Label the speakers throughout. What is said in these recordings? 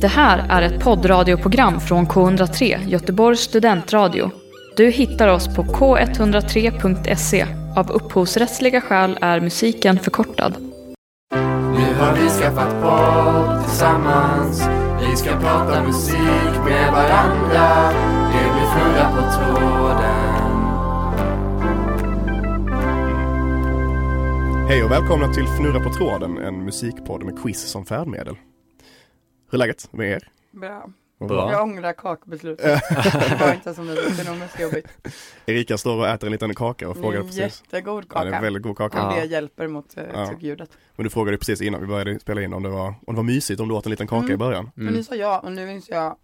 Speaker 1: Det här är ett poddradioprogram från K103, Göteborgs studentradio. Du hittar oss på k103.se. Av upphovsrättsliga skäl är musiken förkortad.
Speaker 2: Nu har vi skaffat podd tillsammans Vi ska prata musik med varandra Det blir fnurra på tråden
Speaker 3: Hej och välkomna till Fnurra på tråden, en musikpodd med quiz som färdmedel. Hur är läget med er?
Speaker 4: Bra.
Speaker 3: Vad
Speaker 5: Bra.
Speaker 4: Jag ångrar kakbeslutet. Det var inte som det var ekonomiskt jobbigt.
Speaker 3: Erika står och äter en liten kaka och frågade
Speaker 4: Men
Speaker 3: precis.
Speaker 4: Jättegod
Speaker 3: Ja, det är
Speaker 4: kaka.
Speaker 3: en väldigt god kaka.
Speaker 4: Om det hjälper mot eh,
Speaker 3: Ja.
Speaker 4: tuggljudet.
Speaker 3: Men du frågade precis innan vi började spela in om det var, om det var mysigt om du åt en liten kaka
Speaker 4: Mm.
Speaker 3: i början.
Speaker 4: Men nu sa jag och nu inser jag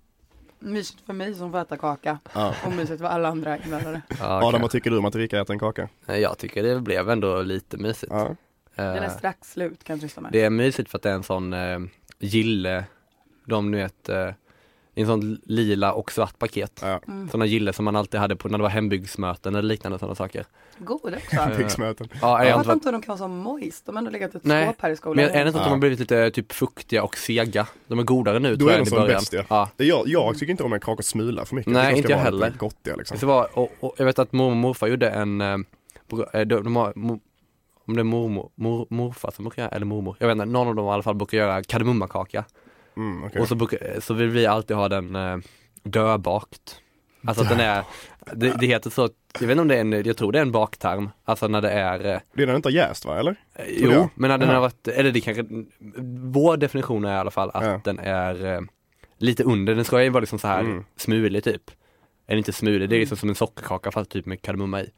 Speaker 4: Mysigt för mig som får äta kaka
Speaker 3: Ja.
Speaker 4: och mysigt för alla andra invandrare.
Speaker 5: Ja,
Speaker 3: Adam,
Speaker 5: okej.
Speaker 3: vad tycker du om att Erika äter en kaka?
Speaker 5: Jag tycker det blev ändå lite mysigt.
Speaker 3: Ja.
Speaker 4: Den är
Speaker 5: Eh,
Speaker 4: strax slut kan jag trösta mig.
Speaker 5: det är mysigt för att det är en sån eh, gille, de nu vet, eh, en sån lila och svart paket.
Speaker 3: ja.
Speaker 4: Mm.
Speaker 5: Sådana gille som man alltid hade på när det var hembygdsmöten eller liknande sådana saker. Eh,
Speaker 4: God
Speaker 5: Mm.
Speaker 4: också.
Speaker 3: Byggsmöten.
Speaker 5: Ja, jag
Speaker 4: Jag
Speaker 5: har inte
Speaker 4: fattar
Speaker 5: varit,
Speaker 4: inte hur de kan vara så moist. De har ändå legat i ett
Speaker 5: Nej,
Speaker 4: skåp här i skolan.
Speaker 5: men är det inte så att
Speaker 3: Ja.
Speaker 5: de har blivit lite typ fuktiga och sega? De är godare nu
Speaker 3: Då
Speaker 5: tror
Speaker 3: är
Speaker 5: jag
Speaker 3: de
Speaker 5: än i
Speaker 3: som
Speaker 5: början.
Speaker 3: bäst, ja.
Speaker 5: ja.
Speaker 3: Det- Jag, jag tycker inte om en kaka smula för mycket.
Speaker 5: Nej,
Speaker 3: jag tycker
Speaker 5: inte
Speaker 3: det
Speaker 5: jag
Speaker 3: ska vara
Speaker 5: heller.
Speaker 3: lite Gottiga, liksom.
Speaker 5: Så var, och, och, jag vet att mormor och morfar gjorde en, eh, br- eh, de, de har, mo, om det är mormor, mor, morfar som brukar göra, eller mormor, jag vet inte, någon av dem i alla fall brukar göra kardemummakaka.
Speaker 3: Mm, okej.
Speaker 5: Och så, brukar, eh, så vill vi alltid ha den eh, döbakt. Alltså att den är, det, det heter så, jag vet inte om det är en, jag tror det är en baktarm. Alltså när det är, eh,
Speaker 3: Det är den inte har jäst va, eller?
Speaker 5: jo,
Speaker 3: jag.
Speaker 5: men när den
Speaker 3: Ja.
Speaker 5: har varit, eller det kanske, vår definition är i alla fall att
Speaker 3: Ja.
Speaker 5: den är eh, lite under, den ska ju vara liksom så här
Speaker 3: Mm.
Speaker 5: smulig typ. Eller inte smulig, det är liksom som en sockerkaka fast typ med kardemumma i.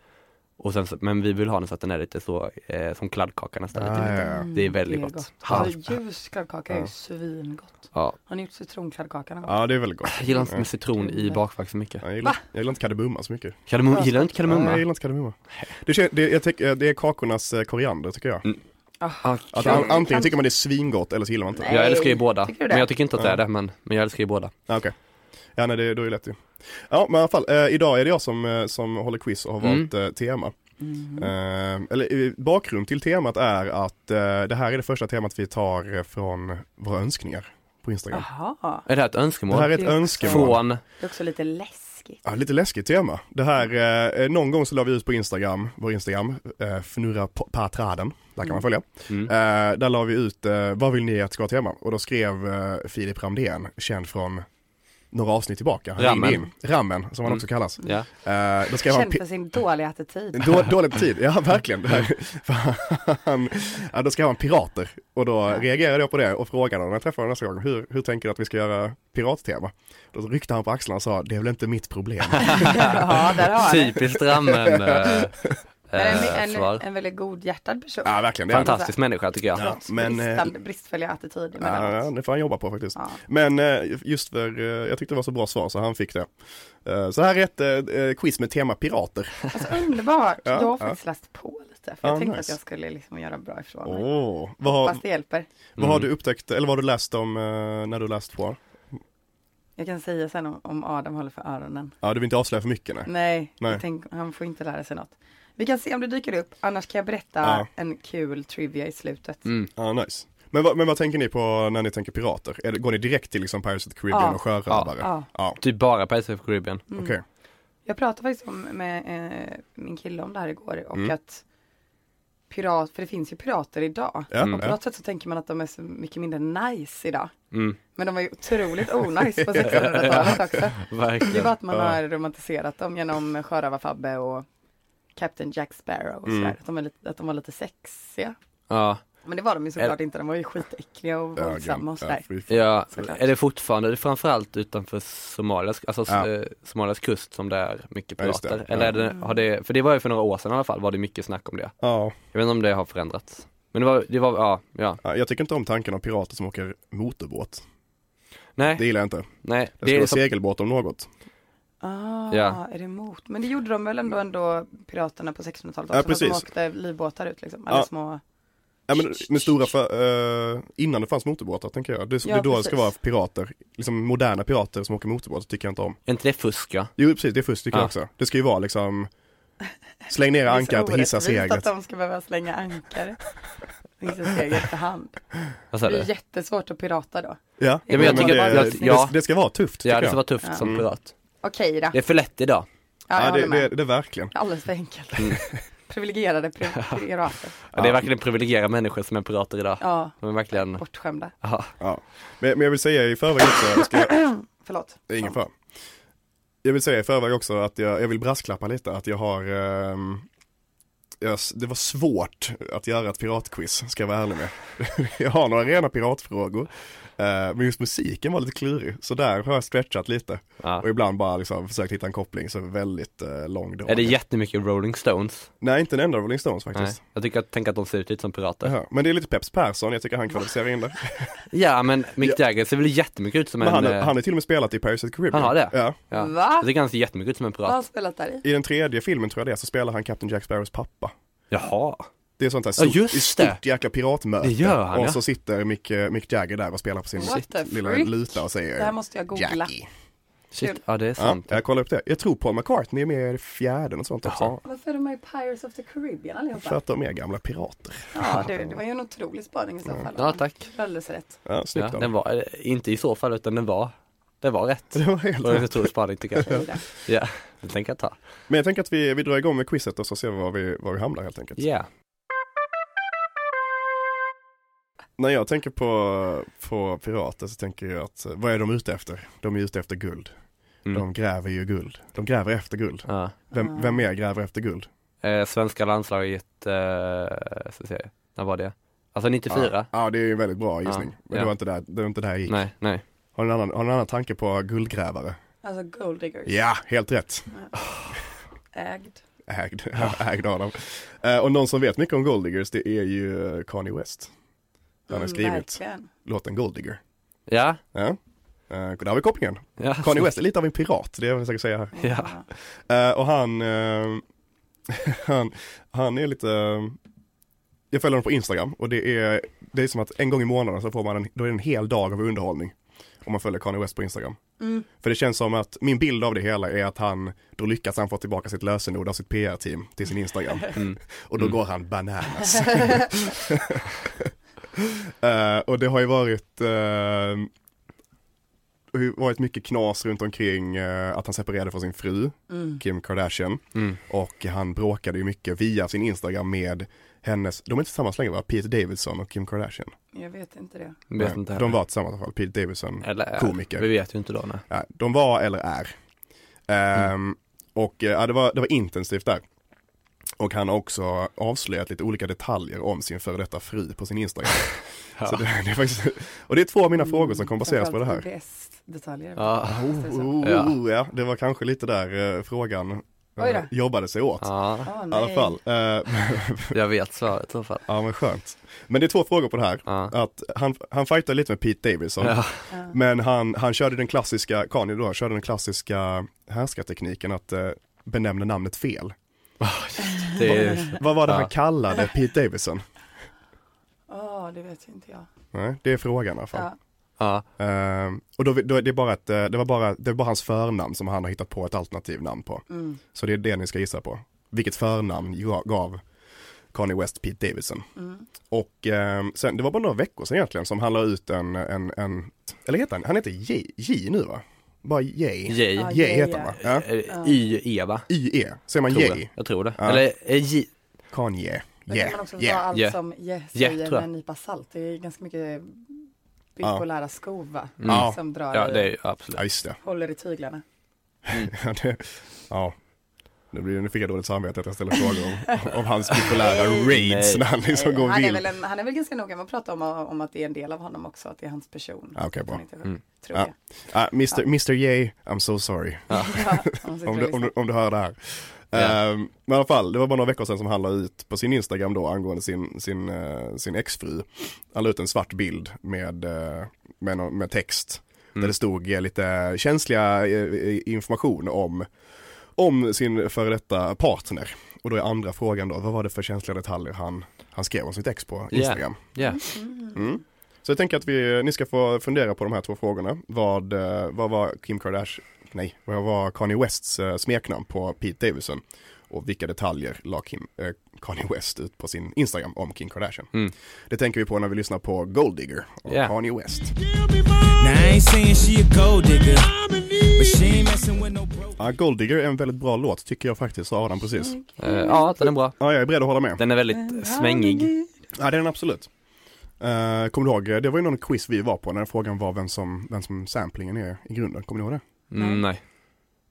Speaker 5: Och sen, så- men vi vill ha den så att den är lite så, eh, som kladdkaka nästan. lite.
Speaker 3: Ah, ja, ja.
Speaker 5: Det är väldigt gott.
Speaker 4: Alltså, Mm, ljus kladdkaka är
Speaker 3: Ja.
Speaker 4: ju svingott.
Speaker 5: Ja.
Speaker 4: Har ni gjort citronkladdkaka någon gång?
Speaker 3: ja, Ah, det är väldigt gott.
Speaker 5: Jag gillar inte
Speaker 3: Ja.
Speaker 5: med citron i bakverk så mycket.
Speaker 3: Ja, Jag gillar, jag gillar inte kardemumma så mycket.
Speaker 5: Kardemumma, gillar du inte
Speaker 3: Nej,
Speaker 5: kardemumma?
Speaker 3: jag gillar inte kardemumma. Det, kän- det, jag tycker- det är kakornas eh, koriander tycker jag.
Speaker 5: Ah,
Speaker 3: Att
Speaker 5: kul.
Speaker 3: an, antingen tycker man det är svingott eller så gillar man inte det.
Speaker 5: Jag älskar ju
Speaker 4: Nej,
Speaker 5: båda,
Speaker 4: tycker du det?
Speaker 5: men jag tycker inte att det
Speaker 3: Ja.
Speaker 5: är det, men, men jag älskar ju båda.
Speaker 3: Ja, Ah, okej. Ja, nej, det, då är det lätt ju. Ja, men i alla fall, eh, idag är det jag som, eh, som håller quiz och har
Speaker 5: Mm.
Speaker 3: valt eh, tema. Eh, eller eh, bakgrund till temat är att eh, det här är det första temat vi tar eh, från våra önskningar på Instagram.
Speaker 4: Jaha,
Speaker 5: Är det här ett
Speaker 3: det här
Speaker 5: önskemål?
Speaker 3: är ett
Speaker 4: det är
Speaker 3: önskemål.
Speaker 5: Från,
Speaker 4: det är också lite läskigt.
Speaker 3: Ja, lite läskigt tema. Det här, eh, någon gång så la vi ut på Instagram, vår Instagram, eh, fnurra på- på träden, där kan man följa.
Speaker 5: Mm.
Speaker 3: Eh, där la vi ut, eh, vad vill ni att ska vara tema? Och då skrev eh, Filip Ramdén, känd från några avsnitt tillbaka, Han
Speaker 5: Rammen. Mm.
Speaker 3: ringde in. Rammen, som han också kallas.
Speaker 5: ja.
Speaker 3: Eh, då skrev han
Speaker 4: Känd
Speaker 3: pi-
Speaker 4: för sin dåliga attityd.
Speaker 3: då, dålig tid, ja verkligen. Det här- för han, ja, då skrev han pirater och då reagerade jag på det och frågade honom när jag träffade honom nästa gång, hur, hur tänker du att vi ska göra pirattema? Då ryckte han på axlarna och sa, det är väl inte mitt problem.
Speaker 4: Ja, där har han det.
Speaker 5: typiskt Rammen eh, eh,
Speaker 4: Men en, en,
Speaker 5: svar.
Speaker 4: en väldigt godhjärtad person.
Speaker 3: ja verkligen, det är han.
Speaker 5: Fantastisk människa tycker jag.
Speaker 3: Ja,
Speaker 4: Trots
Speaker 3: men, eh,
Speaker 4: bristande, bristfälliga attityd
Speaker 3: ja,
Speaker 4: emellanåt.
Speaker 3: det får han jobba på faktiskt.
Speaker 4: Ja.
Speaker 3: Men eh, just för, eh, jag tyckte det var så bra svar så han fick det. Eh, Så här är ett eh, eh, quiz med tema pirater.
Speaker 4: Alltså underbart!
Speaker 3: Ja,
Speaker 4: jag har
Speaker 3: ja.
Speaker 4: faktiskt läst på lite, för jag
Speaker 3: Ja,
Speaker 4: tänkte att
Speaker 3: nice.
Speaker 4: jag skulle liksom göra bra ifrån mig.
Speaker 3: Åh, vad, har,
Speaker 4: Fast Mm. det hjälper.
Speaker 3: vad har du upptäckt, eller vad har du läst om eh, när du läst på?
Speaker 4: Jag kan säga sen om, om Adam håller för öronen.
Speaker 3: Ja, du vill inte avslöja för mycket nej.
Speaker 4: Nej,
Speaker 3: Nej.
Speaker 4: jag Tänk, han får inte lära sig något. Vi kan se om det dyker upp, annars kan jag berätta
Speaker 3: Ja.
Speaker 4: en kul trivia i slutet.
Speaker 5: Mm.
Speaker 3: Ja, Ah, nice. Men, vad- men vad tänker ni på när ni tänker pirater? Är det, går ni direkt till liksom Pirates of the Caribbean
Speaker 4: Ja.
Speaker 3: och sjörövare?
Speaker 4: Ja. Mm.
Speaker 3: ja.
Speaker 5: Typ bara Pirates of the Caribbean.
Speaker 3: Okej,
Speaker 4: Jag pratade faktiskt om, med eh, min kille om det här igår och
Speaker 3: Mm.
Speaker 4: att pirat, för det finns ju pirater idag.
Speaker 3: Ja,
Speaker 4: och på
Speaker 3: ja.
Speaker 4: något sätt så tänker man att de är så mycket mindre nice idag.
Speaker 5: Mm.
Speaker 4: Men de var ju otroligt onajs på 1600-talet också. Det är
Speaker 5: Verkligen.
Speaker 4: bara att man har romantiserat dem genom Sjörövar-Fabbe och Captain Jack Sparrow och sådär.
Speaker 3: Mm.
Speaker 4: Att, de är lite, att de var lite sexiga.
Speaker 5: Ja.
Speaker 4: Men det var de ju såklart inte, de var ju skitäckliga och
Speaker 3: Ja,
Speaker 4: våldsamma och
Speaker 3: ja,
Speaker 4: sådär.
Speaker 3: fy fan.
Speaker 5: ja,
Speaker 4: Såklart.
Speaker 5: är det fortfarande, det är framförallt utanför Somalias, alltså
Speaker 3: Ja.
Speaker 5: eh, Somalias kust som det är mycket
Speaker 3: Ja, just det.
Speaker 5: pirater? Eller är det, har det, för det var ju för några år sedan i alla fall, var det mycket snack om det.
Speaker 3: Ja.
Speaker 5: Jag vet inte om det har förändrats. Men det var, det var, ja, ja.
Speaker 3: Ja, jag tycker inte om tanken om pirater som åker motorbåt.
Speaker 5: Nej,
Speaker 3: Det gillar jag inte.
Speaker 5: nej.
Speaker 3: Det ska
Speaker 5: är
Speaker 3: vara
Speaker 5: så-
Speaker 3: segelbåt om något.
Speaker 4: Ah,
Speaker 5: Ja.
Speaker 4: är det emot? Men det gjorde de väl ändå ändå piraterna på 1600-talet också?
Speaker 3: Ja,
Speaker 4: fast De
Speaker 3: precis.
Speaker 4: åkte livbåtar ut liksom, eller
Speaker 3: Ja.
Speaker 4: små.
Speaker 3: Ja, men med stora, för, eh, innan det fanns motorbåtar tänker jag. Det,
Speaker 4: Ja,
Speaker 3: det är då det
Speaker 4: precis.
Speaker 3: ska vara pirater, liksom moderna pirater som åker motorbåt, tycker jag inte om.
Speaker 5: Är inte det fusk ja?
Speaker 3: Jo precis, det är fusk tycker jag
Speaker 5: Ja.
Speaker 3: också. Det ska ju vara liksom, släng ner
Speaker 4: Det är så
Speaker 3: ankaret och hissa
Speaker 4: orättvist
Speaker 3: seglet.
Speaker 4: att de ska behöva slänga ankare. Vissa steg efterhand.
Speaker 5: Vad
Speaker 4: Det
Speaker 5: sa du?
Speaker 4: är jättesvårt att pirata då.
Speaker 3: Ja,
Speaker 4: Ja, men jag tycker
Speaker 3: det,
Speaker 4: bara att-
Speaker 3: det,
Speaker 5: ja.
Speaker 3: det ska vara tufft
Speaker 5: Ja,
Speaker 3: tycker
Speaker 5: det ska
Speaker 3: jag.
Speaker 5: vara tufft
Speaker 4: Ja.
Speaker 5: som
Speaker 3: Mm.
Speaker 5: pirat.
Speaker 4: Okej då.
Speaker 5: Det är för lätt
Speaker 4: Ja,
Speaker 5: idag.
Speaker 4: jag
Speaker 3: Ja, det,
Speaker 4: håller
Speaker 3: det,
Speaker 4: med.
Speaker 3: det är verkligen.
Speaker 4: Alldeles för enkelt. Privilegierade pri- pirater.
Speaker 5: Ja. Det är verkligen privilegierade människor som är pirater idag.
Speaker 4: Ja,
Speaker 5: De är verkligen,
Speaker 4: bortskämda.
Speaker 5: ja.
Speaker 3: Ja. Men, men jag vill säga i förväg också, ska jag,
Speaker 4: Förlåt.
Speaker 3: det är ingen fara. Jag vill säga i förväg också att jag, jag vill brasklappa lite att jag har ehm, jag, s- det var svårt att göra ett piratquiz, ska jag vara ärlig med. Jag har några rena piratfrågor, eh, men just musiken var lite klurig, så där har jag stretchat lite.
Speaker 5: ja.
Speaker 3: Och ibland bara liksom försökt hitta en koppling, så väldigt eh, lång dag.
Speaker 5: Är det jättemycket Rolling Stones?
Speaker 3: Nej, inte en enda Rolling Stones faktiskt.
Speaker 5: Nej. Jag tycker att, tänk att de ser ut lite som pirater.
Speaker 3: Jaha, Men det är lite Peps Persson, jag tycker han kvalificerar in det.
Speaker 5: Ja men Mick
Speaker 3: Ja.
Speaker 5: Jagger ser väl jättemycket ut som
Speaker 3: Men
Speaker 5: en,
Speaker 3: han,
Speaker 5: eh,
Speaker 3: han har till och med spelat i Paris at the Caribbean.
Speaker 5: Han har det?
Speaker 3: Ja.
Speaker 5: ja.
Speaker 4: Va?
Speaker 5: Jag tycker han ser jättemycket ut som en
Speaker 4: Vad har han
Speaker 5: pirat.
Speaker 4: spelat där i?
Speaker 3: I den tredje filmen tror jag det är, så spelar han Captain Jack Sparrows pappa.
Speaker 5: Jaha.
Speaker 3: Det är sånt här
Speaker 5: Ja,
Speaker 3: stort,
Speaker 5: just
Speaker 3: ett stort
Speaker 5: det.
Speaker 3: jäkla piratmöte.
Speaker 5: Det gör han,
Speaker 3: Och
Speaker 5: ja.
Speaker 3: så sitter Mick, eh, Mick Jagger där och spelar på sin
Speaker 4: What the
Speaker 3: lilla
Speaker 4: freak?
Speaker 3: luta och
Speaker 4: Det här
Speaker 3: säger
Speaker 4: måste jag googla.
Speaker 3: Jackie.
Speaker 5: Shit,
Speaker 4: Kul.
Speaker 5: ja det är
Speaker 3: Ja,
Speaker 5: sant.
Speaker 3: jag kollar upp det. Jag tror Paul McCartney är med i fjärde och sånt också.
Speaker 5: Jaha.
Speaker 4: Varför är de med i Pirates of the Caribbean
Speaker 3: För
Speaker 4: allihopa?
Speaker 3: att de är gamla pirater.
Speaker 4: Ja, det, det var ju en otrolig spaning i så fall.
Speaker 5: Ja tack.
Speaker 4: Det var Alldeles rätt.
Speaker 3: Ja,
Speaker 5: Ja,
Speaker 3: snyggt av
Speaker 5: den
Speaker 3: dem.
Speaker 5: var, eh, inte i så fall utan den var, den var rätt.
Speaker 3: det var helt
Speaker 5: Det var en stor spaning tycker jag.
Speaker 4: Okej då.
Speaker 5: Ja, det tänker jag ta.
Speaker 3: Men jag tänker att vi, vi drar igång med quizet och så ser vi var vi, var vi hamnar helt enkelt.
Speaker 5: Ja.
Speaker 3: När jag tänker på, på pirater så tänker jag att eh, vad är de ute efter? De är ute efter guld.
Speaker 5: Mm.
Speaker 3: De gräver ju guld. De gräver efter guld.
Speaker 5: ja.
Speaker 3: Vem,
Speaker 4: Mm.
Speaker 3: vem mer gräver efter guld?
Speaker 5: Eh, svenska landslaget, eh, så säger jag. när var det? Alltså 94?
Speaker 3: Ja, ja det är ju en väldigt bra gissning.
Speaker 5: Ja,
Speaker 3: Men
Speaker 5: ja.
Speaker 3: det var inte där, det var inte där jag gick.
Speaker 5: Nej, nej.
Speaker 3: Har ni en annan, har ni en annan tanke på guldgrävare?
Speaker 4: Alltså Gold Diggers.
Speaker 3: Ja, helt rätt.
Speaker 4: Ägd.
Speaker 3: Ägd, ägd av dem. Eh, och någon som vet mycket om golddiggers det är ju eh, Kanye West. Han har
Speaker 4: Mm,
Speaker 3: skrivit
Speaker 4: verkligen.
Speaker 3: låten Golddigger.
Speaker 5: Ja,
Speaker 3: Ja. Eh, där har vi kopplingen.
Speaker 5: ja.
Speaker 3: Kanye West är lite av en pirat, det vill jag säkert säga här.
Speaker 5: Ja.
Speaker 3: Eh, och han, eh, han, han är lite, eh, jag följer honom på Instagram och det är, det är som att en gång i månaden så får man en, då är det en hel dag av underhållning. Om man följer Kanye West på Instagram.
Speaker 4: Mm.
Speaker 3: För det känns som att min bild av det hela är att han, då lyckas han få tillbaka sitt lösenord av sitt PR-team till sin Instagram.
Speaker 5: Mm.
Speaker 3: Och då
Speaker 5: Mm.
Speaker 3: går han bananas. Eh, och det har ju varit, eh, det har ju varit mycket knas runt omkring eh, att han separerade från sin fru,
Speaker 4: Mm.
Speaker 3: Kim Kardashian.
Speaker 5: Mm.
Speaker 3: Och han bråkade ju mycket via sin Instagram med hennes, de är inte tillsammans längre va? Pete Davidson och Kim Kardashian.
Speaker 4: Jag vet inte det.
Speaker 5: Vet
Speaker 3: Nej,
Speaker 5: inte
Speaker 3: de var tillsammans i alla fall, Pete Davidson.
Speaker 5: Eller,
Speaker 3: komiker.
Speaker 5: Vi vet ju inte då nej.
Speaker 3: Ja, de var eller är. Ehm, Och eh, ja, det, var, det var intensivt där. Och han har också avslöjat lite olika detaljer om sin före detta fru på sin Instagram.
Speaker 5: Ja.
Speaker 3: Så det, det är faktiskt, och det är två av
Speaker 4: Mm,
Speaker 3: mina frågor som kommer baseras på det här.
Speaker 4: GPS-detaljer.
Speaker 5: Ja.
Speaker 3: Oh, oh,
Speaker 5: Ja.
Speaker 3: oh, ja, det var kanske lite där eh, frågan eh,
Speaker 4: Oj då.
Speaker 3: jobbade sig åt.
Speaker 5: ja,
Speaker 4: Ah,
Speaker 3: I alla
Speaker 4: nej.
Speaker 3: fall. Eh,
Speaker 5: jag vet svaret i alla fall.
Speaker 3: ja men skönt. Men det är två frågor på det här.
Speaker 5: Ja.
Speaker 3: Att han, han fightade lite med Pete Davidson.
Speaker 5: Ja.
Speaker 4: Ja.
Speaker 3: Men han, han körde den klassiska, Kanye då, körde den klassiska härskartekniken att eh, benämna namnet fel.
Speaker 5: Det är,
Speaker 3: Vad var det
Speaker 5: Ja.
Speaker 3: han kallade Pete Davidson?
Speaker 4: Ja, det vet inte jag.
Speaker 3: Nej, det är frågan i alla fall.
Speaker 4: Ja.
Speaker 5: ja.
Speaker 3: Ehm, och då, då är det är bara ett, eh, det var bara, det var bara hans förnamn som han har hittat på ett alternativ namn på.
Speaker 4: Mm.
Speaker 3: Så det är det ni ska gissa på. Vilket förnamn ga- gav Kanye West Pete Davidson.
Speaker 4: Mm.
Speaker 3: Och ehm, sen, det var bara några veckor sedan egentligen som han la ut en, en, en eller heter han, han heter J, J nu va? Bara J.
Speaker 5: J.
Speaker 4: Ja,
Speaker 3: J
Speaker 4: J,
Speaker 3: heter
Speaker 4: ja.
Speaker 3: han va? Ja.
Speaker 5: Eh, Y-E va?
Speaker 3: IE, säger man
Speaker 5: Tror
Speaker 3: J?
Speaker 5: jag. jag tror det.
Speaker 3: Ja.
Speaker 5: Eller eh, J,
Speaker 3: Kanye.
Speaker 4: Men kan man
Speaker 3: Yeah,
Speaker 4: också ta
Speaker 3: yeah.
Speaker 4: allt
Speaker 5: yeah.
Speaker 4: som yeah,
Speaker 5: Yeah,
Speaker 4: säger
Speaker 5: tror
Speaker 4: med
Speaker 5: jag.
Speaker 4: en nypa salt. Det är ganska mycket byggt
Speaker 3: Ja.
Speaker 4: på lära skov va?
Speaker 5: Mm.
Speaker 3: Ja.
Speaker 4: Som drar
Speaker 5: ja det är
Speaker 4: i,
Speaker 5: ju absolut.
Speaker 3: Ja, just det.
Speaker 4: håller i tyglarna.
Speaker 3: Ja, det- ja. Nu, blir, nu fick jag dåligt samvete att jag ställer frågor om, om hans populära raids
Speaker 5: Nej.
Speaker 3: när han liksom går
Speaker 4: Eh, han, är
Speaker 3: vild.
Speaker 4: väl en, han är väl ganska noga med att prata om, om att det är en del av honom också, att det är hans person.
Speaker 3: Ja, okej, bra.
Speaker 4: Att han inte är sjuk,
Speaker 5: Mm.
Speaker 4: Tror
Speaker 3: Ja.
Speaker 4: jag.
Speaker 3: Ah, Mr, Mr. J, I'm so sorry.
Speaker 4: Ja, om sitter
Speaker 3: Om
Speaker 4: och
Speaker 3: du, om,
Speaker 4: lyssnar.
Speaker 3: du, om du hör det här.
Speaker 5: Ja.
Speaker 3: Ehm, men i alla fall, det var bara några veckor sedan som han la ut på sin Instagram då angående sin, sin, eh, sin exfru. Han la ut en svart bild med, eh, med, någon- med text. Där
Speaker 5: Mm.
Speaker 3: det stod eh, lite känsliga eh, information om, om sin före detta partner. Och då är andra frågan då, vad var det för känsliga detaljer han, han skrev om sitt ex på Instagram?
Speaker 5: Ja.
Speaker 3: Mm. Så jag tänker att vi, ni ska få fundera på de här två frågorna. Vad, eh, vad var Kim Kardashian, nej, vad var Kanye Wests eh, smeknamn på Pete Davidson? Och vilka detaljer la Kim, eh, Kanye West ut på sin Instagram om Kim Kardashian.
Speaker 5: Mm.
Speaker 3: Det tänker vi på när vi lyssnar på Gold Digger av
Speaker 5: Yeah.
Speaker 3: Kanye West.
Speaker 6: Now I ain't saying she a gold digger, but she ain't messing with no broke.
Speaker 3: Ja, Gold Digger är en väldigt bra låt tycker jag faktiskt, sa Adam precis.
Speaker 5: Eh, ja, den är bra.
Speaker 3: Ja, jag är beredd att hålla med.
Speaker 5: Den är väldigt svängig.
Speaker 3: Ja, det är den absolut. Eh, kommer du ihåg, det var ju någon quiz vi var på när frågan var vem som, vem som samplingen är i grunden, kommer ni ihåg det?
Speaker 5: Mm, nej.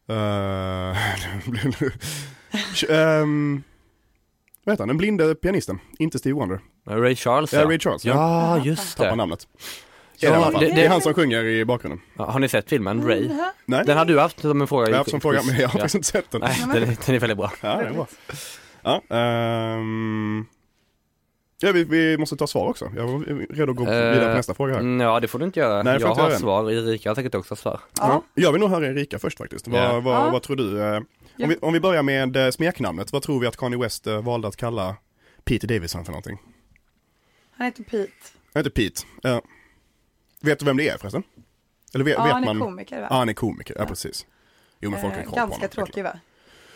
Speaker 3: Eh, det blev nu- Ehm, vad heter han, den blinde pianisten, inte Steve Wonder.
Speaker 5: Ray Charles
Speaker 3: Ja, Ray Charles, ja.
Speaker 5: Ja, just
Speaker 3: Tappar
Speaker 5: det.
Speaker 3: namnet.
Speaker 5: Ja,
Speaker 3: är det, i alla fall.
Speaker 5: det-
Speaker 3: det
Speaker 5: det-
Speaker 3: är han som sjunger i bakgrunden.
Speaker 5: Ja, Har ni sett filmen Ray?
Speaker 3: Nej,
Speaker 5: Den har du haft som en fråga.
Speaker 3: Mm. jag har haft som fråga, men jag har
Speaker 5: Ja.
Speaker 3: faktiskt inte sett den.
Speaker 5: Nej, den, är- den är väldigt bra.
Speaker 3: Ja, det är bra. Ja, ehm, ja vi, vi måste ta svar också. Jag är redo att gå vidare
Speaker 5: Eh,
Speaker 3: på nästa fråga här.
Speaker 5: Mm, ja, det får du inte göra.
Speaker 3: Nej, det får
Speaker 5: jag
Speaker 3: inte
Speaker 5: har
Speaker 3: jag göra.
Speaker 5: svar. Erika har säkert också svar.
Speaker 3: Ja. Jag vill nog höra Erika först faktiskt. Vad,
Speaker 5: Ja.
Speaker 3: vad,
Speaker 4: Ja.
Speaker 3: vad tror du? eh,
Speaker 4: Ja.
Speaker 3: Om vi, om vi börjar med eh, smeknamnet, vad tror vi att Kanye West eh, valde att kalla Pete Davidson för någonting?
Speaker 4: Han heter Pete.
Speaker 3: Jag heter Pete. Eh, vet du vem det är förresten? Eller vet,
Speaker 4: Ja,
Speaker 3: vet
Speaker 4: han är
Speaker 3: man?
Speaker 4: komiker va?
Speaker 3: Ja, han är komiker. Ja, precis. Jo, men folk har ju
Speaker 4: Eh,
Speaker 3: koll på honom.
Speaker 4: ganska tråkig va?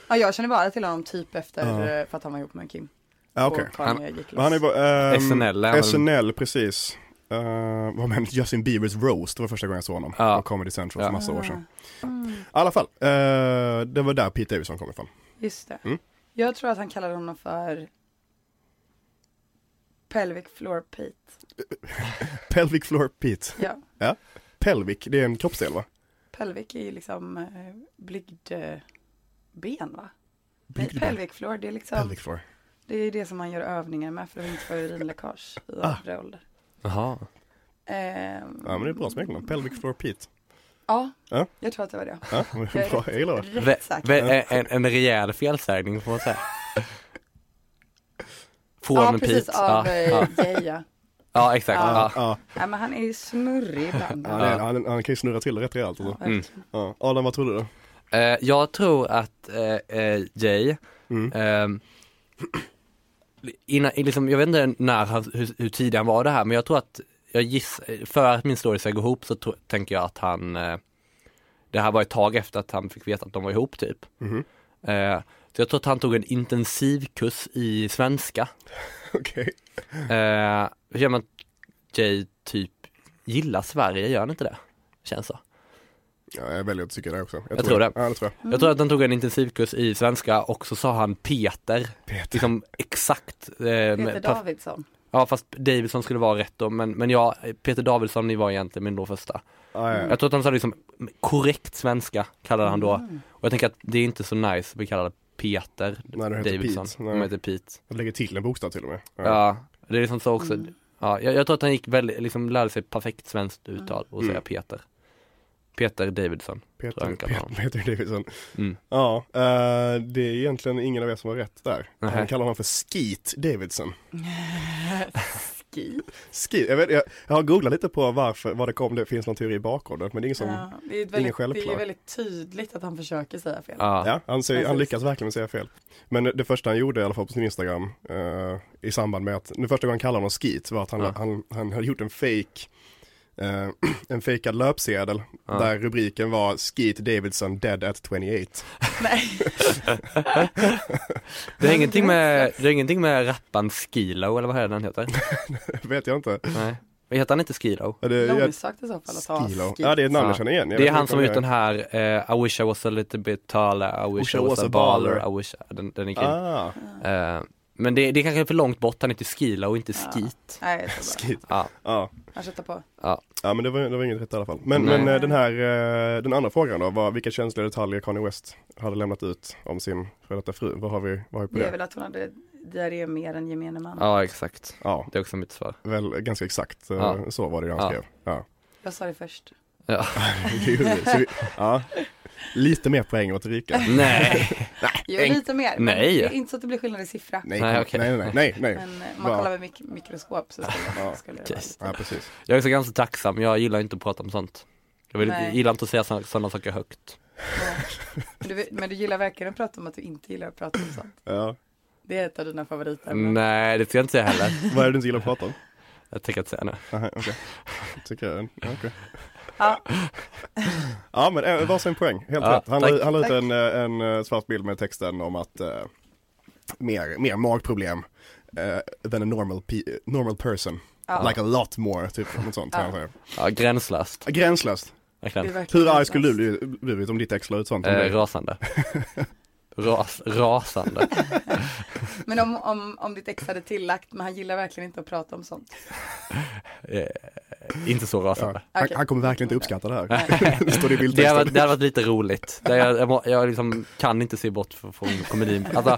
Speaker 4: Ja, jag känner bara till honom typ efter
Speaker 3: Ja.
Speaker 4: eh, för att han var ihop med Kim.
Speaker 3: Ja, okej.
Speaker 4: Och Kanye gick loss.
Speaker 3: Han är bara, ehm,
Speaker 5: SNL, är han väl-
Speaker 3: SNL, precis. Eh, vad menar Justin Biebers roast, det var första gången jag såg honom
Speaker 5: Ja.
Speaker 3: på Comedy Central
Speaker 5: Ja.
Speaker 3: för massa år sedan.
Speaker 4: Mm,
Speaker 3: I alla fall, eh, det var där Pete Davidson kom ifrån.
Speaker 4: just det.
Speaker 3: Mm.
Speaker 4: Jag tror att han kallade honom för Pelvic Floor Pete.
Speaker 3: Pelvic floor Pete.
Speaker 4: Ja,
Speaker 3: Pelvic, det är en kroppsdel va?
Speaker 4: pelvic är ju liksom eh, blygdben va? Nej,
Speaker 3: Bygg-
Speaker 4: pelvic floor, det är liksom,
Speaker 3: Pelvic floor.
Speaker 4: det är det som man gör övningar med för att inte få urinläckage i
Speaker 3: Ah.
Speaker 4: övre ålder.
Speaker 5: Jaha.
Speaker 4: Ehm,
Speaker 3: Ja men det är bra smeknamn, Pelvic floor Pete.
Speaker 4: Ja,
Speaker 3: Ja.
Speaker 4: jag tror att det var det.
Speaker 3: Ja, men
Speaker 4: Jag är
Speaker 3: bra, jag gillar det.
Speaker 5: Ve-
Speaker 4: Rätt säkert.
Speaker 5: ve- en, en rejäl felsägning får man säga. Från
Speaker 4: Ja,
Speaker 5: en
Speaker 4: precis,
Speaker 5: Pete.
Speaker 4: av
Speaker 5: ja,
Speaker 4: eh,
Speaker 5: ja,
Speaker 4: Geja.
Speaker 5: ja, exakt.
Speaker 3: Ja,
Speaker 5: Ja.
Speaker 3: ja,
Speaker 4: Nej men han är ju snurrig ibland.
Speaker 3: ja, det är- han, han kan ju snurra till det rätt rejält. Alltså.
Speaker 5: Mm.
Speaker 3: Ja. Adam, vad tror du då?
Speaker 5: Eh, jag tror att eh, eh, Jay,
Speaker 3: Mm.
Speaker 5: ehm, innan, liksom, jag vet inte när han, hur, hur tidig han var det här, men jag tror att, jag giss, för att min story ska gå ihop så tro, tänker jag att han, eh, det här var ett tag efter att han fick veta att de var ihop typ.
Speaker 3: Mhm.
Speaker 5: Eh, så jag tror att han tog en intensivkurs i svenska.
Speaker 3: Okej.
Speaker 5: Eh, hur känner man att Jay typ gillar Sverige, gör han inte det? Känns så.
Speaker 3: Ja, jag väljer att tycka det också. Jag,
Speaker 5: tror det.
Speaker 3: Ja, det tror jag.
Speaker 5: Jag tror att han tog en intensivkurs i svenska och så sa han Peter,
Speaker 3: Peter.
Speaker 5: liksom exakt. Eh,
Speaker 4: Peter
Speaker 3: Mm.
Speaker 5: med- perf-
Speaker 4: Davidsson.
Speaker 5: ja fast Davidsson skulle vara rätt då, men, men ja, Peter Davidsson ni var egentligen min då första.
Speaker 3: Ja, ja, ja.
Speaker 5: Jag tror att han sa liksom korrekt svenska, kallade han
Speaker 4: Mm.
Speaker 5: då. Och jag tänker att det är inte så nice att bli kallad Peter
Speaker 3: Nej, du heter
Speaker 5: Davidsson,
Speaker 3: Pete. Nej.
Speaker 5: om jag heter Pete.
Speaker 3: Jag lägger till en bokstav till och med.
Speaker 5: Ja. det är liksom så också. Ja, jag, jag tror att han gick väldigt, liksom lärde sig perfekt svenskt uttal och säga
Speaker 3: Mm.
Speaker 5: Peter. Peter Davidsson. tror
Speaker 3: Peter,
Speaker 5: jag kan
Speaker 3: Peter,
Speaker 5: ta honom.
Speaker 3: Peter Davidson.
Speaker 5: Mm.
Speaker 3: Ja, eh, det är egentligen ingen av er som har rätt där.
Speaker 5: Nähä.
Speaker 3: Han kallar honom för Skeet Davidson.
Speaker 4: Ski.
Speaker 3: Skeet, jag, vet, jag, jag har googlat lite på varför, var det kom, det finns någon teori bakom det, men det är ingen som, ja,
Speaker 4: Ja, det, är ett väldigt, det
Speaker 3: självklar.
Speaker 4: är väldigt tydligt att han försöker säga fel.
Speaker 5: Ja.
Speaker 3: han, säger, han
Speaker 4: Precis.
Speaker 3: lyckas verkligen säga fel. Men det första han gjorde i alla fall på sin Instagram, eh, i samband med att, den första gången han kallade honom Skeet var att han,
Speaker 5: Ja.
Speaker 3: han, han hade gjort en fake eh, en fejkad löpsedel
Speaker 5: Ja.
Speaker 3: där rubriken var Skeet Davidson dead at 28.
Speaker 4: Nej,
Speaker 5: Det, är ingenting med, det är ingenting med rapparen Skilo eller vad är den heter?
Speaker 3: Vet jag inte.
Speaker 5: Nej. Men Heter han inte Skilo?
Speaker 3: Ja, det- jag-
Speaker 4: långsökt i så fall att ha
Speaker 3: Skilo.
Speaker 4: ski.
Speaker 3: Ja det är ett namn jag
Speaker 5: Ja.
Speaker 3: känner igen. Jag
Speaker 5: Det är
Speaker 3: vet
Speaker 5: han
Speaker 3: inte
Speaker 5: som
Speaker 3: om
Speaker 5: har
Speaker 3: det-
Speaker 5: gjort den här eh, I wish I was a little bit taller, I wish I was a baller, I wish, den, den är kul.
Speaker 3: Ah,
Speaker 5: Eh, men det, det är kanske för långt bort, han heter Skilo och inte
Speaker 4: Ja.
Speaker 5: Skeet.
Speaker 4: Nej, jag tror bara.
Speaker 3: skit.
Speaker 5: Ja.
Speaker 3: Ja.
Speaker 4: Han köttar på.
Speaker 3: ja, men det var, det var inget rätt i alla fall. Men,
Speaker 5: Nej.
Speaker 3: men eh, den här, eh, den andra frågan då, var, vilka känsliga detaljer Kanye West hade lämnat ut om sin före detta fru? Vad har vi, vad har vi på
Speaker 4: Det är
Speaker 3: det?
Speaker 4: väl att hon hade diarré mer än gemene man.
Speaker 5: ja, exakt.
Speaker 3: Ja,
Speaker 5: Det är också mitt svar.
Speaker 3: väl ganska exakt eh,
Speaker 5: Ja.
Speaker 3: så var det han
Speaker 5: Ja.
Speaker 3: skrev. Ja.
Speaker 4: Jag sa det först.
Speaker 5: Ja.
Speaker 3: Det gjorde vi. Så vi, ja. Lite mer poäng åt Erika.
Speaker 5: Nej.
Speaker 4: Jo,
Speaker 5: En-
Speaker 4: lite mer. men
Speaker 5: Nej.
Speaker 4: Det är inte så att det blir skillnad i siffra.
Speaker 3: Nej,
Speaker 5: Nej,
Speaker 3: nej,
Speaker 5: okej.
Speaker 3: nej, nej, nej, nej.
Speaker 4: Men eh, om
Speaker 3: Ja.
Speaker 4: man kollar med mik- mikroskop så skulle,
Speaker 3: Ja.
Speaker 4: skulle det vara
Speaker 5: Just.
Speaker 4: lite.
Speaker 3: Ja, precis.
Speaker 5: Jag är också ganska tacksam, jag gillar inte att prata om sånt. Jag vill,
Speaker 4: Nej.
Speaker 5: gillar inte att säga sådana saker högt.
Speaker 4: Ja. Men, du, men du gillar verkligen att prata om att du inte gillar att prata om sånt.
Speaker 3: Ja.
Speaker 4: Det är ett av dina favoritämnen.
Speaker 5: Nej, det ska jag inte säga heller.
Speaker 3: Vad är det du inte gillar att prata om?
Speaker 5: Jag tänker inte säga nu.
Speaker 3: Aha, okej. Tycker jag. Ja, okej.
Speaker 4: Ja.
Speaker 3: ja men eh, varsin poäng, helt
Speaker 5: Ja,
Speaker 3: rätt. Han
Speaker 5: tack.
Speaker 3: la han la ut
Speaker 4: Tack.
Speaker 3: en, eh, en eh, svart bild med texten om att eh, mer, mer magproblem eh, than a normal, pe- normal person.
Speaker 4: Ja.
Speaker 3: Like a lot more, typ något sånt.
Speaker 4: Ja.
Speaker 3: kan jag säga.
Speaker 5: Ja, gränslöst.
Speaker 3: Gränslöst.
Speaker 4: Det är
Speaker 5: Verkligen.
Speaker 4: verkligen
Speaker 3: Hur arg
Speaker 4: sant,
Speaker 3: skulle du
Speaker 4: alltså.
Speaker 3: bli- blivit om ditt ex la ut sånt? om
Speaker 5: Eh,
Speaker 3: dig?
Speaker 5: rasande. Ras, rasande.
Speaker 4: Men om, om, om ditt ex hade tillagt, men han gillar verkligen inte att prata om sånt.
Speaker 5: Eh, inte så rasande.
Speaker 3: han,
Speaker 4: Okej.
Speaker 3: han kommer verkligen inte uppskatta det här. det står i
Speaker 5: Det hade,
Speaker 3: bildtexten.
Speaker 5: varit- det hade varit lite roligt. Det, jag jag, må- jag liksom kan inte se bort från, från komedin. Alltså,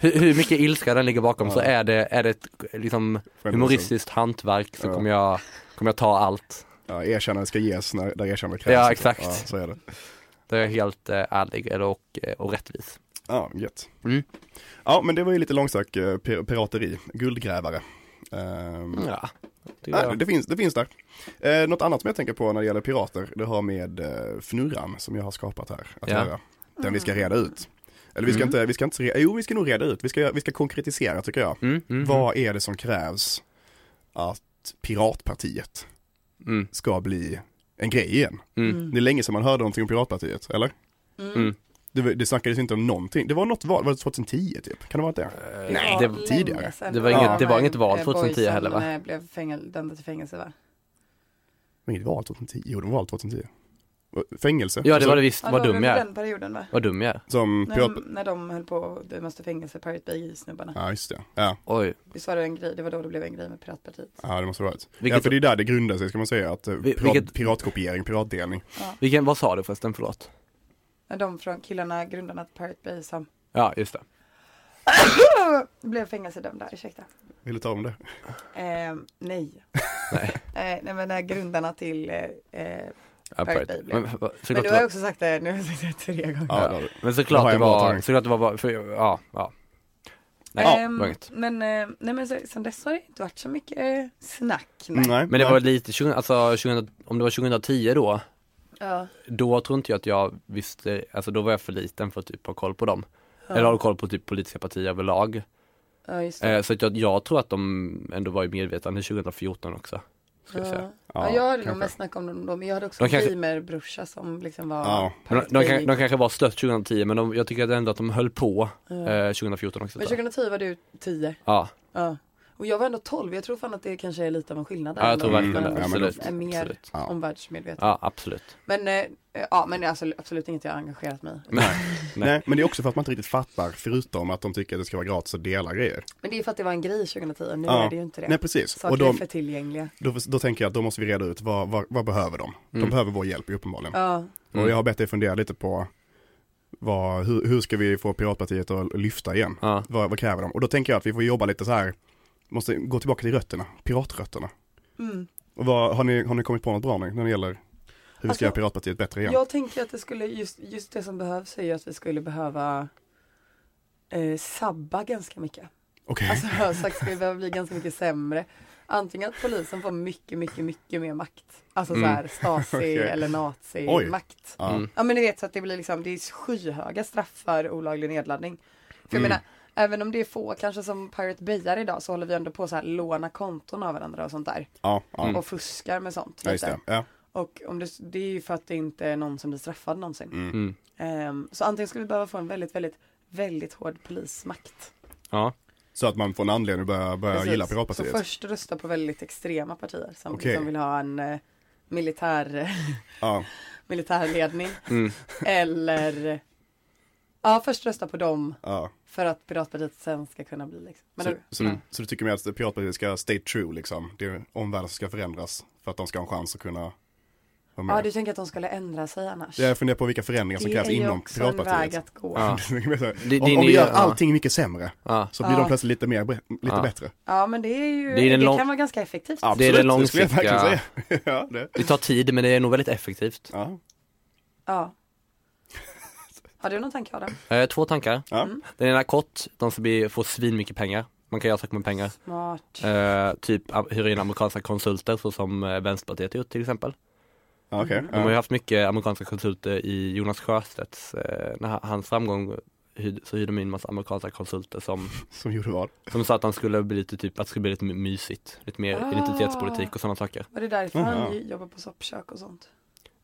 Speaker 5: hur, hur mycket ilska den ligger bakom så är det, är det ett liksom, humoristiskt hantverk så
Speaker 3: Ja.
Speaker 5: kommer jag, kommer jag ta allt.
Speaker 3: Ja, erkännande ska ges när, där erkännande krävs.
Speaker 5: Ja, exakt.
Speaker 3: Ja, så är det.
Speaker 5: Det är jag helt eh, ärlig eller, och, eh, och rättvis.
Speaker 3: Ja, gött.
Speaker 5: Mm.
Speaker 3: Ja, men det var ju lite långsökt eh, pir- pirateri, guldgrävare. Ehm,
Speaker 5: Ja, Äh, det gör
Speaker 3: nej,
Speaker 5: jag.
Speaker 3: det, finns, det finns där. Eh, något annat som jag tänker på när det gäller pirater, det har med eh, fnurran som jag har skapat här att
Speaker 5: Ja.
Speaker 3: göra. Den vi ska reda ut. Eller vi ska
Speaker 5: Mm.
Speaker 3: inte, vi ska inte, re- jo vi ska nog reda ut, vi ska, vi ska konkretisera tycker jag.
Speaker 5: Mm, mm,
Speaker 3: Vad är det som krävs att piratpartiet
Speaker 5: mm,
Speaker 3: ska bli en grej igen?
Speaker 5: mm,
Speaker 3: Det är länge sedan man hörde någonting om Piratpartiet, eller?
Speaker 5: mm.
Speaker 3: Det, var- det snackades inte om någonting. Det var något val, var det 2010 typ? Kan det ha varit det?
Speaker 5: Nej,
Speaker 4: Ja,
Speaker 5: Eh, det,
Speaker 4: länge
Speaker 3: tidigare.
Speaker 4: sedan.
Speaker 5: Det var
Speaker 3: inget-
Speaker 4: en,
Speaker 5: det var inget
Speaker 4: eh,
Speaker 5: val
Speaker 4: boy
Speaker 5: 2010 heller,
Speaker 4: som,
Speaker 5: va?
Speaker 4: eh, blev fängel, dömd till fängelse va?
Speaker 3: Men det var 2010? Jo, det var 2010. Fängelse?
Speaker 5: ja, det var det
Speaker 3: Alltså,
Speaker 5: visst.
Speaker 4: Ja,
Speaker 5: Vad
Speaker 4: det var
Speaker 5: dum
Speaker 4: väl
Speaker 5: jag är.
Speaker 4: Den perioden va?
Speaker 5: Vad dum jag är.
Speaker 3: Som
Speaker 4: När,
Speaker 3: pirat...
Speaker 4: de- när de höll på och dömas till fängelse, Pirate Bay snubbarna.
Speaker 3: Ja, just det. Ja,
Speaker 5: Oj.
Speaker 4: Visst var det en grej, det var då det blev en grej med Piratpartiet.
Speaker 3: ja det måste ha varit.
Speaker 5: Vilket-
Speaker 3: Ja, för det är där det grundar sig, ska man säga. Att eh,
Speaker 5: Vi-
Speaker 3: pirat,
Speaker 5: vilket-
Speaker 3: Piratkopiering, piratdelning.
Speaker 5: Vilken, vad sa du förresten? Förlåt.
Speaker 4: När de från killarna, grundarna till Pirate Bay som
Speaker 5: Ja, just det.
Speaker 4: blev fängelsedömda, ursäkta.
Speaker 3: Vill du ta om det?
Speaker 4: Eh, nej.
Speaker 5: Nej.
Speaker 4: Eh, nej men när grundarna till eh, eh,
Speaker 5: Ja,
Speaker 4: Pirate
Speaker 5: Pirate
Speaker 4: Bay blev
Speaker 5: Men,
Speaker 4: det.
Speaker 5: va-
Speaker 4: Men du
Speaker 5: såklart det
Speaker 4: har
Speaker 5: var,
Speaker 4: jag också sagt det, nu har jag sagt det tre gånger.
Speaker 3: Ja, det har
Speaker 5: ja,
Speaker 3: vi.
Speaker 5: men
Speaker 3: har
Speaker 5: såklart det
Speaker 3: jag en bra
Speaker 5: var,
Speaker 3: tanke.
Speaker 5: såklart det var bara, för, ja, ja. Nej,
Speaker 4: Ehm,
Speaker 5: det var inget.
Speaker 4: men eh, nej, men så, sen dess har det inte varit så mycket eh, snack. Nej.
Speaker 3: Nej.
Speaker 5: Men det var lite, 20, alltså 20, om det var 2010 då,
Speaker 4: Ja.
Speaker 5: då tror inte jag att jag visste, alltså då var jag för liten för att typ ha koll på dem. Eller ha koll på typ politiska partier överlag.
Speaker 4: ja, just det.
Speaker 5: Eh, så att jag, jag tror att de ändå var i medvetande 2014 också. Ska jag säga.
Speaker 4: ja. Ja, jag hade nog
Speaker 3: kanske.
Speaker 4: mest snackat om dem då, men jag hade också
Speaker 5: De kanske-
Speaker 4: en gamerbrorsa som liksom var
Speaker 3: Ja.
Speaker 5: Men De, de, kan-
Speaker 4: Pirate Bay.
Speaker 5: de kanske var störst 2010 men de, jag tycker ändå att de höll på eh, 2014 också.
Speaker 4: Men 2010 var du 10.
Speaker 5: Ja,
Speaker 4: Ja. Och jag var ändå 12, jag tror fan att det kanske är lite av en skillnad där.
Speaker 5: ja, jag tror
Speaker 4: ändå,
Speaker 3: Mm,
Speaker 5: verkligen
Speaker 4: att
Speaker 5: det.
Speaker 3: ja,
Speaker 4: man
Speaker 3: men
Speaker 5: Absolut.
Speaker 4: är mer
Speaker 5: absolut.
Speaker 3: Ja.
Speaker 4: omvärldsmedveten.
Speaker 5: Ja, absolut.
Speaker 4: Men, eh, eh, ja, men alltså, absolut inget jag har engagerat mig i.
Speaker 3: Nej. men det är också för att man inte riktigt fattar, förutom att de tycker att det ska vara gratis att dela grejer.
Speaker 4: Men det är för att det var en grej 2010, nu
Speaker 3: Ja.
Speaker 4: är det ju inte det.
Speaker 3: Nej, precis.
Speaker 4: Saker
Speaker 3: Och de,
Speaker 4: är för tillgängliga.
Speaker 3: då, då tänker jag att då måste vi reda ut, vad, vad, vad behöver de? De behöver vår hjälp uppenbarligen.
Speaker 4: Ja.
Speaker 5: Mm.
Speaker 3: Och jag har bett dig fundera lite på vad, hur, hur ska vi få Piratpartiet att lyfta igen?
Speaker 5: Ja.
Speaker 3: Vad, vad kräver de? Och då tänker jag att vi får jobba lite så här, måste gå tillbaka till rötterna, piratrötterna.
Speaker 4: Mm.
Speaker 3: Och vad, har, ni, har ni kommit på något bra nu när det gäller hur vi ska
Speaker 4: Alltså,
Speaker 3: göra Piratpartiet bättre igen?
Speaker 4: Jag tänker att det skulle, just, just det som behövs är ju att vi skulle behöva eh, sabba ganska mycket.
Speaker 3: Okej,
Speaker 4: Alltså saker skulle behöva bli ganska mycket sämre. Antingen att polisen får mycket, mycket, mycket mer makt. Alltså så här Stasi
Speaker 3: Mm. Okej.
Speaker 4: eller
Speaker 3: Oj.
Speaker 4: nazi-makt.
Speaker 3: ja.
Speaker 5: Mm.
Speaker 4: Ja men du vet så att det blir liksom, det är skyhöga straff för olaglig nedladdning. För jag
Speaker 3: Mm.
Speaker 4: menar, även om det är få kanske som Pirate Bayar idag så håller vi ändå på så här låna konton av varandra och sånt där.
Speaker 3: ja, ja,
Speaker 4: Och fuskar med sånt.
Speaker 3: Mm. ja, just
Speaker 4: Mm. lite.
Speaker 3: det. Ja.
Speaker 4: Och om det, det är ju för att det inte är någon som blir straffad någonsin.
Speaker 5: Mm.
Speaker 4: Ehm, så antingen skulle vi behöva få en väldigt, väldigt, väldigt hård polismakt.
Speaker 5: Ja.
Speaker 3: Så att man får en anledning att börja, börja
Speaker 4: Precis.
Speaker 3: gilla
Speaker 4: så
Speaker 3: Piratpartiet.
Speaker 4: först rösta på väldigt extrema partier som
Speaker 3: Okej.
Speaker 4: liksom vill ha en eh, militär,
Speaker 3: Ja.
Speaker 4: militärledning.
Speaker 5: Mm.
Speaker 4: Eller, ja först rösta på dem
Speaker 3: Ja.
Speaker 4: för att Piratpartiet sen ska kunna bli liksom. Men
Speaker 3: Så,
Speaker 4: då,
Speaker 3: så, så du tycker mer att Piratpartiet ska stay true liksom? Det är omvärlden som ska förändras för att de ska ha en chans att kunna vara med.
Speaker 4: ja du tänker att de skulle ändra sig annars.
Speaker 3: Jag funderar på vilka förändringar som
Speaker 4: det
Speaker 3: krävs
Speaker 4: är ju
Speaker 3: inom
Speaker 4: också en väg
Speaker 3: Piratpartiet.
Speaker 4: att gå.
Speaker 5: Ja. Det-
Speaker 3: om,
Speaker 5: det-
Speaker 3: om vi
Speaker 5: det-
Speaker 3: gör
Speaker 5: ja.
Speaker 3: allting mycket sämre
Speaker 5: Ja.
Speaker 3: så blir de
Speaker 4: Ja.
Speaker 3: plötsligt lite, mer, bre- lite
Speaker 5: Ja.
Speaker 3: bättre.
Speaker 4: Ja men det är ju,
Speaker 5: Det
Speaker 4: det,
Speaker 5: är den lång-
Speaker 4: kan vara ganska effektivt.
Speaker 5: Det är det
Speaker 3: Absolut, skulle jag
Speaker 5: långsiktiga.
Speaker 3: verkligen säga. ja, det.
Speaker 5: Det tar tid men det är nog väldigt effektivt.
Speaker 3: Ja.
Speaker 4: Ja. Har du någon tanke Adam?
Speaker 5: Eh, två tankar.
Speaker 3: Ja.
Speaker 5: Den ena kort, de ska bli, få svin mycket pengar. Man kan göra saker med pengar.
Speaker 4: Smart.
Speaker 5: Eh, typ am- hyra in amerikanska konsulter så som eh, Vänsterpartiet har gjort till exempel.
Speaker 3: Ja, okej.
Speaker 5: De har ju
Speaker 3: Ja.
Speaker 5: haft mycket amerikanska konsulter i Jonas Sjöstedts, eh, när han- hans framgång hyrde, så hyrde de in massa amerikanska konsulter som,
Speaker 3: Som gjorde vad?
Speaker 4: Mm.
Speaker 5: som sa att han skulle bli lite typ, att det skulle bli lite my- mysigt, lite mer
Speaker 4: Ah.
Speaker 5: identitetspolitik och sådana saker.
Speaker 4: Var det därför
Speaker 3: Jaha.
Speaker 4: han ju jobbar på soppkök och sånt?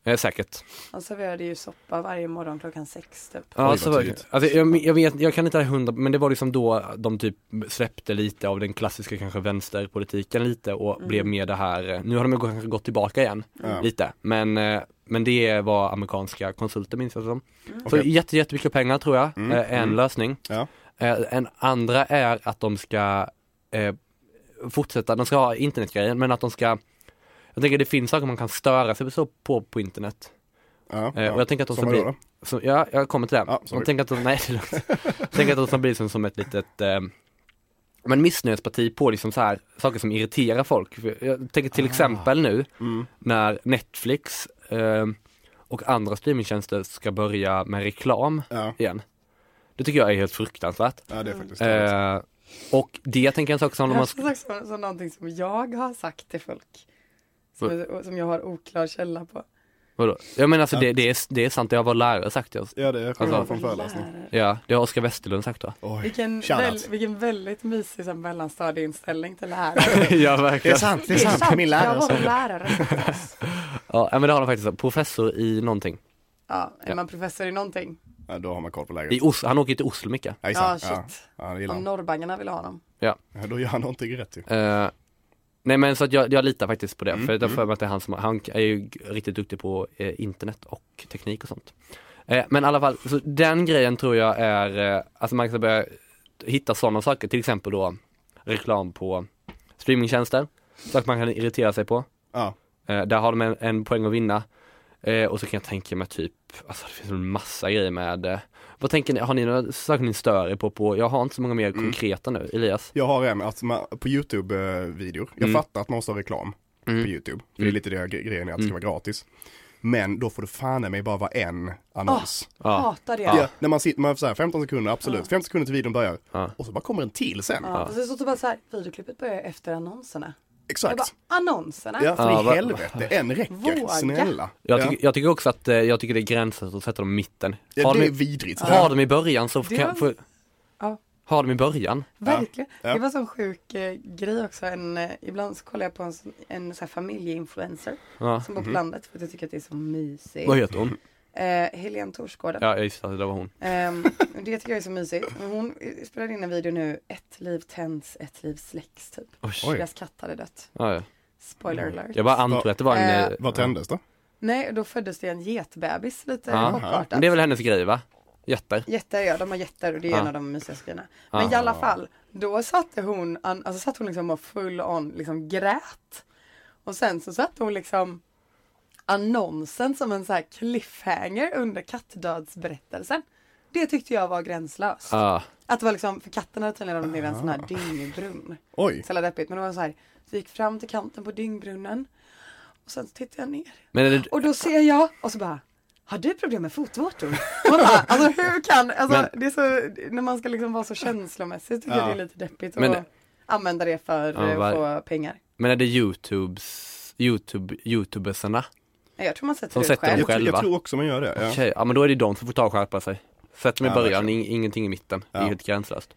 Speaker 5: Eh, Eh, säkert.
Speaker 4: Han serverade ju soppa varje morgon klockan sex typ.
Speaker 5: Ja,
Speaker 3: vad
Speaker 5: så var,
Speaker 3: tidigt.
Speaker 5: alltså, jag, jag, vet, jag kan inte det här hundra, men det var liksom då de typ släppte lite av den klassiska kanske vänsterpolitiken lite och blev mer det här, eh, nu har de ju kanske gått tillbaka igen
Speaker 3: Ja.
Speaker 5: lite, men, eh, men det var amerikanska konsulter minns jag det som. Så
Speaker 3: Okej.
Speaker 5: jätte, jättemycket pengar tror jag,
Speaker 3: Mm,
Speaker 5: eh, är en
Speaker 3: mm.
Speaker 5: lösning.
Speaker 3: Ja.
Speaker 5: Eh, en andra är att de ska eh, fortsätta, de ska ha internetgrejen, men att de ska jag tänker det finns saker man kan störa sig så på på internet.
Speaker 3: Ja,
Speaker 5: Eh,
Speaker 3: ja.
Speaker 5: och jag tänker att de
Speaker 3: Som
Speaker 5: ska
Speaker 3: vadå
Speaker 5: bli,
Speaker 3: då?
Speaker 5: så, ja, jag kommer till det.
Speaker 3: Ja, sorry.
Speaker 5: jag tänker att de, nej, det är lugnt. Jag tänker att de ska bli som, som ett litet eh, men missnöjesparti på liksom så här, saker som irriterar folk. För Jag tänker till exempel nu
Speaker 3: Ah. Mm.
Speaker 5: när Netflix eh, och andra streamingtjänster ska börja med reklam
Speaker 3: Ja.
Speaker 5: igen. Det tycker jag är helt fruktansvärt.
Speaker 3: ja, det är faktiskt det.
Speaker 5: Eh, och det jag tänker en sak som
Speaker 4: Jag har
Speaker 5: de har
Speaker 4: sagt Alltså, så, så någonting som jag har sagt till folk.
Speaker 5: Va?
Speaker 4: Som, som jag har oklar källa på.
Speaker 5: Vadå? Jag menar alltså det, det, är, det är sant, det har vår lärare sagt till oss.
Speaker 3: Ja, det kommer
Speaker 5: Alltså-
Speaker 3: från föreläsning.
Speaker 4: Lärare.
Speaker 5: Ja, det har Oskar Westerlund sagt va?
Speaker 3: Oj.
Speaker 4: Mm. Vilken,
Speaker 3: Shoutout.
Speaker 4: väl, vilken väldigt mysig så här mellanstadieinställning till lärare.
Speaker 5: ja, verkligen.
Speaker 3: sant,
Speaker 4: min lärare. Jag var en lärare.
Speaker 5: Ja, men det har han faktiskt. Professor i någonting.
Speaker 4: Ja, är
Speaker 5: Ja.
Speaker 4: man professor i någonting?
Speaker 3: Ja, då har man koll på läget.
Speaker 5: I Os- han åker till Oslo mycket.
Speaker 3: Ja,
Speaker 4: Ja,
Speaker 3: just det. ja.
Speaker 4: shit.
Speaker 3: ja, det gillar
Speaker 4: Om
Speaker 3: han.
Speaker 4: norrbaggarna vill ha honom.
Speaker 3: Ja, då gör han någonting rätt ju.
Speaker 5: Eh, nej men så att jag, jag litar faktiskt på det.
Speaker 3: Mm,
Speaker 5: För jag har
Speaker 3: mm.
Speaker 5: för mig att det är han som, han är ju g- riktigt duktig på eh, internet och teknik och sånt. Eh, men i alla fall, så den grejen tror jag är, eh, alltså man kan börja hitta sådana saker, till exempel då reklam på streamingtjänster. Saker man kan irritera sig på.
Speaker 3: Ja.
Speaker 5: Eh, där har de en, en poäng att vinna. Eh, och så kan jag tänka mig typ, alltså det finns en massa grejer med eh, vad tänker ni, har ni några saker ni stör er på, på? Jag har inte så många mer
Speaker 3: Mm.
Speaker 5: konkreta nu, Elias.
Speaker 3: Jag har en, alltså, man- på YouTube-videor. Jag
Speaker 5: Mm.
Speaker 3: fattar att man måste ha reklam
Speaker 5: Mm.
Speaker 3: på YouTube. För Det är
Speaker 5: Mm.
Speaker 3: lite det gre- grejen är att det ska vara gratis. Men då får det fan i mig bara vara en annons.
Speaker 4: Ah.
Speaker 5: Ja.
Speaker 4: Hatar det.
Speaker 3: Ja, när man sitter, man så här, 15 sekunder,
Speaker 4: Ah.
Speaker 3: absolut. 15 sekunder till videon börjar.
Speaker 5: Ja.
Speaker 3: Och så bara kommer en till sen.
Speaker 4: Ja, och så står det bara så här, videoklippet börjar efter annonserna.
Speaker 3: Exakt.
Speaker 4: Jag bara, annonserna?
Speaker 3: Ja, för
Speaker 5: Ja,
Speaker 3: i
Speaker 5: Ah, va-
Speaker 3: helvete, en räcker,
Speaker 4: Våga.
Speaker 3: snälla.
Speaker 5: Jag,
Speaker 3: ja.
Speaker 5: tycker, jag tycker också att, eh, jag tycker det är gränslöst att sätta dem i mitten.
Speaker 3: ja,
Speaker 5: Har,
Speaker 3: det är
Speaker 5: de, i-
Speaker 3: vidrigt.
Speaker 5: har de i början så
Speaker 4: Det
Speaker 5: kan,
Speaker 4: var-
Speaker 5: får,
Speaker 4: Ja.
Speaker 5: har de i början.
Speaker 4: Verkligen.
Speaker 3: Ja.
Speaker 4: Det var en sån sjuk eh, grej också. En, eh, ibland så kollar jag på en, sån- en så här familjeinfluencer
Speaker 5: Ja.
Speaker 4: som bor på landet för att jag tycker att det är så mysigt.
Speaker 5: Mhm. Vad heter hon?
Speaker 4: Eh, Helene Torsgården.
Speaker 5: Ja, jag gissade att det var hon.
Speaker 4: Ehm, det tycker jag är så mysigt. Men hon eh, spelade in en video nu, ett liv tänds, ett liv släcks typ.
Speaker 3: Oj.
Speaker 4: Deras katt hade dött.
Speaker 5: Ja, ja.
Speaker 4: Spoiler alert.
Speaker 5: Mm. Jag bara ah. antog att det var en...
Speaker 4: Eh,
Speaker 5: eh,
Speaker 3: Vad tändes då?
Speaker 4: Nej, då föddes det en getbebis lite
Speaker 5: Aha.
Speaker 4: chockartat.
Speaker 5: Men det är väl hennes grej va? Jätter.
Speaker 4: Jätter, ja de har jätter och det är
Speaker 5: Ja.
Speaker 4: en av de mysigaste grejerna. Men i alla fall, då satte hon, an, alltså satt hon liksom och full on liksom grät. Och sen så satte hon liksom annonsen som en så här cliffhanger under kattdödsberättelsen. Det tyckte jag var gränslöst.
Speaker 5: Ja.
Speaker 4: Att det var liksom, för katten hade tydligen ramlat ner i en sån här dyngbrunn.
Speaker 3: Oj,
Speaker 4: Så jävla deppigt, men det var så här, så gick fram till kanten på dyngbrunnen. Och sen så tittade jag ner.
Speaker 5: Men är det,
Speaker 4: Och då ser jag, och så bara har du problem med fotvårtor? Man bara, alltså hur kan, alltså det är så, när man ska liksom vara så känslomässig tycker
Speaker 3: Ja.
Speaker 4: jag det är lite deppigt att
Speaker 5: Men-
Speaker 4: använda det för
Speaker 5: Ja,
Speaker 4: eh, att
Speaker 5: var-
Speaker 4: få pengar.
Speaker 5: men är det Youtubes, Youtube, Youtubersarna?
Speaker 4: Nej, Jag tror man sätter
Speaker 5: Som
Speaker 4: ut
Speaker 5: sätter
Speaker 4: själv.
Speaker 3: jag, tror- jag
Speaker 5: själva.
Speaker 3: tror också man gör det. Ja.
Speaker 5: Okej, ja men då är det de som får ta och skärpa sig. Sätt dem i
Speaker 3: Ja,
Speaker 5: början, ing- ingenting i mitten. Det är
Speaker 3: Ja.
Speaker 5: helt gränslöst.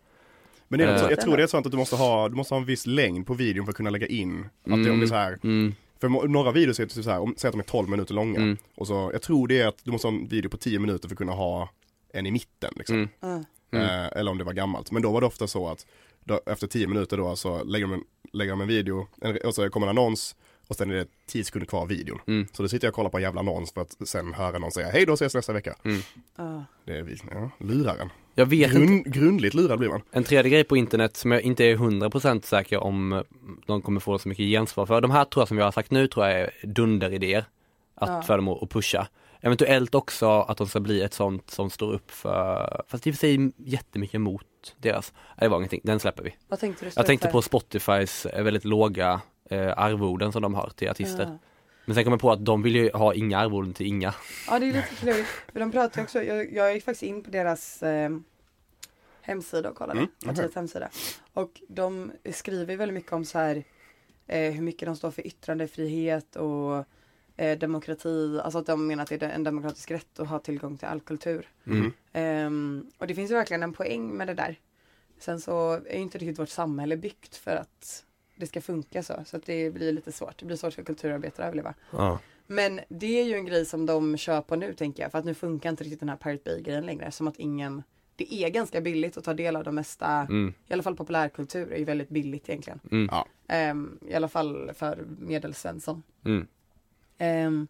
Speaker 3: Men det är,
Speaker 5: Eh.
Speaker 3: jag tror det är sånt att du måste, ha, du måste ha en viss längd på videon för att kunna lägga in. Att det, om det är så här,
Speaker 5: Mm.
Speaker 3: för må- några videos är typ så här, om, säg att de är 12 minuter långa.
Speaker 5: Mm.
Speaker 3: Och så, jag tror det är att du måste ha en video på 10 minuter för att kunna ha en i mitten. Liksom.
Speaker 5: Mm.
Speaker 4: Mm.
Speaker 3: Eh, eller om det var gammalt. Men då var det ofta så att då, efter 10 minuter då så lägger de en, lägger de en video, en, och så kommer en annons och sen är det 10 sekunder kvar av videon.
Speaker 5: Mm.
Speaker 3: Så då sitter jag och kollar på en jävla annons för att sen höra någon säga hej då ses nästa vecka.
Speaker 4: Ja.
Speaker 3: Det är vi, ja, luraren.
Speaker 5: Mm. Jag vet inte.
Speaker 3: Grund, grundligt lurad blir man.
Speaker 5: En tredje grej på internet som jag inte är 100% säker om eh, de kommer få så mycket gensvar för. De här tror jag som jag har sagt nu tror jag är dunderidéer. Att
Speaker 4: Ja.
Speaker 5: för dem att att pusha. Eventuellt också att de ska bli ett sånt som står upp för, fast i och för sig jättemycket emot deras. Nej, det var ingenting, den släpper vi.
Speaker 4: Vad tänkte du stå
Speaker 5: Jag tänkte
Speaker 4: för?
Speaker 5: på Spotifys eh, väldigt låga eh, arvoden som de har till artister.
Speaker 4: Ja.
Speaker 5: Men sen kom jag på att de vill ju ha inga arvoden till inga.
Speaker 4: Ja det är lite klurigt. För de pratar ju också, jag, jag gick faktiskt in på deras eh, hemsida och kollade,
Speaker 3: Mm,
Speaker 4: partiets hemsida. Och de skriver ju väldigt mycket om så här eh, hur mycket de står för yttrandefrihet och eh, demokrati, alltså att de menar att det är en demokratisk rätt att ha tillgång till all kultur.
Speaker 5: Mm.
Speaker 4: Ehm, och det finns ju verkligen en poäng med det där. Sen så är ju inte riktigt vårt samhälle byggt för att det ska funka så, så att det blir lite svårt. Det blir svårt för kulturarbetare att överleva.
Speaker 5: Ja.
Speaker 4: Men det är ju en grej som de kör på nu tänker jag. För att nu funkar inte riktigt den här Pirate Bay grejen längre. Som att ingen det är ganska billigt att ta del av de mesta,
Speaker 5: Mm.
Speaker 4: i alla fall populärkultur är ju väldigt billigt egentligen.
Speaker 5: Mm.
Speaker 3: Ja.
Speaker 4: Ehm, I alla fall för medelsvensson.
Speaker 5: Mm.
Speaker 4: Ehm,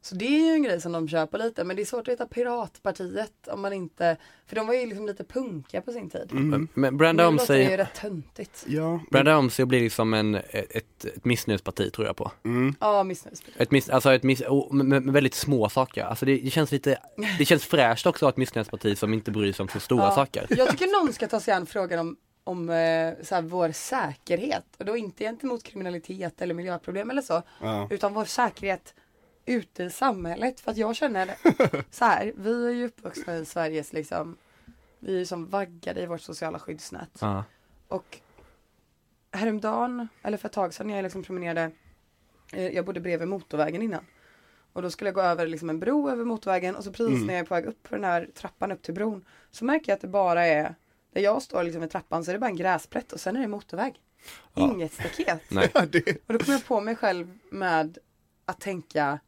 Speaker 4: så det är ju en grej som de kör på lite, men det är svårt att heta Piratpartiet om man inte, för de var ju liksom lite punkiga på sin tid.
Speaker 3: Mm.
Speaker 5: Men
Speaker 4: Nu
Speaker 5: branda om
Speaker 4: låter det ju
Speaker 5: sig,
Speaker 4: rätt töntigt.
Speaker 3: Ja.
Speaker 5: branda om sig och bli liksom en, ett, ett missnöjesparti tror jag på.
Speaker 3: Mm.
Speaker 4: Ja, missnöjespartiet.
Speaker 5: Ett miss, alltså ett miss, och med, med väldigt små saker. Alltså det, det känns lite, det känns fräscht också att ha ett missnöjesparti som inte bryr sig om så stora
Speaker 4: Ja.
Speaker 5: saker.
Speaker 4: Jag tycker någon ska ta sig an frågan om, om eh, så här, vår säkerhet och då inte gentemot kriminalitet eller miljöproblem eller så,
Speaker 3: Ja.
Speaker 4: utan vår säkerhet ute i samhället. För att jag känner så här, vi är ju uppvuxna i Sveriges liksom, vi är ju som vaggade i vårt sociala skyddsnät.
Speaker 5: Ja.
Speaker 4: Och häromdagen, eller för ett tag sedan, när jag liksom promenerade, eh, jag bodde bredvid motorvägen innan. Och då skulle jag gå över liksom en bro över motorvägen och så precis
Speaker 5: Mm.
Speaker 4: när jag är på väg upp för den här trappan upp till bron så märker jag att det bara är, där jag står liksom i trappan så är det bara en gräsplätt och sen är det motorväg.
Speaker 5: Ja.
Speaker 4: Inget staket.
Speaker 5: Nej.
Speaker 3: det,
Speaker 4: Och då kom jag på mig själv med att tänka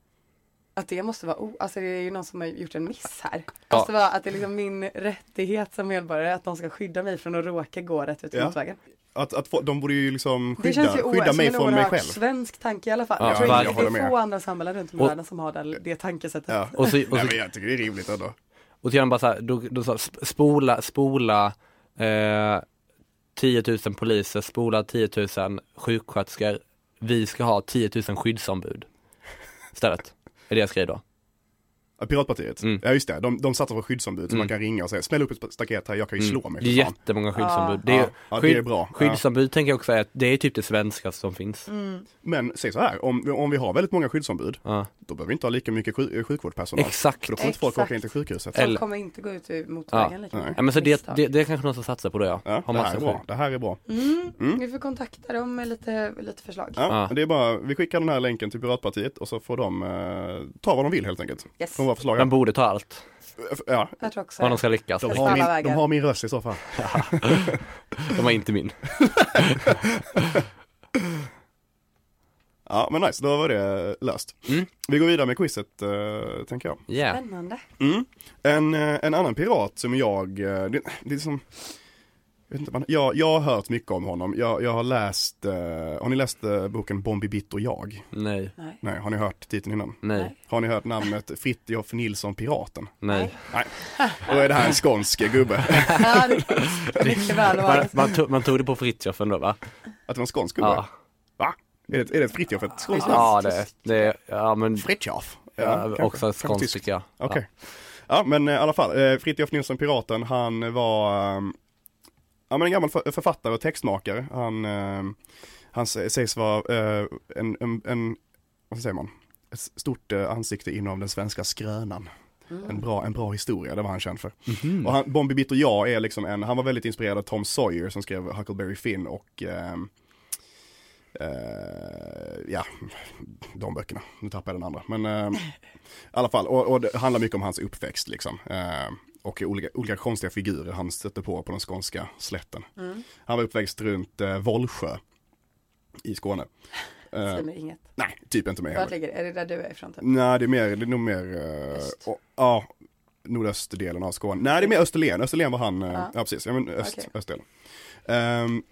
Speaker 4: att det måste vara, o- alltså det är ju någon som har gjort en miss här. Det
Speaker 5: Ja.
Speaker 4: måste vara att det är liksom min rättighet som medborgare att de ska skydda mig från att råka gå rätt ut i
Speaker 3: Ja.
Speaker 4: motvägen.
Speaker 3: att, att få, de borde ju liksom
Speaker 4: Det känns ju
Speaker 3: skydda,
Speaker 4: o-
Speaker 3: skydda
Speaker 4: som
Speaker 3: mig
Speaker 4: en
Speaker 3: från mig
Speaker 4: oerhört
Speaker 3: själv.
Speaker 4: svensk tanke i alla fall.
Speaker 5: Ja,
Speaker 4: jag tror
Speaker 5: verkligen.
Speaker 4: inte,
Speaker 3: Jag
Speaker 4: det
Speaker 3: håller
Speaker 4: är
Speaker 3: med.
Speaker 4: få andra samhällen runt om i
Speaker 5: Och-
Speaker 4: världen som har det, det tankesättet.
Speaker 3: Ja.
Speaker 5: Och så, och
Speaker 3: Nej
Speaker 5: så,
Speaker 3: men jag tycker det är rimligt ändå.
Speaker 5: och så gör de bara så här, då, då så här, sp- spola, spola eh, 10 000 poliser, spola 10 000 sjuksköterskor. Vi ska ha 10 000 skyddsombud. Istället. Är det jag skriver då.
Speaker 3: Ja, Piratpartiet,
Speaker 5: Mm.
Speaker 3: ja just det, de, de satsar på skyddsombud så
Speaker 5: Mm.
Speaker 3: man kan ringa och säga smäll upp ett staket här, jag kan ju slå mig
Speaker 5: Det är
Speaker 3: för fan.
Speaker 5: jättemånga skyddsombud. Det är,
Speaker 3: Ja, ja, det är bra. Ja.
Speaker 5: Skyddsombud tänker jag också är att det är typ det svenskaste som finns.
Speaker 3: Men säg så här, om, om vi har väldigt många skyddsombud,
Speaker 5: Ja.
Speaker 3: då behöver vi inte ha lika mycket sjuk, sjukvårdspersonal.
Speaker 5: Exakt.
Speaker 3: För då kommer inte folk
Speaker 4: Exakt.
Speaker 3: åka in till sjukhuset.
Speaker 4: Som
Speaker 5: Eller-
Speaker 4: kommer inte gå ut i motorvägen lika
Speaker 3: Nej.
Speaker 5: Ja, men så det,
Speaker 4: Misstag.
Speaker 5: det, det är kanske någon som satsar på det ja.
Speaker 3: Ja,
Speaker 5: Har
Speaker 3: det här
Speaker 5: massa
Speaker 3: är
Speaker 5: skydd.
Speaker 3: bra, det här är bra.
Speaker 4: Mm. Vi får kontakta dem med lite, lite förslag.
Speaker 3: Ja,
Speaker 5: Ja.
Speaker 3: Det är bara, vi skickar den här länken till Piratpartiet och så får de eh, ta vad de vill helt enkelt.
Speaker 4: Yes.
Speaker 3: Från våra förslag.
Speaker 5: De borde ta allt.
Speaker 3: Ja,
Speaker 4: Jag tror också
Speaker 5: Om de ska lyckas.
Speaker 3: de
Speaker 4: Helst
Speaker 3: har,
Speaker 4: alla
Speaker 3: min, de
Speaker 4: vägar.
Speaker 3: har min röst i så fall.
Speaker 5: De var inte min.
Speaker 3: Ja men nice, då var det löst.
Speaker 5: Mm.
Speaker 3: Vi går vidare med quizet eh, tänker jag.
Speaker 5: Yeah.
Speaker 4: Spännande.
Speaker 3: Mm. En, eh, en annan pirat som jag, eh, det, det är som, jag, vet inte, man, jag, jag har hört mycket om honom. Jag, jag har läst, eh, har ni läst eh, boken Bombi Bitt och jag?
Speaker 5: Nej.
Speaker 4: Nej.
Speaker 3: Nej, har ni hört titeln innan?
Speaker 5: Nej.
Speaker 3: Har ni hört namnet Fritiof Nilsson Piraten?
Speaker 5: Nej.
Speaker 3: Nej, då är det här en skånsk gubbe.
Speaker 4: Ja, det kan mycket väl vara.
Speaker 5: Man, man, tog, man tog det på Fritiof ändå va?
Speaker 3: Att det var en skånsk gubbe?
Speaker 5: Ja.
Speaker 3: Va? Är det, är det ett Fritiof, ett skånskt namn?
Speaker 5: Ja det, det ja men
Speaker 3: Fritiof?
Speaker 5: ja, också
Speaker 3: kanske
Speaker 5: skånskt
Speaker 3: tyskt.
Speaker 5: tycker jag.
Speaker 3: Okej. Ja men eh, i alla fall, eh, Fritiof Nilsson Piraten, han var eh, ja, men en gammal för- författare och textmakare. Han, eh, han sä- sägs vara eh, en, en, en, vad säger man, ett stort eh, ansikte inom den svenska skrönan. En, bra, en bra historia, det var han känd för. Och han, Bombi Bitt och jag är liksom en, han var väldigt inspirerad av Tom Sawyer som skrev Huckleberry Finn och ehm, eh, ja, de böckerna. Nu tappar jag den andra. Men ehm, i alla fall, och, och det handlar mycket om hans uppväxt liksom. Eh, och olika, olika konstiga figurer han stötte på på den skånska slätten.
Speaker 4: Mm.
Speaker 3: Han var uppväxt runt eh, Vollsjö i Skåne. Eh,
Speaker 4: Säger mig inget.
Speaker 3: nej, typ inte mig
Speaker 4: Vart
Speaker 3: heller.
Speaker 4: ligger det? Är det där du är ifrån? Typ?
Speaker 3: Nej, det är, mer, det är nog mer,
Speaker 4: Öst.
Speaker 3: eh, och, ja, nordöstdelen av Skåne. Nej, det är mer Österlen, Österlen var han, eh, ja,
Speaker 4: Ja.
Speaker 3: precis, ja, men öst,
Speaker 4: Okej.
Speaker 3: östdelen. Ehm,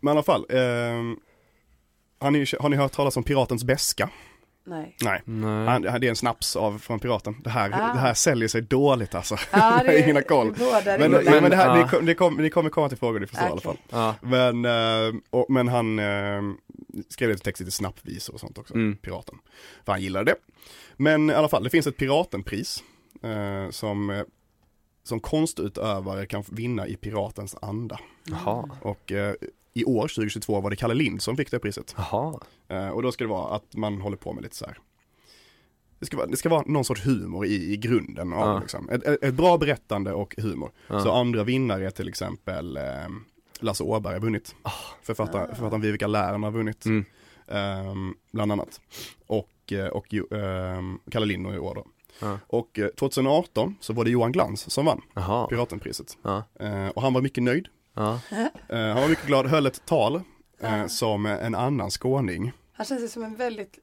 Speaker 3: men i alla fall, ehm, har, ni, har ni hört talas om Piratens beska?
Speaker 4: Nej.
Speaker 3: Nej.
Speaker 5: Nej.
Speaker 3: Han, han- det är en snaps av, från Piraten. Det här,
Speaker 4: Ah.
Speaker 3: det här säljer sig dåligt alltså.
Speaker 4: Ja,
Speaker 3: Jag har ingen koll.
Speaker 4: bådar
Speaker 3: Men,
Speaker 4: inte.
Speaker 3: men,
Speaker 5: Men,
Speaker 3: det här,
Speaker 5: ah.
Speaker 3: ni, kom, ni, kom, ni kommer komma till frågor, ni förstår i alla fall.
Speaker 4: Okej.
Speaker 5: Ja.
Speaker 3: Men, eh, och, men han eh, skrev lite text, lite snappvisor och sånt också,
Speaker 5: Mm.
Speaker 3: Piraten. För han gillade det. Men i alla fall, det finns ett Piratenpris eh, som, eh, som konstutövare kan vinna i Piratens anda.
Speaker 5: Jaha.
Speaker 3: Och eh, i år, 2022, var det Kalle Lind som fick det priset.
Speaker 5: Jaha.
Speaker 3: Eh, och då ska det vara att man håller på med lite så här. Det ska, vara, det ska vara någon sorts humor i, i grunden. Av,
Speaker 5: Ja.
Speaker 3: det, liksom. ett, ett ett bra berättande och humor.
Speaker 5: Ja.
Speaker 3: Så andra vinnare är till exempel eh, Lasse Åberg har vunnit. Författaren, författaren Vivica Lärn har vunnit.
Speaker 5: Ah. Mm.
Speaker 3: ehm, bland annat. Och, eh, och ju- ehm, Kalle Lind i år då.
Speaker 5: Ja.
Speaker 3: Och eh, 2018 så var det Johan Glans som vann
Speaker 5: Jaha.
Speaker 3: Piratenpriset.
Speaker 5: Ja.
Speaker 3: Eh, och han var mycket nöjd.
Speaker 5: Ja.
Speaker 3: Eh, han var mycket glad, höll ett tal eh, som en annan skåning.
Speaker 4: Han känns ju som en väldigt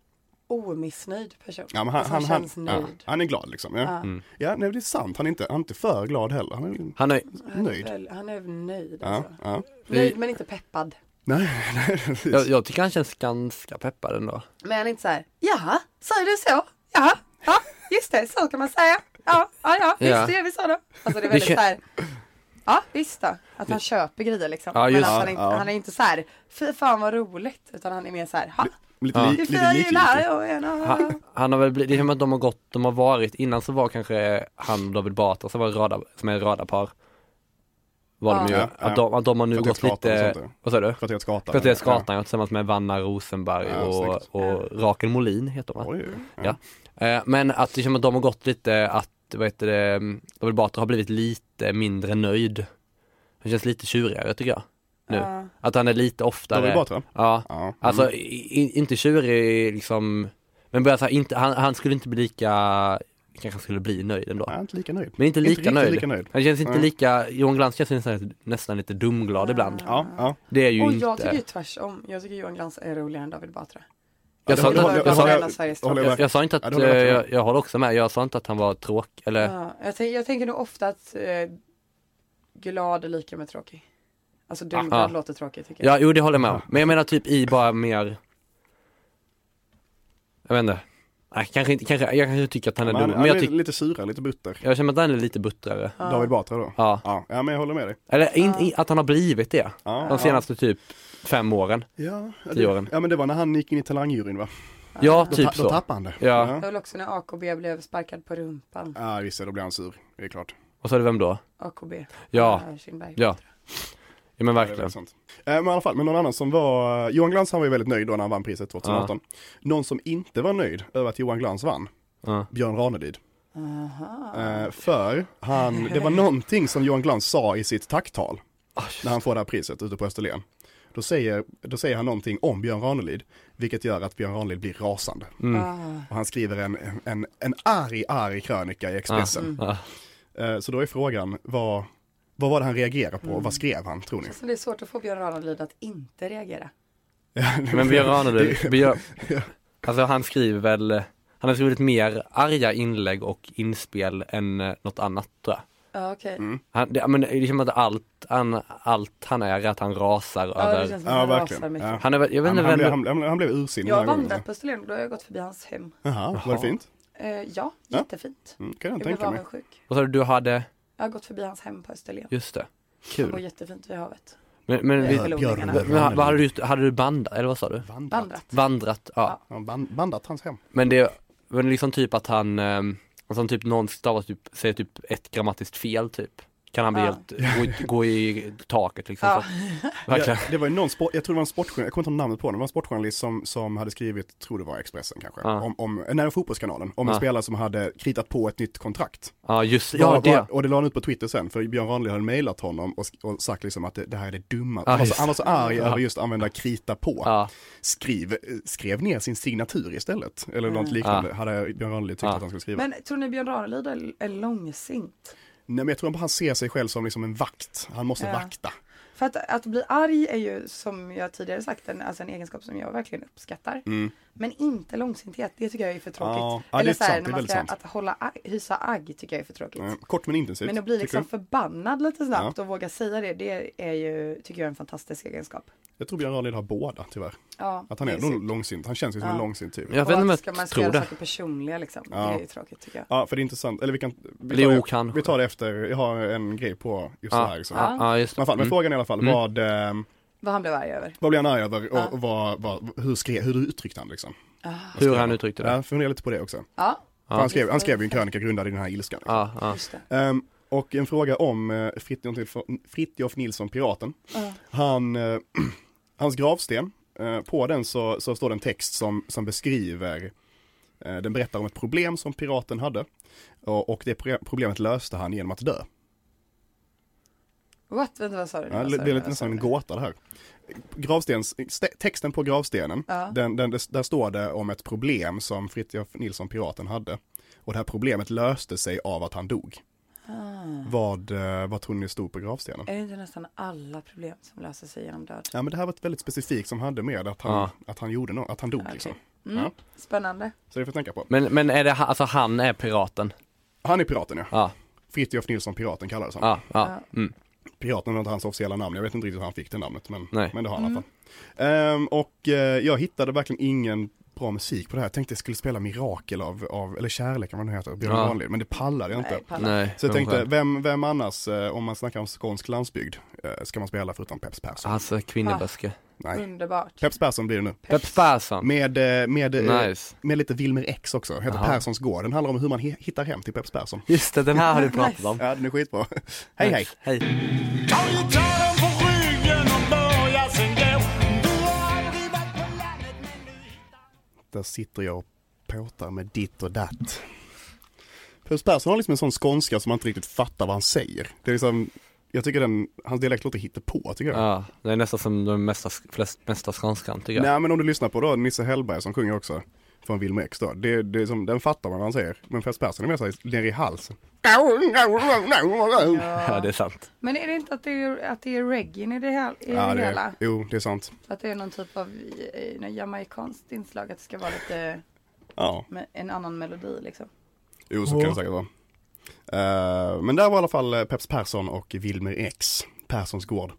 Speaker 4: omissnöjd person.
Speaker 3: Ja, men han,
Speaker 4: alltså, han,
Speaker 3: han, han,
Speaker 4: känns
Speaker 3: ja,
Speaker 4: nöjd.
Speaker 3: han är glad liksom. Ja,
Speaker 4: Ja.
Speaker 3: ja nej, det är sant. Han är inte, han är inte för glad heller. Han är
Speaker 5: Han är,
Speaker 3: nöjd.
Speaker 4: Väl, han är nöjd
Speaker 3: Ja,
Speaker 4: alltså.
Speaker 3: ja.
Speaker 4: Nöjd men inte peppad.
Speaker 3: Nej, nej, precis.
Speaker 5: jag, jag tycker han känns ganska peppad ändå.
Speaker 4: Men han är inte så här, jaha, sa du så? Ja, ja, just det, så kan man säga. Ja, ja, ja, visst
Speaker 5: Ja.
Speaker 4: det gör vi så då. Alltså det är
Speaker 5: Det
Speaker 4: väldigt
Speaker 5: kän-
Speaker 4: så här, ja visst då, att han köper grejer liksom.
Speaker 5: Ja, just-
Speaker 4: men att han,
Speaker 3: ja,
Speaker 4: inte,
Speaker 3: ja.
Speaker 4: han är inte så här, fy fan vad roligt, utan han är mer så här, ha,
Speaker 3: Lite,
Speaker 5: Ja.
Speaker 3: li,
Speaker 4: det är
Speaker 3: lite
Speaker 4: fyra
Speaker 3: likgiltig.
Speaker 4: jular och en och...
Speaker 5: Han, han har väl blivit, det är som att de har gått, de har varit, innan så var kanske han och David Batra som var rada, som är radarpar. Var de
Speaker 4: Ja.
Speaker 5: ju,
Speaker 3: Ja, ja.
Speaker 5: att de, att de har nu
Speaker 3: Kvarteret
Speaker 5: gått
Speaker 3: Skatan och
Speaker 5: lite,
Speaker 3: sånt där.
Speaker 5: vad sa du?
Speaker 3: Kvarteret Skatan.
Speaker 5: Kvarteret Skatan tillsammans med Vanna Rosenberg
Speaker 3: Ja, snyggt.
Speaker 5: och, och Rakel Molin heter de
Speaker 3: Ja.
Speaker 5: va?
Speaker 3: Oj, ja.
Speaker 5: Ja. Eh, Men att det känns som att de har gått lite att, vad heter det, David Batra har blivit lite mindre nöjd. Han känns lite tjurigare tycker jag. Nu.
Speaker 4: Ja.
Speaker 5: Att han är lite oftare.
Speaker 3: David Batra?
Speaker 5: Ja.
Speaker 3: Ja. Mm.
Speaker 5: Alltså i, i- inte tjurig liksom, men börjar så här, inte, han, han skulle inte bli lika, kanske han skulle bli nöjd ändå.
Speaker 3: Nej, inte lika nöjd.
Speaker 5: Men inte lika
Speaker 3: riktigt
Speaker 5: nöjd.
Speaker 3: lika nöjd.
Speaker 5: Han känns inte
Speaker 3: Nej.
Speaker 5: lika, Johan Glans känns nästan, nästan lite dumglad ibland.
Speaker 3: Ja, ja.
Speaker 5: Det är ju
Speaker 4: Och
Speaker 5: inte.
Speaker 4: jag tycker ju tvärtom, jag tycker Johan Glans är roligare än David Batra.
Speaker 5: Jag
Speaker 3: det
Speaker 5: sa
Speaker 4: håller-
Speaker 5: inte-
Speaker 4: det
Speaker 5: jag sa-
Speaker 4: håller- hela Sveriges
Speaker 3: det håller jag
Speaker 5: jag-
Speaker 3: med.
Speaker 5: jag sa inte
Speaker 3: Ja,
Speaker 5: att,
Speaker 3: det håller jag
Speaker 5: eh,
Speaker 3: med.
Speaker 5: jag, jag håller också med, jag sa inte att han var tråkig eller
Speaker 4: Ja, jag, tänk, jag tänker nog ofta att eh, glad är lika med tråkig. Alltså dumglad
Speaker 5: Ah.
Speaker 4: låter tråkigt tycker jag.
Speaker 5: Ja, jo det håller jag med om. Men jag menar typ i bara mer Jag vet inte Nej, kanske inte, kanske, jag kanske tycker att han är
Speaker 3: Men han,
Speaker 5: dum, men
Speaker 3: han är
Speaker 5: jag tycker
Speaker 3: lite surare, lite butter.
Speaker 5: Jag känner att han är lite buttrare
Speaker 3: David Batra då?
Speaker 5: Ja,
Speaker 3: Ja. ja, men jag håller med dig.
Speaker 5: eller in, i- att han har blivit det
Speaker 3: Ja,
Speaker 5: De senaste typ fem åren
Speaker 3: Ja, ja,
Speaker 5: Tio
Speaker 3: det,
Speaker 5: åren.
Speaker 3: ja, men det var när han gick in i talangjuryn va?
Speaker 5: Ja,
Speaker 3: Då,
Speaker 5: typ
Speaker 3: ta, då
Speaker 5: så
Speaker 3: tappade han det.
Speaker 5: Ja.
Speaker 4: Jag höll också när AKB blev sparkad på rumpan.
Speaker 3: Ja, visst är det, då blir han sur. Det är klart.
Speaker 5: Och så är det vem då?
Speaker 4: AKB.
Speaker 5: Ja,
Speaker 4: eh, Kindberg.
Speaker 5: ja Ja men
Speaker 3: Ja, det är
Speaker 5: verkligen
Speaker 3: väl sant. Eh, Men i alla fall, men någon annan som var, eh, Johan Glans han var ju väldigt nöjd då när han vann priset 2018. Någon som inte var nöjd över att Johan Glans vann,
Speaker 5: Ja.
Speaker 3: Björn Ranelid. Eh, För han, det var någonting som Johan Glans sa i sitt tacktal när han får det här priset ute på Österlen. Då säger, då säger han någonting om Björn Ranelid, vilket gör att Björn Ranelid blir rasande.
Speaker 5: Mm.
Speaker 4: Ah.
Speaker 3: Och han skriver en, en, en arg, arg krönika i Expressen.
Speaker 5: Ja.
Speaker 3: Eh, Så då är frågan, vad, vad var det han reagerade på? Vad skrev han, tror ni?
Speaker 4: Så det är svårt att få Björn Ranelid att inte reagera.
Speaker 5: Men Björn Ranelid,
Speaker 3: Det-
Speaker 5: Björn, alltså han skriver väl, han har skrivit mer arga inlägg och inspel än eh, något annat tror jag.
Speaker 4: Ja okej.
Speaker 5: Han, det, men det är som att allt han, allt han är är att han rasar
Speaker 4: Ja det
Speaker 5: över.
Speaker 4: känns som
Speaker 3: Ja,
Speaker 4: att han rasar
Speaker 3: verkligen.
Speaker 4: mycket.
Speaker 3: Ja.
Speaker 5: Han är väl, jag vet
Speaker 3: Han,
Speaker 5: inte
Speaker 3: han,
Speaker 5: vem
Speaker 3: blev,
Speaker 5: det-
Speaker 3: han, han blev ursinnig
Speaker 4: Jag har
Speaker 3: den här gången.
Speaker 4: vandrat på Österlen och då har jag gått förbi hans hem.
Speaker 3: Jaha, var
Speaker 5: Jaha.
Speaker 3: det fint?
Speaker 4: Eh, ja,
Speaker 3: Ja.
Speaker 4: jättefint.
Speaker 3: Mm, kan
Speaker 4: Jag
Speaker 3: jag
Speaker 4: blev
Speaker 3: tänka mig.
Speaker 4: avundsjuk.
Speaker 5: vad sa du, du hade,
Speaker 4: Jag har gått förbi hans hem på Österlen.
Speaker 5: just det.
Speaker 4: Det går
Speaker 5: Kul.
Speaker 4: jättefint vid havet.
Speaker 5: Men, men, vi,
Speaker 4: Ja. Förloringarna.
Speaker 5: men vad hade du, gjort? hade du bandat, eller vad sa du?
Speaker 3: Vandrat.
Speaker 4: Vandrat.
Speaker 5: Vandrat, ja.
Speaker 3: Ja, ban- bandat hans hem.
Speaker 5: Men det, men liksom typ att han, ehm, alltså typ någon stavar typ, säger typ ett grammatiskt fel typ. Kan han bli
Speaker 4: Ja.
Speaker 5: helt, gå, i- gå i taket liksom.
Speaker 4: Ja.
Speaker 5: Så. Verkligen.
Speaker 3: Ja, det var ju någon sport, jag tror det var en sportjournalist, jag kommer inte ihåg namnet på den, det var en sportjournalist som, som hade skrivit, tror det var Expressen kanske,
Speaker 5: Ja.
Speaker 3: om, om, nej, fotbollskanalen, om en
Speaker 5: Ja.
Speaker 3: spelare som hade kritat på ett nytt kontrakt.
Speaker 5: Ja just ja
Speaker 3: Bara-
Speaker 5: det.
Speaker 3: bara- och det la han ut på Twitter sen, för Björn Ranelid hade mejlat honom och, sk- och sagt liksom att det, det här är det dumma.
Speaker 5: Ja,
Speaker 3: han, var så,
Speaker 5: just.
Speaker 3: han var så arg över just att använda krita på.
Speaker 5: Ja.
Speaker 3: Skriv, eh, skrev ner sin signatur istället, eller något liknande, hade Björn Ranelid tyckt
Speaker 5: Ja.
Speaker 3: att han skulle skriva.
Speaker 4: Men tror ni Björn Ranelid är- är långsint?
Speaker 3: Nej men jag tror att han ser sig själv som liksom en vakt, han måste
Speaker 4: Ja.
Speaker 3: vakta.
Speaker 4: För att, att bli arg är ju som jag tidigare sagt en, alltså en egenskap som jag verkligen uppskattar. Men inte långsinthet, det tycker jag är för tråkigt.
Speaker 3: Mm. Ja, ja, det är
Speaker 4: Eller så här,
Speaker 3: sant, det
Speaker 4: när
Speaker 3: är
Speaker 4: man
Speaker 3: väldigt
Speaker 4: ska,
Speaker 3: sant.
Speaker 4: att hålla, agg- hysa agg tycker jag är för tråkigt.
Speaker 3: Eh, Kort men intensivt.
Speaker 4: Men att bli
Speaker 3: tycker
Speaker 4: liksom
Speaker 3: jag.
Speaker 4: förbannad lite snabbt och våga säga det, det är ju, tycker jag är en fantastisk egenskap.
Speaker 3: Jag tror Björn Ranelid har båda tyvärr.
Speaker 4: Ja,
Speaker 3: Att han
Speaker 4: det
Speaker 3: är nog
Speaker 4: synd.
Speaker 3: långsint, han känns ju som en
Speaker 4: Ja.
Speaker 3: långsint typ.
Speaker 5: Jag
Speaker 4: Och
Speaker 5: vet inte
Speaker 4: att
Speaker 5: om
Speaker 4: ska man
Speaker 5: jag
Speaker 4: ska
Speaker 5: tror
Speaker 4: göra
Speaker 5: det.
Speaker 4: saker personliga liksom,
Speaker 3: Ja.
Speaker 4: det är ju tråkigt tycker jag.
Speaker 3: Ja, för det är intressant, eller vi kan... Vi
Speaker 5: Jo,
Speaker 3: tar, det,
Speaker 5: kanske.
Speaker 3: vi tar det efter, jag har en grej på just det här. Liksom.
Speaker 5: ja, ja, just
Speaker 3: I alla
Speaker 5: det.
Speaker 3: fall, men
Speaker 5: Mm.
Speaker 3: frågan i alla fall, vad, eh,
Speaker 4: Vad han blev arg över.
Speaker 3: vad blev han arg över och,
Speaker 4: Ja.
Speaker 3: och vad, vad, hur, skrev, hur uttryckte han liksom?
Speaker 5: Hur han uttryckte det.
Speaker 3: Ja, fundera lite på det också.
Speaker 4: Ja,
Speaker 3: För han, skrev, han skrev ju en krönika grundad i den här ilskan.
Speaker 5: Ja, ja.
Speaker 4: just det.
Speaker 3: Ehm, och en fråga om eh, Fritjof, Fritjof Nilsson, piraten. Han, eh, hans gravsten, eh, på den så, så står det en text som, som beskriver, eh, den berättar om ett problem som piraten hade. Och, och det pro- problemet löste han genom att dö.
Speaker 4: What? Vänta vad sa du? nu?
Speaker 3: Ja,
Speaker 4: Vad
Speaker 3: det
Speaker 4: sa
Speaker 3: blir lite
Speaker 4: du? Vad sa
Speaker 3: nästan en
Speaker 4: du?
Speaker 3: gåta det här. Gravstens, ste- texten på gravstenen,
Speaker 4: Ja.
Speaker 3: den, den, där står det om ett problem som Fritiof Nilsson Piraten hade. Och det här problemet löste sig av att han dog. Vad, eh, vad tror ni stod på gravstenen?
Speaker 4: Är det inte nästan alla problem som löser sig genom död?
Speaker 3: Ja men det här var ett väldigt specifikt som hade med att han,
Speaker 5: Ja.
Speaker 3: att han gjorde något, att han dog liksom.
Speaker 4: Mm.
Speaker 3: Ja.
Speaker 4: Spännande.
Speaker 3: Så det får jag tänka på.
Speaker 5: Men, men är det, ha- alltså han är piraten?
Speaker 3: Han är piraten ja.
Speaker 5: Ja,
Speaker 3: Fritiof Nilsson Piraten kallades han.
Speaker 5: ja, ja. Mm.
Speaker 3: Piraten var inte hans officiella namn, jag vet inte riktigt hur han fick det namnet men,
Speaker 5: Nej.
Speaker 3: men det har han i alla fall. Ehm, och eh, jag hittade verkligen ingen bra musik på det här. Jag tänkte jag skulle spela Mirakel av, av eller Kärleken vad den heter, Björn
Speaker 5: Ja.
Speaker 3: Wahlid, men det pallar jag inte.
Speaker 4: Nej, pallar.
Speaker 5: Nej.
Speaker 3: Så jag
Speaker 5: men
Speaker 3: tänkte,
Speaker 5: skönt.
Speaker 3: vem, vem annars, eh, om man snackar om skånsk landsbygd, eh, ska man spela förutom Peps Persson?
Speaker 5: Alltså kvinnoböske.
Speaker 3: Nej.
Speaker 4: Underbart.
Speaker 3: Peps Persson blir det nu.
Speaker 5: Peps Persson.
Speaker 3: Med, eh, med, eh,
Speaker 5: Nice.
Speaker 3: med lite Wilmer X också, heter
Speaker 5: Aha.
Speaker 3: Perssons gård. Den handlar om hur man he- hittar hem till Peps Persson.
Speaker 5: Just det, den här har du pratat om.
Speaker 3: Ja, den är skitbra. hej hej!
Speaker 5: Nice. Hej.
Speaker 3: Där sitter jag och påtar med ditt och datt. Peps Persson har liksom en sån skånska som man inte riktigt fattar vad han säger. Det är liksom, jag tycker den, hans dialekt låter hittepå tycker jag.
Speaker 5: Ja, det är nästan som den mesta, flest, mesta skånskan tycker jag.
Speaker 3: Nej men om du lyssnar på då Nisse Hellberg som sjunger också från Wilmer X då. Det, det är som, den fattar man vad han säger. Men Peps Persson är mer såhär nere i halsen.
Speaker 5: Ja, det är sant.
Speaker 4: Men är det inte att det är, att det är reggae i det, hel, i
Speaker 3: Ja,
Speaker 4: det
Speaker 3: det
Speaker 4: hela?
Speaker 3: jo, det är sant.
Speaker 4: Att det är någon typ av eh, någon jamaikanskt inslag, att det ska vara lite
Speaker 3: Ja,
Speaker 4: med en annan melodi liksom.
Speaker 3: jo så kan det säkert vara. Eh, men där var i alla fall eh, Peps Persson och Wilmer X, Perssons gård.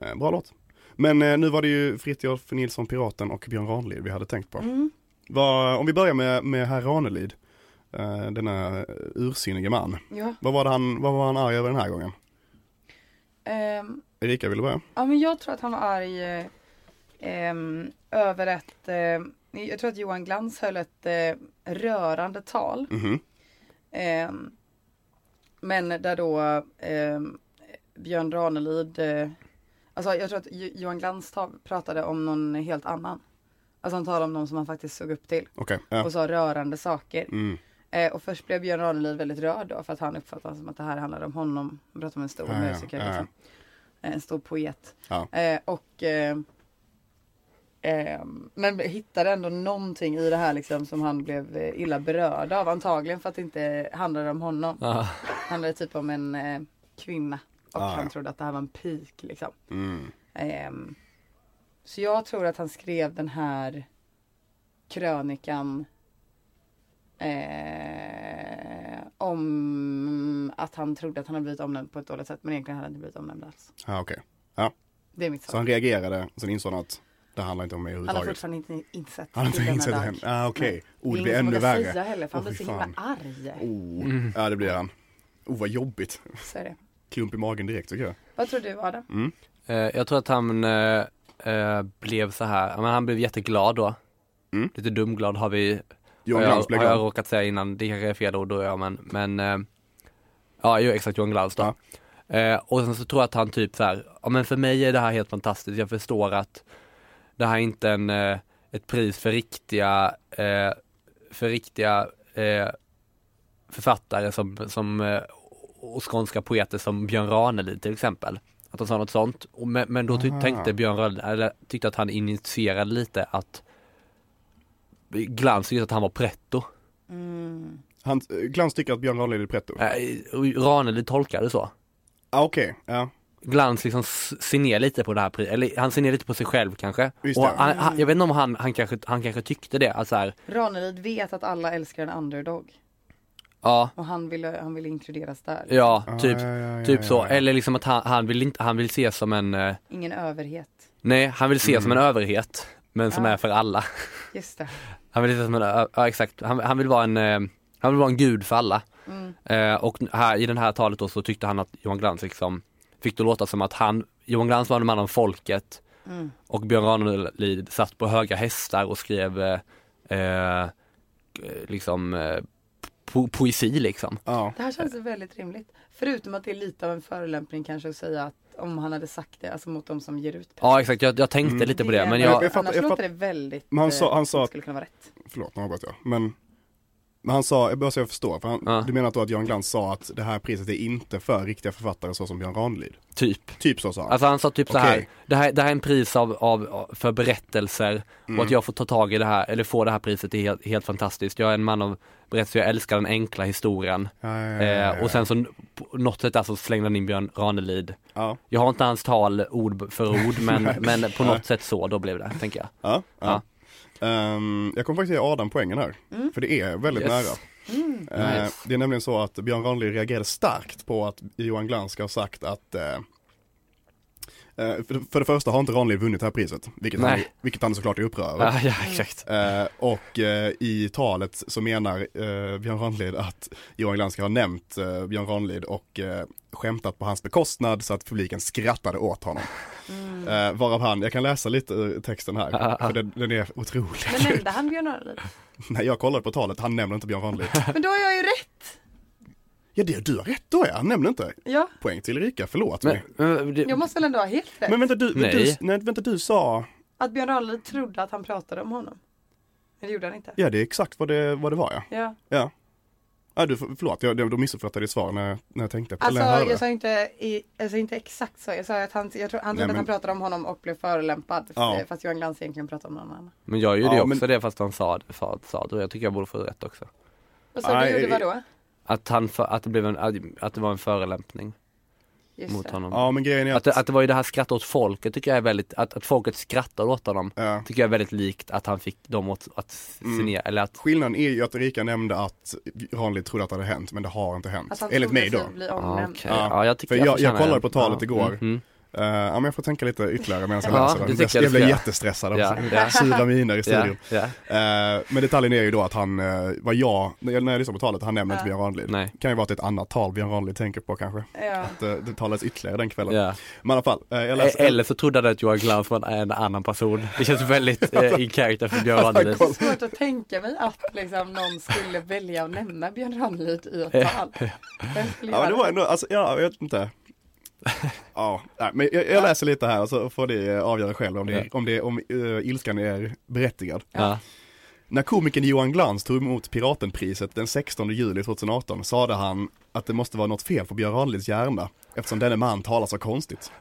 Speaker 3: Eh, bra låt. Men eh, nu var det ju Fritiof Nilsson Piraten och Björn Ranelid vi hade tänkt på.
Speaker 4: Mm.
Speaker 3: Vad- om vi börjar med, med herr Ranelid, eh, denna ursinnige man.
Speaker 4: Ja.
Speaker 3: Vad var, det han, vad var han arg över den här gången?
Speaker 4: Ehm,
Speaker 3: Erika, vill du börja?
Speaker 4: ja men jag tror att han var arg eh, ehm, över ett, ehm, jag tror att Johan Glans höll ett eh, rörande tal.
Speaker 3: Mhm.
Speaker 4: Ehm, men där då ehm, Björn Ranelid, eh, alltså jag tror att Jo- Johan Glans ta- pratade om någon helt annan. Alltså han talade om någon som han faktiskt såg upp till
Speaker 3: Okej. Ja.
Speaker 4: och sa rörande saker.
Speaker 3: Mm.
Speaker 4: Eh, och först blev Björn Ranelid väldigt rörd då för att han uppfattade som att det här handlade om honom. Han pratade om en stor
Speaker 3: Ja, ja,
Speaker 4: musiker,
Speaker 3: ja, ja.
Speaker 4: liksom. Eh, en stor poet.
Speaker 3: Ja.
Speaker 4: Eh, och eh, eh, men hittade ändå någonting i det här liksom som han blev eh, illa berörd av. Antagligen för att det inte handlade om honom.
Speaker 5: Ja.
Speaker 4: handlade typ om en eh, kvinna. Och
Speaker 3: Ja,
Speaker 4: han
Speaker 3: ja.
Speaker 4: trodde att det här var en pik liksom.
Speaker 3: Mm.
Speaker 4: Ehm, så jag tror att han skrev den här krönikan eh, om att han trodde att han hade blivit omnämnd på ett dåligt sätt men egentligen hade han inte blivit omnämnd alls.
Speaker 3: Ja, okej.
Speaker 4: Det är mitt
Speaker 3: Så
Speaker 4: svar.
Speaker 3: han reagerade, sen insåg han att det handlar inte om mig
Speaker 4: Han har
Speaker 3: överhuvudtaget.
Speaker 4: fortfarande inte insett
Speaker 3: Han har inte
Speaker 4: till
Speaker 3: insett
Speaker 4: denna
Speaker 3: det.
Speaker 4: dag.
Speaker 3: än. Ah, okej.
Speaker 4: Nej.
Speaker 3: Oh, det
Speaker 4: är
Speaker 3: blir
Speaker 4: ingen som
Speaker 3: ännu
Speaker 4: vågar
Speaker 3: värre.
Speaker 4: säga heller för han
Speaker 3: Åh,
Speaker 4: blir så
Speaker 3: fy
Speaker 4: himla
Speaker 3: fan.
Speaker 4: arg.
Speaker 3: Oh. Ja, det blir han. Oh, vad jobbigt.
Speaker 4: Så är det.
Speaker 3: Klump i magen direkt tycker jag.
Speaker 4: Vad tror du Adam?
Speaker 3: Mm.
Speaker 5: Eh, jag tror att han eh, eh, blev så här, ja, men han blev jätteglad då.
Speaker 3: Mm.
Speaker 5: Lite dumglad har vi,
Speaker 3: Johan
Speaker 5: har
Speaker 3: Glans
Speaker 5: jag,
Speaker 3: blev
Speaker 5: har jag
Speaker 3: glad.
Speaker 5: råkat säga innan, det kanske är fel ord då ja men, men eh, ja ju exakt Johan Glans då. Eh, och sen så tror jag att han typ så här, ja men för mig är det här helt fantastiskt, jag förstår att det här är inte en, eh, ett pris för riktiga, eh, för riktiga eh, författare som, som eh, och skånska poeter som Björn Ranelid till exempel. Att han sa något sånt. Och men, men då ty-
Speaker 3: Ah.
Speaker 5: tänkte Björn Ranelid, eller tyckte att han initierade lite att Glans tyckte att han var pretto.
Speaker 3: Han, eh, Glans tycker att Björn Ranelid är pretto. Ja,
Speaker 5: Eh, och Ranelid tolkade det så.
Speaker 3: ah, okej. Ja.
Speaker 5: Glans liksom s- ser ner lite på det här pri- eller han ser ner lite på sig själv kanske.
Speaker 3: Just
Speaker 5: Och
Speaker 3: det.
Speaker 5: han, han, jag vet inte om han, han, kanske, han kanske tyckte det, att så här,
Speaker 4: Ranelid vet att alla älskar en underdog
Speaker 5: ja,
Speaker 4: och han ville, han ville inkluderas där.
Speaker 5: ja,
Speaker 3: Ah,
Speaker 5: typ,
Speaker 3: ja, ja, ja,
Speaker 5: typ
Speaker 3: ja,
Speaker 5: så.
Speaker 3: ja.
Speaker 5: Eller liksom att han, han vill inte, han vill ses som en eh,
Speaker 4: Ingen överhet.
Speaker 5: Nej, han vill
Speaker 3: Mm.
Speaker 5: se som en överhet, men som
Speaker 4: Ja.
Speaker 5: är för alla.
Speaker 4: Just det.
Speaker 5: Han vill se som en, ö- ja exakt, han, han vill vara en, eh, han vill vara en gud för alla. Eh, och här, i det här talet då så tyckte han att Johan Glans liksom, fick det låta som att han, Johan Glans var en man om folket och Björn Ranelid satt på höga hästar och skrev eh, eh, liksom eh, po- poesi liksom.
Speaker 3: Ja.
Speaker 4: Det här känns väldigt rimligt. Förutom att det är lite av en förolämpning kanske att säga att om han hade sagt det, alltså mot de som ger ut pengar.
Speaker 5: Ja exakt, jag, jag tänkte
Speaker 3: Mm.
Speaker 5: lite på det men
Speaker 3: jag-
Speaker 5: jag,
Speaker 3: jag fattar-
Speaker 4: annars
Speaker 3: jag
Speaker 4: låter
Speaker 3: fattar-
Speaker 4: det väldigt,
Speaker 3: Men han sa-
Speaker 4: eh,
Speaker 3: han
Speaker 4: som
Speaker 3: sa att-
Speaker 4: skulle kunna vara rätt.
Speaker 3: Förlåt, nu avbröt jag. Men, men han sa, jag börjar så jag förstår. För han,
Speaker 5: Ja.
Speaker 3: Du menar då att Johan Glans sa att det här priset är inte för riktiga författare så som Björn Ranelid?
Speaker 5: typ.
Speaker 3: Typ så sa han.
Speaker 5: Alltså han sa typ så här,
Speaker 3: Okej.
Speaker 5: det här, det här är en pris av, av, för berättelser och att jag får ta tag i det här, eller få det här priset är helt, helt fantastiskt. Jag är en man av berättelser, jag älskar den enkla historien.
Speaker 3: Ja, ja, ja, ja,
Speaker 5: Eh,
Speaker 3: ja.
Speaker 5: och sen så, på något sätt alltså slängde han in Björn Ranelid.
Speaker 3: Ja.
Speaker 5: Jag har inte hans tal ord för ord men, men på något sätt så, då blev det, tänker jag.
Speaker 3: Ja, ja. Ehm, jag kommer faktiskt ge Adam poängen här, för det är väldigt
Speaker 5: Mm. Yes. Mm.
Speaker 3: nära. Eh,
Speaker 5: Nice.
Speaker 3: Det är nämligen så att Björn Ranelid reagerade starkt på att Johan Glans ska ha sagt att eh, eh, för, det- för det första har inte Ranelid vunnit det här priset, vilket, han,
Speaker 5: Nej.
Speaker 3: vilket han såklart är upprörd över.
Speaker 5: Ja, ja exakt.
Speaker 3: Eh, och eh, i talet så menar eh, Björn Ranelid att Johan Glans ska ha nämnt eh, Björn Ranelid och eh, skämtat på hans bekostnad så att publiken skrattade åt honom.
Speaker 4: Mm.
Speaker 3: Eh, varav han, jag kan läsa lite ur texten här,
Speaker 5: Ah, ah.
Speaker 3: för den, den är otrolig.
Speaker 4: Men nämnde han Björn Ranelid?
Speaker 3: Nej, jag kollade på talet, han nämner inte Björn Ranelid.
Speaker 4: Men då har jag ju rätt!
Speaker 3: ja, det, du har rätt då ja, han nämner inte.
Speaker 4: Ja,
Speaker 3: Poäng till Erika, förlåt
Speaker 5: Men,
Speaker 3: mig.
Speaker 5: men, det,
Speaker 4: jag måste väl ändå ha helt rätt?
Speaker 3: Men vänta du, nej. du,
Speaker 5: Nej.
Speaker 3: nej, vänta du sa,
Speaker 4: Att Björn Ranelid trodde att han pratade om honom. Men det gjorde han inte.
Speaker 3: ja det är exakt vad det, vad det var ja.
Speaker 4: Ja.
Speaker 3: Ja. Ja, du, förlåt, jag, då missuppfattade jag ditt svar när, när jag tänkte på
Speaker 4: Alltså
Speaker 3: eller när jag hörde
Speaker 4: jag
Speaker 3: det.
Speaker 4: sa inte, i, alltså, inte exakt så. Jag sa att han, jag tror, han
Speaker 3: Nej,
Speaker 4: trodde att
Speaker 3: men-
Speaker 4: han pratade om honom och blev förolämpad.
Speaker 3: Ja.
Speaker 4: f- Fast Johan Glans egentligen pratade om någon annan.
Speaker 5: men jag gjorde
Speaker 3: Ja,
Speaker 5: ju också
Speaker 3: men-
Speaker 5: det fast han sa, sa, sa det och jag tycker jag borde få rätt också.
Speaker 4: Och så du
Speaker 3: Nej,
Speaker 4: gjorde vadå?
Speaker 5: Att, han för, att, det blev en, att det var en förolämpning
Speaker 4: Just
Speaker 5: mot
Speaker 4: det.
Speaker 5: honom.
Speaker 3: Ja men grejen är
Speaker 5: Att,
Speaker 3: att,
Speaker 5: det- att det var ju det här skratta åt folket tycker jag är väldigt, att, att folket skrattar åt honom
Speaker 3: ja.
Speaker 5: tycker jag är väldigt likt att han fick dem åt, att
Speaker 3: Mm.
Speaker 5: signera, eller att
Speaker 3: skillnaden är ju att Erika nämnde att Ranelid trodde att det hade hänt men det har inte hänt.
Speaker 4: Att han
Speaker 3: Enligt
Speaker 4: trodde
Speaker 3: mig då.
Speaker 4: sig bli
Speaker 5: Ja,
Speaker 4: omnämnd.
Speaker 5: Ah, okej.
Speaker 3: Ja,
Speaker 5: ja, jag, tycker
Speaker 3: för jag- jag
Speaker 5: förtjänar
Speaker 3: kollade
Speaker 5: en.
Speaker 3: på talet
Speaker 5: ja.
Speaker 3: igår.
Speaker 5: Mm.
Speaker 3: Eh, ja men jag får tänka lite ytterligare medan jag
Speaker 5: Ja,
Speaker 3: läser
Speaker 5: det
Speaker 3: den.
Speaker 5: tycker
Speaker 3: Jag,
Speaker 5: jag du
Speaker 3: blev
Speaker 5: ska göra.
Speaker 3: jättestressad
Speaker 5: Ja,
Speaker 3: också.
Speaker 5: ja.
Speaker 3: Sura miner i
Speaker 5: Ja,
Speaker 3: studion.
Speaker 5: ja,
Speaker 3: Eh, men detaljen är ju då att han, eh, vad jag, när jag när jag lyssnar på talet, han nämner inte Björn Ranelid.
Speaker 5: nej.
Speaker 3: Kan ju vara att det är ett annat tal Björn Ranelid tänker på kanske.
Speaker 4: Ja.
Speaker 3: Att eh, det talas ytterligare den kvällen.
Speaker 5: Ja.
Speaker 3: Men i alla fall, eh, jag läser.
Speaker 5: Eller så trodde han att Johan Glans var en annan person. Det känns väldigt eh, in character för Björn Ranelid.
Speaker 4: Det är svårt att tänka mig att liksom, någon skulle välja att nämna Björn Ranelid i ett tal. Vem skulle
Speaker 3: Ja, men det
Speaker 4: göra
Speaker 3: var ändå, alltså, ja, jag vet inte. Ja, nej, men jag, jag läser lite här och så får ni eh, avgöra själv om, det,
Speaker 5: Ja.
Speaker 3: om, det, om eh, ilskan är berättigad.
Speaker 5: Ja.
Speaker 3: När komikern Johan Glans tog emot Piratenpriset den 16 juli 2018 sade han att det måste vara något fel på Björn Ranelids hjärna eftersom denne man talar så konstigt.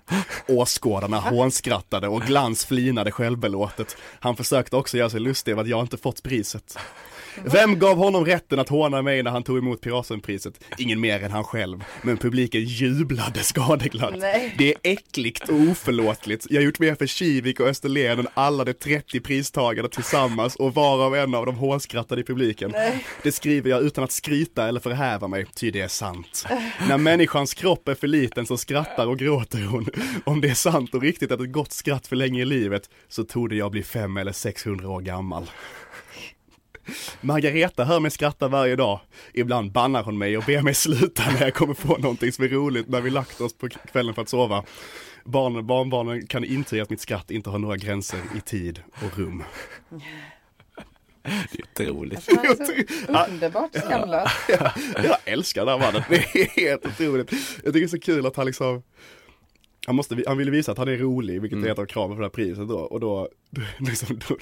Speaker 3: Åskådarna hånskrattade och Glans flinade självbelåtet. Han försökte också göra sig lustig över att jag inte fått priset. Vem gav honom rätten att håna mig när han tog emot Piratenpriset? Ingen mer än han själv. Men publiken jublade skadeglatt.
Speaker 4: Nej.
Speaker 3: Det är äckligt och oförlåtligt. Jag har gjort mer för Kivik och Österlen än alla de 30 pristagarna tillsammans och var och en av dem hånskrattade i publiken. Det skriver jag utan att skryta eller förhäva mig, ty det är sant. När människans kropp är för liten så skrattar och gråter hon. Om det är sant och riktigt att ett gott skratt förlänger livet så torde jag bli fem eller 600 år gammal. Margareta hör mig skratta varje dag. Ibland bannar hon mig och ber mig sluta när jag kommer på någonting som är roligt när vi lagt oss på kvällen för att sova. Barnen och barnbarnen kan intyga att mitt skratt inte har några gränser i tid och rum.
Speaker 5: Otroligt.
Speaker 4: det? Han är så underbart skamlös.
Speaker 3: Jag älskar den här mannen, det är helt otroligt. Jag tycker det är så kul att han liksom han, måste, han ville visa att han är rolig, vilket är ett av kraven för det här priset då. Och då, då, liksom, då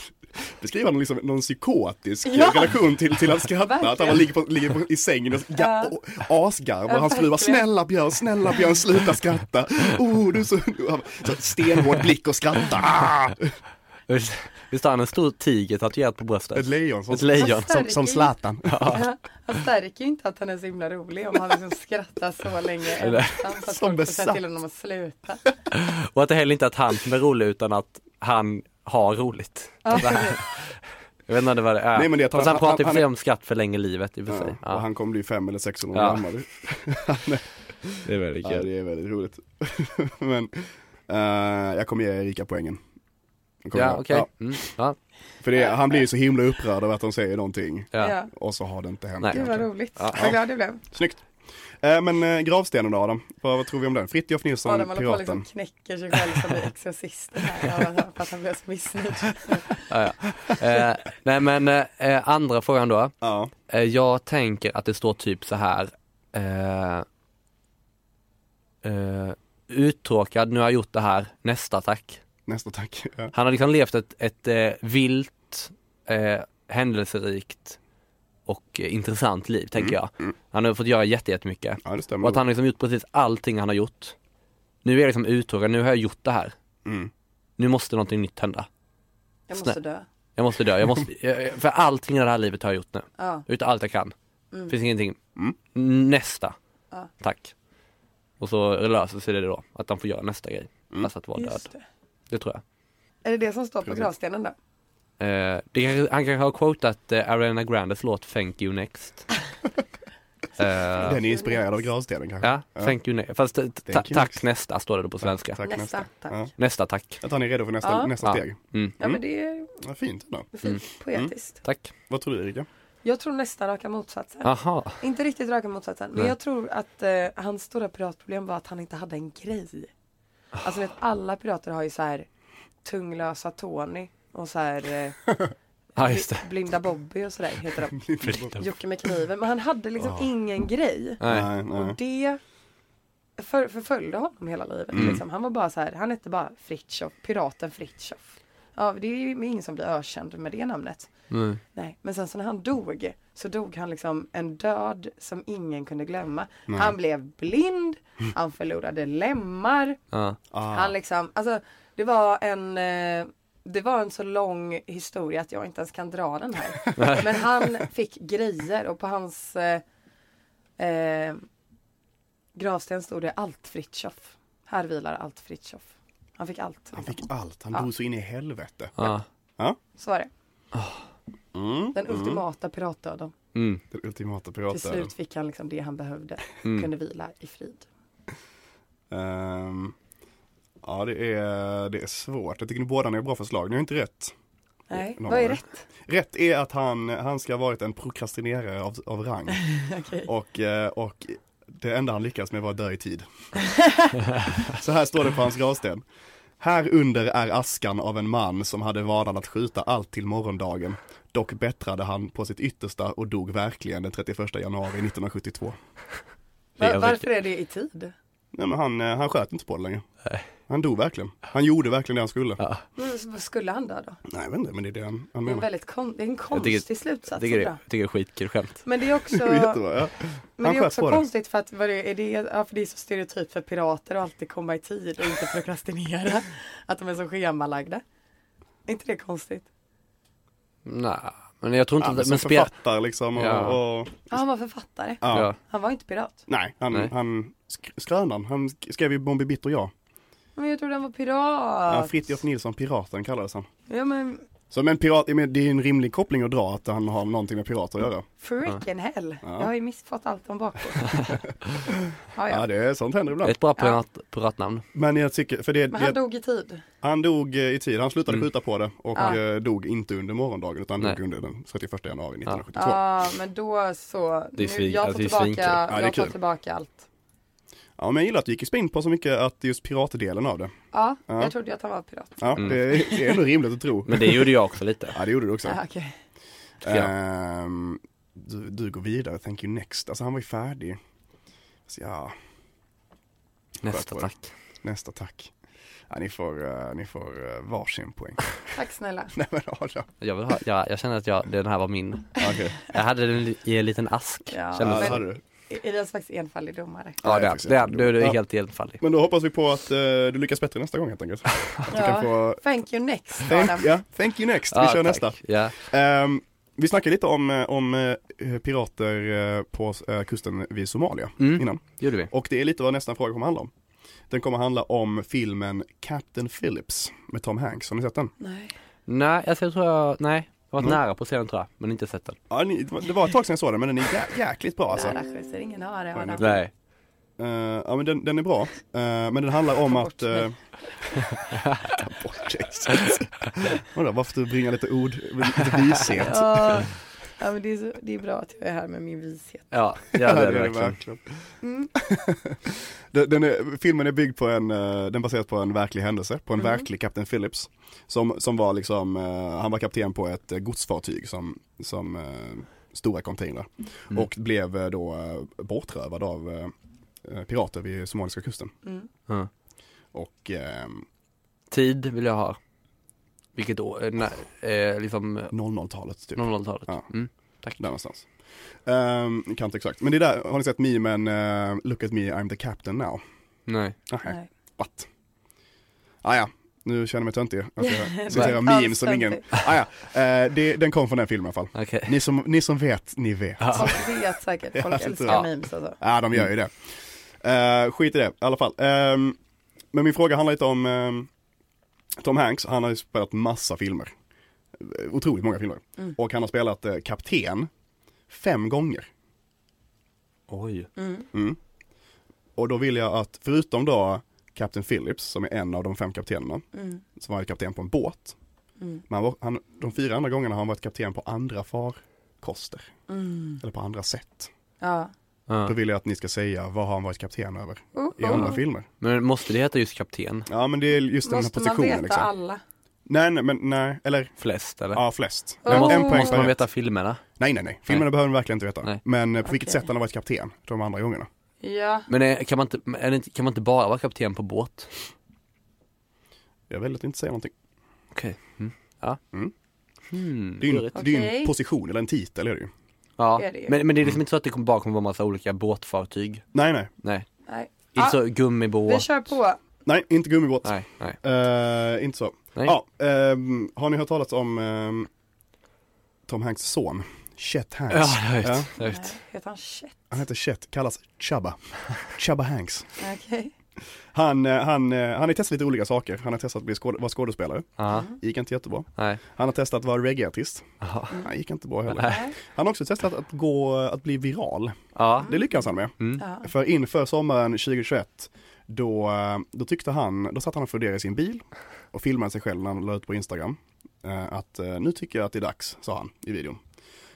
Speaker 3: beskriver han liksom någon psykotisk
Speaker 4: Ja.
Speaker 3: relation till, till att skratta. Att han
Speaker 4: Verkligen.
Speaker 3: bara ligger, på, ligger på, i sängen och ga,
Speaker 4: Ja.
Speaker 3: och asgarvar.
Speaker 4: Ja,
Speaker 3: Hans fru bara,
Speaker 4: verkligen.
Speaker 3: snälla Björn, snälla Björn, sluta skratta. Oh, du är så... och han bara, så stenhård blick och skratta. Ah!
Speaker 5: Visst- Visst har han en stor tiger tatuerad på bröstet?
Speaker 3: Ett lejon som,
Speaker 5: Ett lejon.
Speaker 3: som, som Zlatan.
Speaker 4: Ja, Han stärker ju inte att han är så himla rolig om han liksom skrattar så länge ensam så att
Speaker 3: Som
Speaker 4: folk får säga
Speaker 3: besatt.
Speaker 4: till honom att sluta.
Speaker 5: Och att det heller inte är att han som är rolig utan att han har roligt.
Speaker 4: Ja,
Speaker 5: Jag vet inte vad det är.
Speaker 3: Nej, men det är att
Speaker 5: Fast
Speaker 3: han-
Speaker 5: han, pratar
Speaker 3: han-
Speaker 5: ju för sig
Speaker 3: han-
Speaker 5: om skratt förlänger livet i och för sig.
Speaker 3: Ja, och han kommer bli fem eller sex år
Speaker 5: Ja.
Speaker 3: gammal.
Speaker 5: Det är väldigt
Speaker 3: Ja, det är väldigt roligt. Men eh, jag kommer ge Erika poängen. Jag kommer
Speaker 5: Ja,
Speaker 3: göra.
Speaker 5: okej.
Speaker 3: Ja,
Speaker 5: Mm, ja,
Speaker 3: för det, han blir ju så himla upprörd över att de säger någonting
Speaker 5: ja.
Speaker 4: ja.
Speaker 3: och så har det inte hänt.
Speaker 5: Nej.
Speaker 4: Gud vad
Speaker 3: egentligen.
Speaker 4: roligt.
Speaker 5: Ja,
Speaker 4: Vad glad jag blev.
Speaker 3: Snyggt. Eh, men eh, gravstenen då Adam, vad, vad tror vi om den? Fritiof Nilsson,
Speaker 4: Adam håller på och
Speaker 3: piraten.
Speaker 4: liksom knäcker sig själv som i Exorcisten här. Ja, För att han blev så missnöjd.
Speaker 5: Ja, ja. Eh, nej men eh, eh, andra frågan då.
Speaker 3: Ja,
Speaker 5: Eh, jag tänker att det står typ så här. Eh, eh, uttråkad, nu har jag gjort det här, nästa tack.
Speaker 3: nästa tack. Ja.
Speaker 5: Han har liksom levt ett, ett eh, vilt, eh, händelserikt och eh, intressant liv tänker jag. Han har fått göra jätte- jättemycket.
Speaker 3: ja, det stämmer.
Speaker 5: Och att han liksom gjort precis allting han har gjort. Nu är jag liksom uttråkad, nu har jag gjort det här.
Speaker 3: Mm.
Speaker 5: Nu måste någonting nytt hända.
Speaker 4: Jag måste dö.
Speaker 5: Jag måste dö, jag måste, jag- jag- för allting i det här livet har jag gjort nu.
Speaker 4: Ja.
Speaker 5: Utav allt jag kan. Finns ingenting.
Speaker 3: Mm.
Speaker 5: Nästa.
Speaker 4: Ja.
Speaker 5: Tack. Och så löser sig det då, att han
Speaker 3: Mm.
Speaker 5: får göra nästa grej. Fast att vara död.
Speaker 4: Just det.
Speaker 5: Det tror jag.
Speaker 4: Är det det som står på
Speaker 3: Precis.
Speaker 4: gravstenen då?
Speaker 5: Eh, det, kan- han kanske har quotat eh, Ariana Grandes låt Thank You Next. Eh,
Speaker 3: Den är inspirerad av gravstenen kanske.
Speaker 5: ja, Thank You Next. Fast eh, ta,
Speaker 3: Thank you next.
Speaker 5: tack nästa står det då på svenska.
Speaker 3: Tack,
Speaker 4: Nästa,
Speaker 3: nästa.
Speaker 4: tack.
Speaker 3: Ja.
Speaker 5: Nästa tack.
Speaker 3: Att han är redo för nästa,
Speaker 4: Ja.
Speaker 3: nästa
Speaker 5: Ja.
Speaker 3: steg.
Speaker 5: Mm.
Speaker 4: Ja men det är
Speaker 3: Ja, fint ändå.
Speaker 4: fint poetiskt.
Speaker 5: Tack.
Speaker 3: Vad tror du Erika?
Speaker 4: Mm. Jag tror nästan raka motsatsen.
Speaker 5: Aha.
Speaker 4: Inte riktigt raka motsatsen. Men
Speaker 5: Nej.
Speaker 4: jag tror att eh, hans stora piratproblem var att han inte hade en grej. Alltså vet, alla pirater har ju så här tunglösa Tony och så här eh,
Speaker 5: Ja, just
Speaker 4: bl-
Speaker 5: det.
Speaker 4: blinda Bobby och sådär heter de. Jocke med kniven. Men han hade liksom ingen grej.
Speaker 5: Nej.
Speaker 3: nej.
Speaker 4: Och det för, förföljde honom hela livet. Liksom. Han var bara så här, han hette bara Fritiof, piraten Fritiof. Ja, det är ju ingen som blir ökänd med det namnet.
Speaker 5: Nej.
Speaker 4: Nej, men sen så när han dog så dog han liksom en död som ingen kunde glömma. Han blev blind, han förlorade lemmar,
Speaker 5: Ja.
Speaker 3: Ah,
Speaker 4: han liksom, alltså det var en eh, det var en så lång historia att jag inte ens kan dra den här. Men han fick grejer och på hans eh, eh, gravsten stod det allt Fritiof. Här vilar allt Fritiof. Han fick allt.
Speaker 3: han fick allt. Han
Speaker 4: Ja.
Speaker 3: dog så in i helvete.
Speaker 5: Ja.
Speaker 4: Så var det.
Speaker 3: Mm.
Speaker 4: Den ultimata piratdöden.
Speaker 5: Mm.
Speaker 3: Den ultimata
Speaker 4: Till
Speaker 3: piratdöden.
Speaker 4: slut fick han liksom det han behövde. Kunde vila i frid.
Speaker 3: Ehm, ja, det är, det är svårt. Jag tycker ni båda ni har bra förslag. Ni har inte rätt.
Speaker 4: Nej,
Speaker 3: någon
Speaker 4: vad är
Speaker 3: av er.
Speaker 4: rätt?
Speaker 3: Rätt är att han, han ska ha varit en prokrastinerare av, av rang.
Speaker 4: Okej.
Speaker 3: Och, eh, och det enda han lyckades med var att dö i tid. Så här står det på hans gravsten. Här under är askan av en man som hade vanan att skjuta allt till morgondagen. Dock bättrade han på sitt yttersta och dog verkligen den 31 januari 1972.
Speaker 5: Det
Speaker 4: Va-
Speaker 5: är
Speaker 4: Varför är det i tid?
Speaker 3: Nej men han, eh, han sköt inte på det längre. Han dog verkligen. Han gjorde verkligen det han skulle.
Speaker 4: Men Vad skulle han dö då?
Speaker 3: Nej jag vet inte men det är det han, han
Speaker 4: Det är en
Speaker 3: menar.
Speaker 4: väldigt kon- det är en
Speaker 5: Jag tycker-
Speaker 4: konstig slutsats.
Speaker 5: Jag tycker det,
Speaker 4: tror jag.
Speaker 5: jag tycker det är skitkul skämt.
Speaker 4: Men det är också,
Speaker 3: Det är jättebra, ja.
Speaker 4: men det
Speaker 3: sköt
Speaker 4: är också
Speaker 3: på det.
Speaker 4: konstigt för att vad det, är det, ja, för det är så stereotypt för pirater att alltid komma i tid och inte prokrastinera. att de är så schemalagda. Är inte det konstigt?
Speaker 5: Nej, men jag tror inte
Speaker 3: Ja, men
Speaker 5: att,
Speaker 3: som
Speaker 5: men spel...
Speaker 3: författare liksom och,
Speaker 5: Ja.
Speaker 3: och
Speaker 4: Ja, han var författare.
Speaker 3: ja.
Speaker 5: Ja.
Speaker 4: Han var inte pirat.
Speaker 3: Nej, han,
Speaker 5: Nej.
Speaker 3: han sk- skrönan, han sk- skrev ju Bombi Bitt och jag.
Speaker 4: Men jag trodde han var
Speaker 3: Ja,
Speaker 4: pirat.
Speaker 3: Fritiof Nilsson, piraten kallades han.
Speaker 4: Ja men
Speaker 3: Så men pirat, jag menar, det är en rimlig koppling att dra att han har någonting med pirater att göra.
Speaker 4: freaking hell. Jag har ju missfått allt om bakåt. ja,
Speaker 3: Ja,
Speaker 4: ja.
Speaker 3: det är sånt händer ibland.
Speaker 5: Ett bra pirat, piratnamn.
Speaker 3: Men jag tycker, för det,
Speaker 4: Men han
Speaker 3: det,
Speaker 4: dog i tid.
Speaker 3: han dog eh, i tid, han slutade skjuta på det och
Speaker 4: Ja.
Speaker 3: eh, dog inte under morgondagen utan
Speaker 5: Mm. Nej.
Speaker 3: dog under den 31 januari 1972.
Speaker 4: Ja, men då så.
Speaker 5: Det
Speaker 4: nu,
Speaker 5: är svin-
Speaker 4: jag tar
Speaker 5: alltså, det är
Speaker 4: tillbaka,
Speaker 5: svinkul. Ja,
Speaker 3: det är
Speaker 4: jag tar
Speaker 3: kul.
Speaker 4: tillbaka allt.
Speaker 3: Ja, men jag gillar att du gick i spinn på så mycket att just piratdelen av det.
Speaker 4: Ja, jag trodde att han var pirat.
Speaker 3: Ja, det, är- det är ändå rimligt att tro.
Speaker 5: Mm. Men det gjorde jag också lite.
Speaker 3: Ja, det gjorde du också.
Speaker 4: Ah, okej.
Speaker 5: Ja.
Speaker 3: Ehm, du, du går vidare, thank you next. Alltså han var ju färdig. Så, ja,
Speaker 5: Nästa
Speaker 3: Sköt på det.
Speaker 5: tack.
Speaker 3: nästa tack. Ja, ni får, eh, ni får uh, varsin poäng.
Speaker 4: Tack snälla.
Speaker 3: Nej men Adam.
Speaker 5: Jag, vill ha, jag, jag känner att jag, den här var min.
Speaker 3: Okej,
Speaker 5: Jag hade den i- i en liten ask.
Speaker 4: Ja,
Speaker 5: Kändes-
Speaker 3: ja,
Speaker 4: men-
Speaker 3: det hade du.
Speaker 4: Elias är faktiskt enfaldig domare.
Speaker 5: Ja,
Speaker 3: Ja,
Speaker 5: det
Speaker 3: jag tycker
Speaker 5: är
Speaker 3: det.
Speaker 5: det. Du, du
Speaker 3: Ja.
Speaker 5: är helt enfaldig.
Speaker 3: Men då hoppas vi på att eh, du lyckas bättre nästa gång helt enkelt. Att du kan få...
Speaker 4: Thank you next Adam.
Speaker 3: Thank, ja, thank you next, vi
Speaker 5: Ja,
Speaker 3: kör
Speaker 5: tack.
Speaker 3: nästa.
Speaker 5: Ja.
Speaker 3: Ehm, vi snackade lite om, eh, om eh, pirater eh, på eh, kusten vid Somalia
Speaker 5: Mm.
Speaker 3: innan.
Speaker 5: Gjorde vi.
Speaker 3: Och det är lite vad nästa fråga kommer handla om. Den kommer handla om filmen Captain Phillips med Tom Hanks. Har ni sett den?
Speaker 4: Nej.
Speaker 5: Nej, alltså, jag tror jag, nej. Jag
Speaker 3: Mm.
Speaker 5: har varit nära på att se den tror jag, men inte sett den.
Speaker 3: Ja, ni, det var ett tag sedan jag såg den men den är jä- jäkligt bra alltså.
Speaker 4: Nära skjuter ingen har det Adam.
Speaker 5: Nej.
Speaker 3: Eh, ja men den, den är bra. Eh, men den handlar om
Speaker 4: Ta bort
Speaker 3: att... eh, Ta bort Jesus. Undrar varför du bringar lite ord, lite vishet.
Speaker 4: Ja, ja, men det, är så, det är bra att jag är här med min vishet.
Speaker 5: Ja, ja det är
Speaker 3: det
Speaker 5: det
Speaker 3: Mm.
Speaker 5: verkligen.
Speaker 3: den, den är, filmen är byggd på en, eh, den baseras på en verklig händelse, på en
Speaker 5: Mm.
Speaker 3: verklig Kapten Phillips. Som, som var liksom, eh, han var kapten på ett eh, godsfartyg som, som eh, stora containrar.
Speaker 5: Mm.
Speaker 3: Och blev eh, då eh, bortrövad av eh, pirater vid somaliska kusten.
Speaker 4: Mm,
Speaker 5: Ja.
Speaker 3: Och ehm,
Speaker 5: Tid vill jag ha. Vilket år? Eh, Nej, eh, liksom eh,
Speaker 3: 00-talet typ.
Speaker 5: 00-talet.
Speaker 3: Ja.
Speaker 5: Mm. Tack.
Speaker 3: Där någonstans. Ehm, kan inte exakt. Men det där, har ni sett memen eh, Look at me, I'm the captain now?
Speaker 5: Nej.
Speaker 3: Nähä,
Speaker 4: Nej.
Speaker 3: what? Ah, ja. nu känner jag mig töntig. Att jag citerar
Speaker 4: Alls
Speaker 3: memes som
Speaker 4: töntig.
Speaker 3: ingen... Ah, ja. Eh, det, den kom från den filmen i alla fall.
Speaker 5: Okej.
Speaker 3: Ni som, ni som vet, ni vet. Ja,
Speaker 4: Folk vet säkert, folk
Speaker 3: Ja,
Speaker 4: älskar
Speaker 3: ja.
Speaker 4: memes alltså.
Speaker 3: ah, de gör ju det. Eh, skit i det, i alla fall. Ehm, men min fråga handlar lite om ehm, Tom Hanks, han har ju spelat massa filmer. otroligt många filmer. Och han har spelat eh, kapten fem gånger. Mm.
Speaker 5: Oj.
Speaker 3: Och då vill jag att, förutom då Captain Phillips som är en av de fem kaptenerna,
Speaker 4: Mm.
Speaker 3: som var kapten på en båt. Men han var, han, de fyra andra gångerna har han varit kapten på andra farkoster.
Speaker 4: Mm.
Speaker 3: Eller på andra sätt.
Speaker 4: Ja.
Speaker 5: Ja.
Speaker 3: Då vill jag att ni ska säga vad har han varit kapten över i
Speaker 4: Oh.
Speaker 3: andra filmer.
Speaker 5: Men måste det heta just kapten?
Speaker 3: Ja men det är just den här
Speaker 4: Måste man veta
Speaker 3: positionen liksom.
Speaker 4: alla?
Speaker 3: Nej, nej, men nej, eller
Speaker 5: Flest eller?
Speaker 3: ja flest.
Speaker 4: Men
Speaker 3: En-
Speaker 4: måste-
Speaker 3: en poäng
Speaker 5: Måste
Speaker 3: per
Speaker 5: man
Speaker 3: rätt.
Speaker 5: veta filmerna?
Speaker 3: Nej, nej, nej. Filmerna behöver man verkligen inte veta.
Speaker 5: Nej.
Speaker 3: Men eh, på vilket
Speaker 4: Okej.
Speaker 3: sätt han har varit kapten de andra gångerna.
Speaker 4: Ja.
Speaker 5: Men är, kan, man inte, men är det inte, kan man inte bara vara kapten på båt?
Speaker 3: Jag väljer att inte säga någonting.
Speaker 5: Okej. Mm. Ja.
Speaker 3: Mm.
Speaker 5: Hmm.
Speaker 3: Det är ju en,
Speaker 5: lurigt.
Speaker 3: det är ju en
Speaker 4: Okej.
Speaker 3: position eller en titel är det ju.
Speaker 5: Ja.
Speaker 4: Det är det ju.
Speaker 5: Men, men det är liksom inte så att det kommer bara kommer vara massa olika båtfartyg?
Speaker 3: Nej, nej.
Speaker 5: Nej.
Speaker 4: Nej.
Speaker 5: Inte
Speaker 4: Ja,
Speaker 5: så gummibåt?
Speaker 4: vi kör på.
Speaker 3: Nej, inte gummibåt.
Speaker 5: Nej, nej.
Speaker 3: Eh, inte så.
Speaker 5: nej.
Speaker 3: Ja, ehm, har ni hört talas om ehm, Tom Hanks son? Chet Hanks.
Speaker 5: Ja, det har jag
Speaker 3: Ja.
Speaker 5: vet. Jag vet.
Speaker 4: Nej, heter han Chet?
Speaker 3: Han heter Chet, kallas Chubba. Chubba Hanks.
Speaker 4: Okej.
Speaker 3: Han, eh, han, eh, han har testat lite olika saker. Han har testat att bli skåd- vara skådespelare.
Speaker 5: Ja,
Speaker 3: Gick inte jättebra.
Speaker 5: nej.
Speaker 3: Han har testat att vara reggaeartist.
Speaker 5: Ja.
Speaker 3: Han gick inte bra heller.
Speaker 5: Nej.
Speaker 3: Han har också testat att, gå, att bli viral.
Speaker 5: Ja.
Speaker 3: Det lyckades han med.
Speaker 5: Mm.
Speaker 4: Ja.
Speaker 3: För inför sommaren 2021 då, eh, då tyckte han, då satt han och funderade i sin bil och filmade sig själv när han la ut på Instagram. eh, Att eh, nu tycker jag att det är dags, sa han i videon.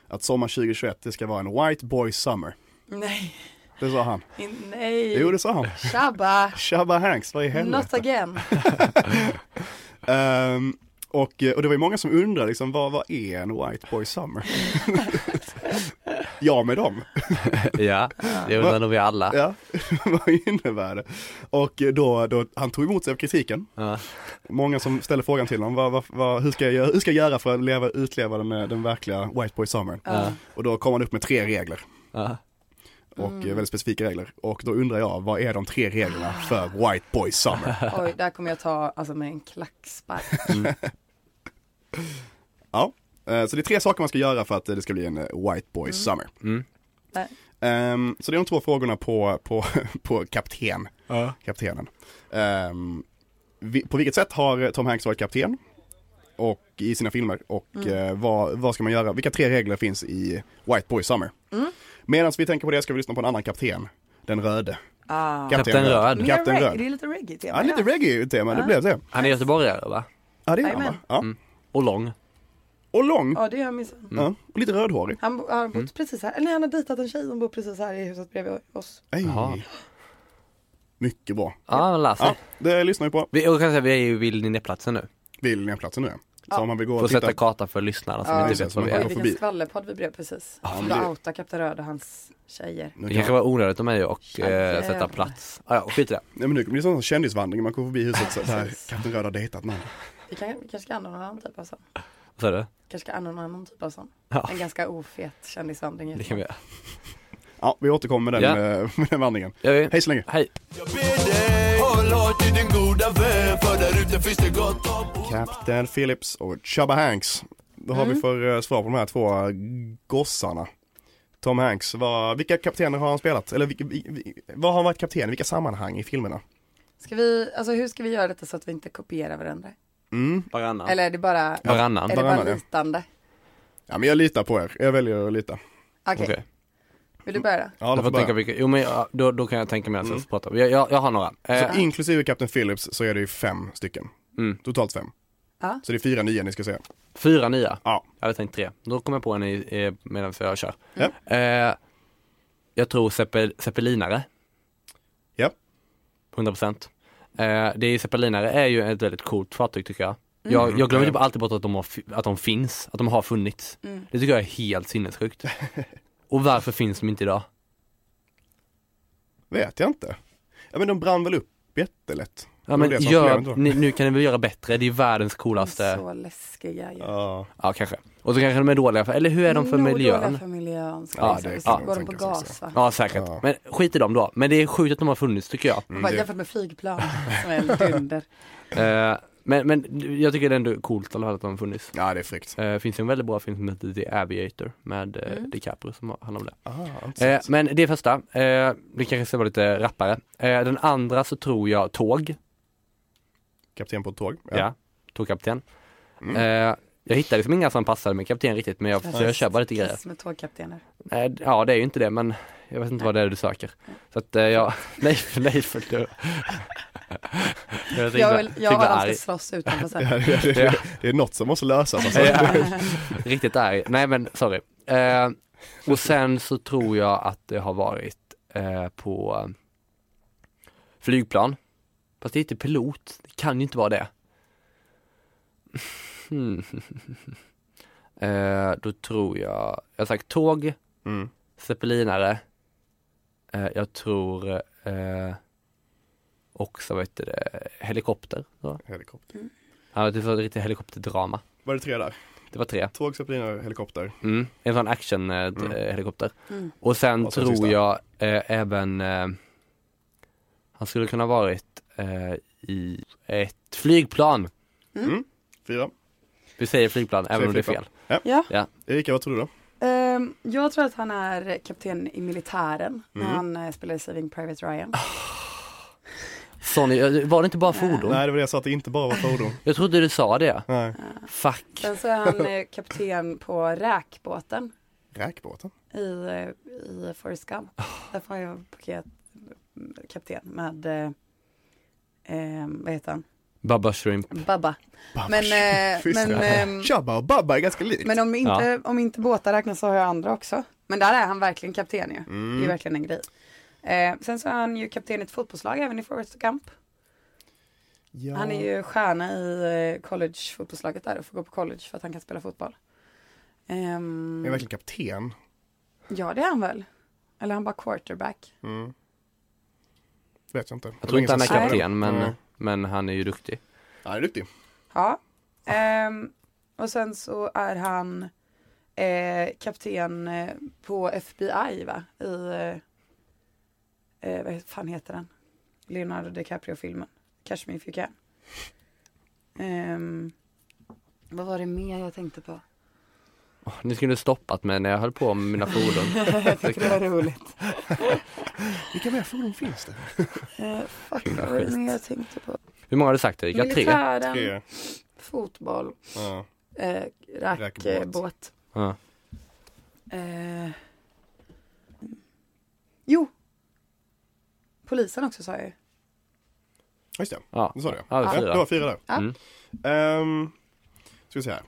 Speaker 3: Att sommar 2021 det ska vara en white boy summer.
Speaker 4: Nej.
Speaker 3: Det sa han.
Speaker 4: In- Nej.
Speaker 3: Jo det sa han.
Speaker 4: Shabba.
Speaker 3: Shabba Hanks, vad i
Speaker 4: Not
Speaker 3: helvete.
Speaker 4: again.
Speaker 3: Ehm, och, eh, och det var ju många som undrade liksom, vad, vad är en white boy summer? jag med dem.
Speaker 5: Ja, det undrar nog vi alla.
Speaker 3: Ja, vad innebär det? Och då, då, han tog emot sig av kritiken.
Speaker 5: Ja.
Speaker 3: Många som ställer frågan till honom, vad, vad, vad, hur, ska jag, göra- hur ska jag göra för att leva, utleva den, eh, den verkliga White Boy Summer? Och då kom han upp med tre regler
Speaker 5: Ja.
Speaker 3: och eh, väldigt specifika regler. Och då undrar jag, vad är de tre reglerna för White Boy Summer?
Speaker 4: Oj, där kommer jag ta alltså med en klackspark.
Speaker 3: Ja, eh, så det är tre saker man ska göra för att eh, det ska bli en eh, White Boy Summer.
Speaker 5: Mm.
Speaker 4: Nej.
Speaker 3: Ehm, så det är de två frågorna på, på, på kapten,
Speaker 5: Ja.
Speaker 3: kaptenen. Ehm, vi, på vilket sätt har Tom Hanks varit kapten? Och i sina filmer och
Speaker 4: Mm.
Speaker 3: eh, vad, vad ska man göra? Vilka tre regler finns i White Boy Summer?
Speaker 4: Mm.
Speaker 3: Medan vi tänker på det ska vi lyssna på en annan kapten, den röde.
Speaker 4: Ah.
Speaker 5: Kapten Röd.
Speaker 4: Mer
Speaker 3: Kapten
Speaker 4: reg-
Speaker 3: Röd.
Speaker 4: Det är lite reggae
Speaker 3: Ja,
Speaker 4: tema.
Speaker 3: lite reggae-tema, det blev det.
Speaker 5: Han är göteborgare va?
Speaker 3: Ja, det är han va?
Speaker 4: Jajamän.
Speaker 3: Ja.
Speaker 5: Mm. Och lång.
Speaker 3: Och lång,
Speaker 4: Ja, det gör min son.
Speaker 3: ja. och lite rödhårig.
Speaker 4: Han bo- har bott precis här. Eller nej, han har dejtat en tjej som bor precis här i huset bredvid oss.
Speaker 3: Ej.
Speaker 5: Jaha.
Speaker 3: Mycket bra.
Speaker 5: Ja, men
Speaker 3: Ja,
Speaker 5: Lasse.
Speaker 3: det lyssnar vi på.
Speaker 5: Vi, och kan säga, vi är ju vid Linnéplatsen nu.
Speaker 3: Vill ni ha platsen nu? Så om man vill gå
Speaker 5: Får
Speaker 3: och titta.
Speaker 5: sätta karta för lyssnarna som
Speaker 4: Ja,
Speaker 5: inte
Speaker 3: just det,
Speaker 5: vet
Speaker 3: så
Speaker 5: vad vi
Speaker 3: man
Speaker 5: är.
Speaker 3: går
Speaker 4: Vilken
Speaker 3: förbi.
Speaker 4: skvallerpodd vi blev precis.
Speaker 3: Ja, men
Speaker 4: För att
Speaker 3: det-
Speaker 4: outa Kapten Röd och hans tjejer.
Speaker 3: Nu
Speaker 5: Det
Speaker 3: kan
Speaker 5: kanske var onödigt av mig och eh, sätta
Speaker 4: Jävlar.
Speaker 5: plats. Ah, ja, skit i det.
Speaker 3: Nej men nu blir det sån kändisvandring, man kommer förbi huset så där
Speaker 4: Precis.
Speaker 3: Kapten Röd har dejtat någon.
Speaker 4: Vi, kan, vi kanske ska anordna en annan typ av sån.
Speaker 5: Vad sa du?
Speaker 4: kanske ska anordna en annan typ av sån.
Speaker 5: Ja.
Speaker 4: En ganska ofet kändisvandring.
Speaker 5: Det kan vi göra.
Speaker 3: Ja, vi återkommer med den, eh, med den vandringen.
Speaker 5: Gör vi?
Speaker 3: Hej så länge.
Speaker 5: Hej.
Speaker 6: Jag ber dig, håll hårt i din goda vän För där ute finns det gott om
Speaker 3: Kapten Phillips och Chubba Hanks. Vad
Speaker 5: Mm.
Speaker 3: har vi för eh, svar på de här två eh, gossarna? Tom Hanks, vad, vilka kaptener har han spelat? Eller vilka, vi- vi- vad har han varit kapten i? Vilka sammanhang i filmerna?
Speaker 4: Ska vi, alltså hur ska vi göra detta så att vi inte kopierar varandra?
Speaker 3: Mm.
Speaker 5: Varannan.
Speaker 4: Eller är det bara,
Speaker 5: Varannan.
Speaker 4: är det bara
Speaker 3: Varannan, ja.
Speaker 4: litande?
Speaker 3: Ja men jag litar på er, jag väljer att lita.
Speaker 4: Okej,
Speaker 5: Okej.
Speaker 4: vill du börja?
Speaker 3: Ja, alla
Speaker 5: Jag
Speaker 3: får
Speaker 5: får
Speaker 3: börja. Mm.
Speaker 5: tänka vilka, jo men ja, då, då kan jag tänka mig att sen så pratar vi. Jag, jag, jag har några. Eh,
Speaker 3: Så inklusive Kapten Phillips så är det ju fem stycken.
Speaker 5: Mm.
Speaker 3: Totalt fem.
Speaker 4: Ja.
Speaker 3: Så det är fyra nya ni ska säga.
Speaker 5: fyra nya.
Speaker 3: Ja.
Speaker 5: Jag hade tänkt tre. Då kommer jag på en i, eh, medan jag kör.
Speaker 3: Mm.
Speaker 5: Eh, jag tror zeppel, zeppelinare.
Speaker 3: Ja.
Speaker 5: 100 procent. Eh, det är ju zeppelinare är ju ett väldigt coolt fartyg tycker jag.
Speaker 3: Mm.
Speaker 5: Jag, jag glömmer typ alltid bort att de, har, fi- att de finns, att de har funnits.
Speaker 3: Mm.
Speaker 5: Det tycker jag är helt sinnessjukt. Och varför finns de inte idag?
Speaker 3: Vet jag inte. Ja men de brann väl upp jättelätt.
Speaker 5: Ja,
Speaker 3: var
Speaker 5: men
Speaker 3: det som
Speaker 5: gör,
Speaker 3: problemet Mm, var.
Speaker 5: ni, nu kan ni väl göra bättre, det är världens coolaste.
Speaker 4: Så läskiga ju.
Speaker 3: Ja.
Speaker 5: Ja kanske. Och så kanske de är dåliga för, eller hur är de för
Speaker 3: Mm,
Speaker 4: Nog
Speaker 5: miljön?
Speaker 4: dåliga för miljön. Ska
Speaker 5: Ja,
Speaker 4: ja,
Speaker 3: det
Speaker 4: det
Speaker 3: kan man
Speaker 4: Går de på
Speaker 3: tänka sig
Speaker 4: gas
Speaker 3: också.
Speaker 4: va?
Speaker 5: Ja säkert.
Speaker 3: Ja. Mm.
Speaker 5: Men skit i dem då. Men det är sjukt att de har funnits tycker jag.
Speaker 4: Bara
Speaker 3: det-
Speaker 4: jämfört med flygplan som är helt dunder.
Speaker 5: Eh, men, men jag tycker det är ändå coolt i alla fall att de har funnits.
Speaker 3: Ja det är fräckt.
Speaker 5: Eh, finns det en väldigt bra film som heter The Aviator med eh,
Speaker 3: Mm.
Speaker 5: DiCaprio som har- handlar om det.
Speaker 3: Ah,
Speaker 5: Eh, men det är första, eh, det kanske ska vara lite rappare. Eh, den andra så tror jag Tåg,
Speaker 3: Kapten på ett tåg.
Speaker 5: ja, Tågkapten.
Speaker 3: Mm.
Speaker 5: Eh, Jag hittade liksom inga som passade med kapten riktigt men jag försökte köpa lite grejer.
Speaker 4: Kiss med tågkaptener.
Speaker 5: Nej, ja det är ju inte det men jag vet inte vad det är du söker. Så att eh, jag, nej, nej för du. Jag är så
Speaker 4: Jag,
Speaker 5: himla-
Speaker 4: vill,
Speaker 5: så
Speaker 4: jag har
Speaker 5: himla
Speaker 4: alla
Speaker 5: arg.
Speaker 4: ska slåss utanför sen.
Speaker 3: Ja, det, det,
Speaker 5: Ja.
Speaker 3: det är något som måste lösas alltså.
Speaker 5: Ja. Riktigt arg. Nej men sorry. Eh, och sen så tror jag att det har varit eh, på flygplan. Fast det är inte pilot, det kan ju inte vara det. Hmm. eh, då tror jag, jag har sagt tåg,
Speaker 3: Mm.
Speaker 5: zeppelinare. Eh, jag tror eh, också, vad heter det, helikopter. Så.
Speaker 3: Helikopter.
Speaker 5: Ja, det var ett riktigt helikopterdrama.
Speaker 3: Var det tre där?
Speaker 5: Det var tre.
Speaker 3: Tåg, zeppelinare, helikopter.
Speaker 5: Mm, en sån action eh, d-
Speaker 3: Mm.
Speaker 5: eh, helikopter.
Speaker 4: Mm.
Speaker 5: Och sen
Speaker 3: Och sen
Speaker 5: tror
Speaker 3: sista.
Speaker 5: jag eh, även eh, han skulle kunna ha varit eh, i ett flygplan.
Speaker 3: Fyra.
Speaker 5: Vi säger flygplan även om det är fel.
Speaker 3: flygplan. Ja.
Speaker 4: Ja.
Speaker 5: Ja.
Speaker 3: Erika, vad tror du då?
Speaker 4: Ehm, jag tror att han är kapten i militären när
Speaker 3: Mm.
Speaker 4: han eh, spelar i Saving Private Ryan.
Speaker 5: Sonny, eh, var det inte bara fordon?
Speaker 3: Nej, det var det jag sa att det inte bara var fordon.
Speaker 5: Jag trodde du sa det.
Speaker 3: Nej.
Speaker 5: Fuck.
Speaker 4: Sen så är han eh, kapten på räkbåten
Speaker 3: Räkbåten?
Speaker 4: i, eh, i Forrest Gump.
Speaker 5: Ah.
Speaker 4: Där får han ju paket, mm, kapten med, eh, eh, vad heter han,
Speaker 5: Baba Shrimp.
Speaker 4: Babba.
Speaker 5: Ah,
Speaker 4: Men, eh,
Speaker 3: Fiskar.
Speaker 4: men, ehm,
Speaker 3: Tjabba och Babba är ganska likt.
Speaker 4: men om, inte, om inte båtar räknas så har jag andra också. Men där är han verkligen kapten ju. Det är
Speaker 3: Mm.
Speaker 4: verkligen en grej. Eh, sen så är han ju kapten i ett fotbollslag även i Forrest Gump.
Speaker 3: Ja.
Speaker 4: Han är ju stjärna i eh, college-fotbollslaget där och får gå på college för att han kan spela fotboll. Ehm,
Speaker 3: Är verkligen kapten.
Speaker 4: ja det är han väl. Eller han bara quarterback.
Speaker 3: Mm. Vet jag inte.
Speaker 5: Jag tror inte han är
Speaker 4: Nej.
Speaker 5: kapten men,
Speaker 3: Nej.
Speaker 5: men han är ju duktig.
Speaker 3: Han är duktig.
Speaker 4: Ja. Ehm, och sen så är han eh, kapten eh, på FBI va? I, eh, eh, vad fan heter den? Leonardo DiCaprio-filmen. Catch me if you can. Ehm, vad var det mer jag tänkte på?
Speaker 5: Åh, Ni skulle stoppat mig när jag höll på med mina fordon.
Speaker 4: jag tyckte det var roligt.
Speaker 3: Vilka mer fordon finns det?
Speaker 4: Eh, fuck, vad var det mer jag tänkte på?
Speaker 5: Hur många har du sagt Erika? Tre?
Speaker 4: Militären,
Speaker 3: Tre.
Speaker 4: fotboll,
Speaker 3: Ja.
Speaker 4: eh, rackbåt.
Speaker 3: Rackbåt.
Speaker 5: Ja.
Speaker 4: Eh, jo! Polisen också sa jag ju.
Speaker 3: Just det,
Speaker 5: Ja.
Speaker 3: det sa det.
Speaker 5: Ja, det är fyra.
Speaker 3: det var fyra där.
Speaker 4: Ja.
Speaker 5: Mm.
Speaker 3: Ehm, ska vi se här.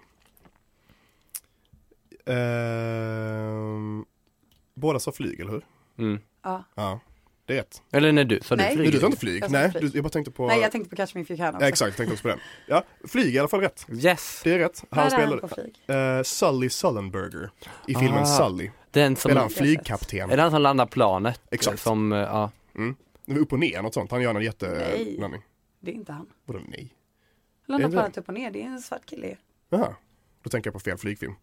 Speaker 3: Ehm, båda sa flyg, eller hur?
Speaker 5: Mm.
Speaker 4: Ja.
Speaker 3: Ja, det är rätt.
Speaker 5: Eller när du, sa du
Speaker 4: Nej.
Speaker 3: Nej, du
Speaker 5: flyg?
Speaker 3: sa inte flyg.
Speaker 4: Jag sa
Speaker 3: Nej,
Speaker 4: flyg.
Speaker 3: Du, jag bara tänkte på...
Speaker 4: Nej jag tänkte på Catch Me If You Can också.
Speaker 3: ja, exakt, jag tänkte också på den. Ja, flyg är i alla fall rätt.
Speaker 5: Yes!
Speaker 3: Det är rätt.
Speaker 4: Där
Speaker 3: Han
Speaker 4: är han på
Speaker 3: spelade
Speaker 4: flyg.
Speaker 3: eh, Sully Sullenberger i filmen
Speaker 5: Ah.
Speaker 3: Sully.
Speaker 5: Den som,
Speaker 3: Spelar han
Speaker 5: är
Speaker 3: flygkapten?
Speaker 5: det han som landar planet?
Speaker 3: Exakt.
Speaker 5: Som, eh, ja.
Speaker 3: Det var Upp och ner, något sånt. Han gör en
Speaker 4: Nej.
Speaker 3: jättelandning.
Speaker 4: Det är inte han.
Speaker 3: Vadå nej?
Speaker 4: Han landar
Speaker 3: Är det
Speaker 4: planet upp och ner, det är en svart kille ju.
Speaker 3: Jaha, då tänker jag på fel flygfilm.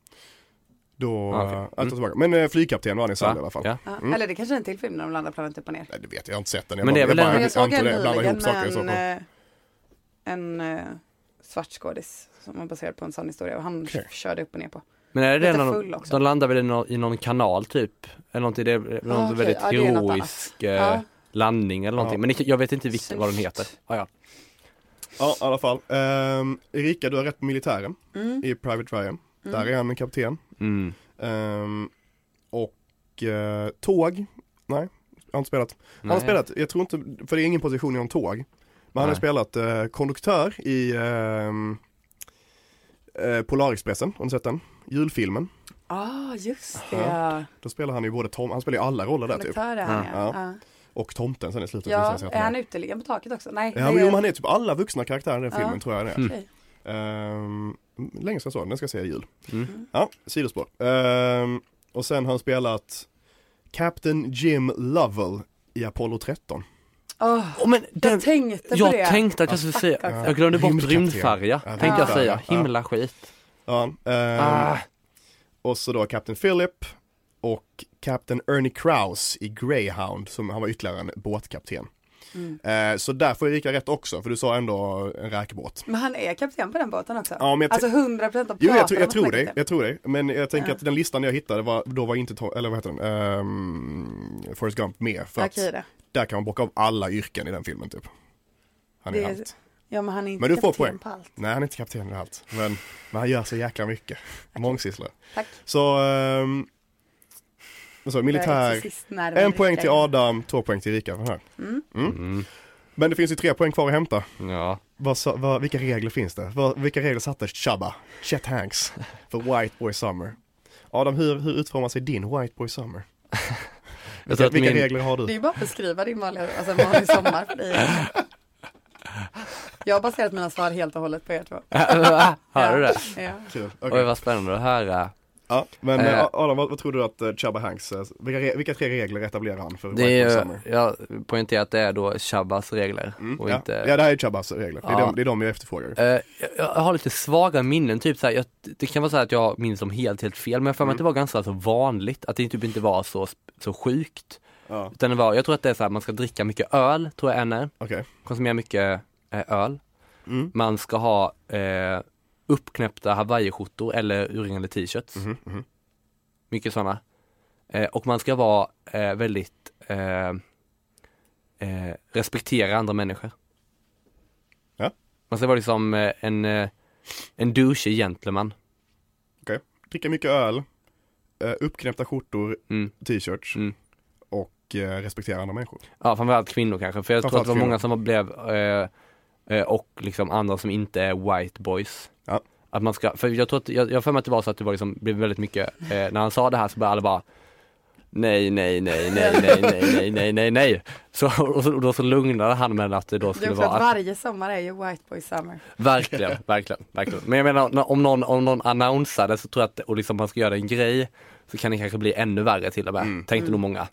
Speaker 3: Då,
Speaker 5: Ah, okej.
Speaker 3: eh, allt är tillbaka. Men eh, flygkapten var han i Sully i alla fall.
Speaker 5: Ja.
Speaker 4: Ja. Eller det kanske är en till film när de landar planet upp och ner.
Speaker 3: Nej, det vet jag, jag har inte sett den. Jag
Speaker 5: Men det är
Speaker 3: bara-
Speaker 5: väl
Speaker 3: jag
Speaker 5: den-
Speaker 3: bara,
Speaker 4: Men jag såg
Speaker 3: antar
Speaker 4: en
Speaker 3: det. Jag blandar
Speaker 4: nyligen
Speaker 3: ihop saker.
Speaker 4: med
Speaker 3: i så
Speaker 4: en,
Speaker 3: fall.
Speaker 4: eh, en eh, svart skådis som var baserad på en sann historia och han
Speaker 3: Okej.
Speaker 4: körde upp och ner på.
Speaker 5: Men är det
Speaker 4: Lite
Speaker 5: den
Speaker 4: full
Speaker 5: de,
Speaker 4: också. Ah,
Speaker 5: de landar väl i någon, i någon kanal typ? Eller någonting, det är någon
Speaker 4: okej.
Speaker 5: väldigt
Speaker 4: Ja, det är något annat.
Speaker 5: heroisk eh,
Speaker 4: Ja.
Speaker 5: landning eller någonting. Men det- jag vet inte vilken vad den
Speaker 4: Snyggt.
Speaker 5: heter. Ah, ja.
Speaker 3: Ja, i alla fall. Ehm, Erika, du har rätt på militären
Speaker 4: Mm.
Speaker 3: i Private Ryan. Där är han en kapten.
Speaker 5: mm.
Speaker 3: Ehm, och eh, tåg, nej, jag har inte spelat. Han har
Speaker 5: Nej.
Speaker 3: spelat, jag tror inte, för det är ingen position i en tåg. Men han har
Speaker 5: Nej.
Speaker 3: spelat eh, konduktör i ehm, eh, Polarexpressen, har ni sett den? Julfilmen.
Speaker 4: Ah, just det.
Speaker 3: Då spelar han ju både Tom, han spelar ju alla roller där typ.
Speaker 4: Konduktör är han
Speaker 5: Ja.
Speaker 4: ja.
Speaker 3: Ja.
Speaker 4: ja.
Speaker 3: Och tomten sen i slutet.
Speaker 4: Ja,
Speaker 3: visar det sig att
Speaker 4: är han
Speaker 3: är.
Speaker 4: uteliggande på taket också? Nej.
Speaker 3: Ja
Speaker 4: det
Speaker 3: men
Speaker 4: är-
Speaker 3: jo, men han är typ alla vuxna karaktärer i den
Speaker 4: Ja.
Speaker 3: filmen tror jag det är.
Speaker 4: Okej.
Speaker 3: Ehm, länge sedan jag såg den, den ska jag säga i jul.
Speaker 5: Mm.
Speaker 3: Ja, sidospår. Ehm, och sen har han spelat Captain Jim Lovell i Apollo 13.
Speaker 4: Åh,
Speaker 5: Åh, men den,
Speaker 4: jag tänkte på
Speaker 5: jag
Speaker 4: det.
Speaker 5: tänkte att jag skulle säga,
Speaker 4: fuck, alltså.
Speaker 5: jag glömde bort
Speaker 3: Rymdkapten.
Speaker 5: rymdfärja.
Speaker 3: Ja,
Speaker 5: Tänkte jag
Speaker 3: rymdfärja.
Speaker 5: säga, himla skit.
Speaker 3: Ja, ehm,
Speaker 5: Ah.
Speaker 3: Och så då Captain Philip och Captain Ernie Kraus i Greyhound som han var ytterligare en båtkapten.
Speaker 4: Mm.
Speaker 3: Ehm, så där får Erika rätt också för du sa ändå en räkbåt.
Speaker 4: Men han är kapten på den båten också?
Speaker 3: Ja, men jag t-
Speaker 4: alltså 100 procent av
Speaker 3: Jo jag, tror-
Speaker 4: pratarna
Speaker 3: jag tror
Speaker 4: snackar
Speaker 3: dig,
Speaker 4: kapten.
Speaker 3: jag tror dig. Men jag tänker
Speaker 4: Ja.
Speaker 3: att den listan jag hittade var, då var inte, to- eller vad heter den, um, Forrest Gump med. För att
Speaker 4: Okej det.
Speaker 3: där kan man bocka av alla yrken i den filmen typ. Han är
Speaker 4: Det är-
Speaker 3: allt.
Speaker 4: Ja men han är inte
Speaker 3: Men du får
Speaker 4: kapten
Speaker 3: poäng.
Speaker 4: på allt.
Speaker 3: Nej, han är inte kapten i allt. Men, men han gör så jäkla mycket. Mångsysslare.
Speaker 4: Tack.
Speaker 3: Så, ehm, vad sa jag,
Speaker 4: Jag är
Speaker 3: militär.
Speaker 4: exorcist när
Speaker 3: En
Speaker 4: man
Speaker 3: poäng
Speaker 4: dricker.
Speaker 3: till Adam, två poäng till Rika. för den här.
Speaker 5: Mm.
Speaker 3: Men det finns ju tre poäng kvar att hämta.
Speaker 5: Ja.
Speaker 3: Vad, sa- vad, vilka regler finns det? Vad, vilka regler satte Chubba, Chet Hanks, för White Boy Summer? Adam, hur, hur utformar sig din White Boy Summer?
Speaker 5: Jag tror
Speaker 3: Vilka,
Speaker 5: att min,
Speaker 3: regler har
Speaker 4: Det är
Speaker 3: du?
Speaker 4: ju bara att beskriva din vanliga, alltså en vanlig sommar för dig. Jag har baserat mina svar helt och hållet på er två.
Speaker 5: Hör du det?
Speaker 4: Ja.
Speaker 3: Kul.
Speaker 5: Oj
Speaker 3: okej.
Speaker 5: vad spännande att höra.
Speaker 3: Ja, men
Speaker 5: Eh.
Speaker 3: eh, Adam, vad, vad tror du att eh, Chubba Hanks, eh, vilka, re- vilka tre regler etablerar han för
Speaker 5: Det
Speaker 3: White Boy
Speaker 5: är ju,
Speaker 3: Summer?
Speaker 5: jag poängterar att det är då Shabbas regler
Speaker 3: Mm,
Speaker 5: och
Speaker 3: ja.
Speaker 5: inte
Speaker 3: ja, det här är Chubbas regler. Det, är
Speaker 5: Ja.
Speaker 3: de, det är de jag efterfrågar.
Speaker 5: Eh, jag, jag har lite svaga minnen, typ så här, jag, det kan vara så här att jag minns dem helt, helt fel, men jag har för mig att det var ganska så vanligt, att det typ inte var så, så sjukt.
Speaker 3: Ja.
Speaker 5: Utan det var, jag tror att det är så här, man ska dricka mycket öl, tror jag en är,
Speaker 3: Okej.
Speaker 5: konsumera mycket eh, öl.
Speaker 3: Mm.
Speaker 5: Man ska ha eh, uppknäppta hawaiiskjortor eller urringade t-shirts,
Speaker 3: Mhm, mhm.
Speaker 5: mycket sådana. Eh, och man ska vara eh, väldigt, eh, eh, respektera andra människor.
Speaker 3: Ja.
Speaker 5: Man ska vara liksom eh, en, eh, en douchey gentleman.
Speaker 3: Dricka mycket öl, eh, uppknäppta skjortor,
Speaker 5: Mm.
Speaker 3: t-shirts
Speaker 5: Mm.
Speaker 3: och eh, respektera andra människor.
Speaker 5: Ja, framförallt kvinnor kanske, för jag tror att det
Speaker 3: Framförallt
Speaker 5: var många som var- blev eh, eh, och liksom andra som inte är white boys.
Speaker 3: Ja.
Speaker 5: Att man ska, för jag tror att, jag, jag har för mig att det var så att det var liksom, blev väldigt mycket, eh, när han sa det här så började alla bara Nej, nej, nej, nej, nej, nej, nej, nej, nej, nej. Så, och, så, och då så lugnade han med att det då
Speaker 4: Det är
Speaker 5: skulle
Speaker 4: också
Speaker 5: vara
Speaker 4: att
Speaker 5: att, Eh,
Speaker 4: varje sommar är ju White Boy Summer.
Speaker 5: verkligen, verkligen, verkligen. Men jag menar när- om någon, om någon annonsade så tror jag att, och liksom man ska göra en grej, så kan det kanske bli ännu värre till och med, tänkte nog många.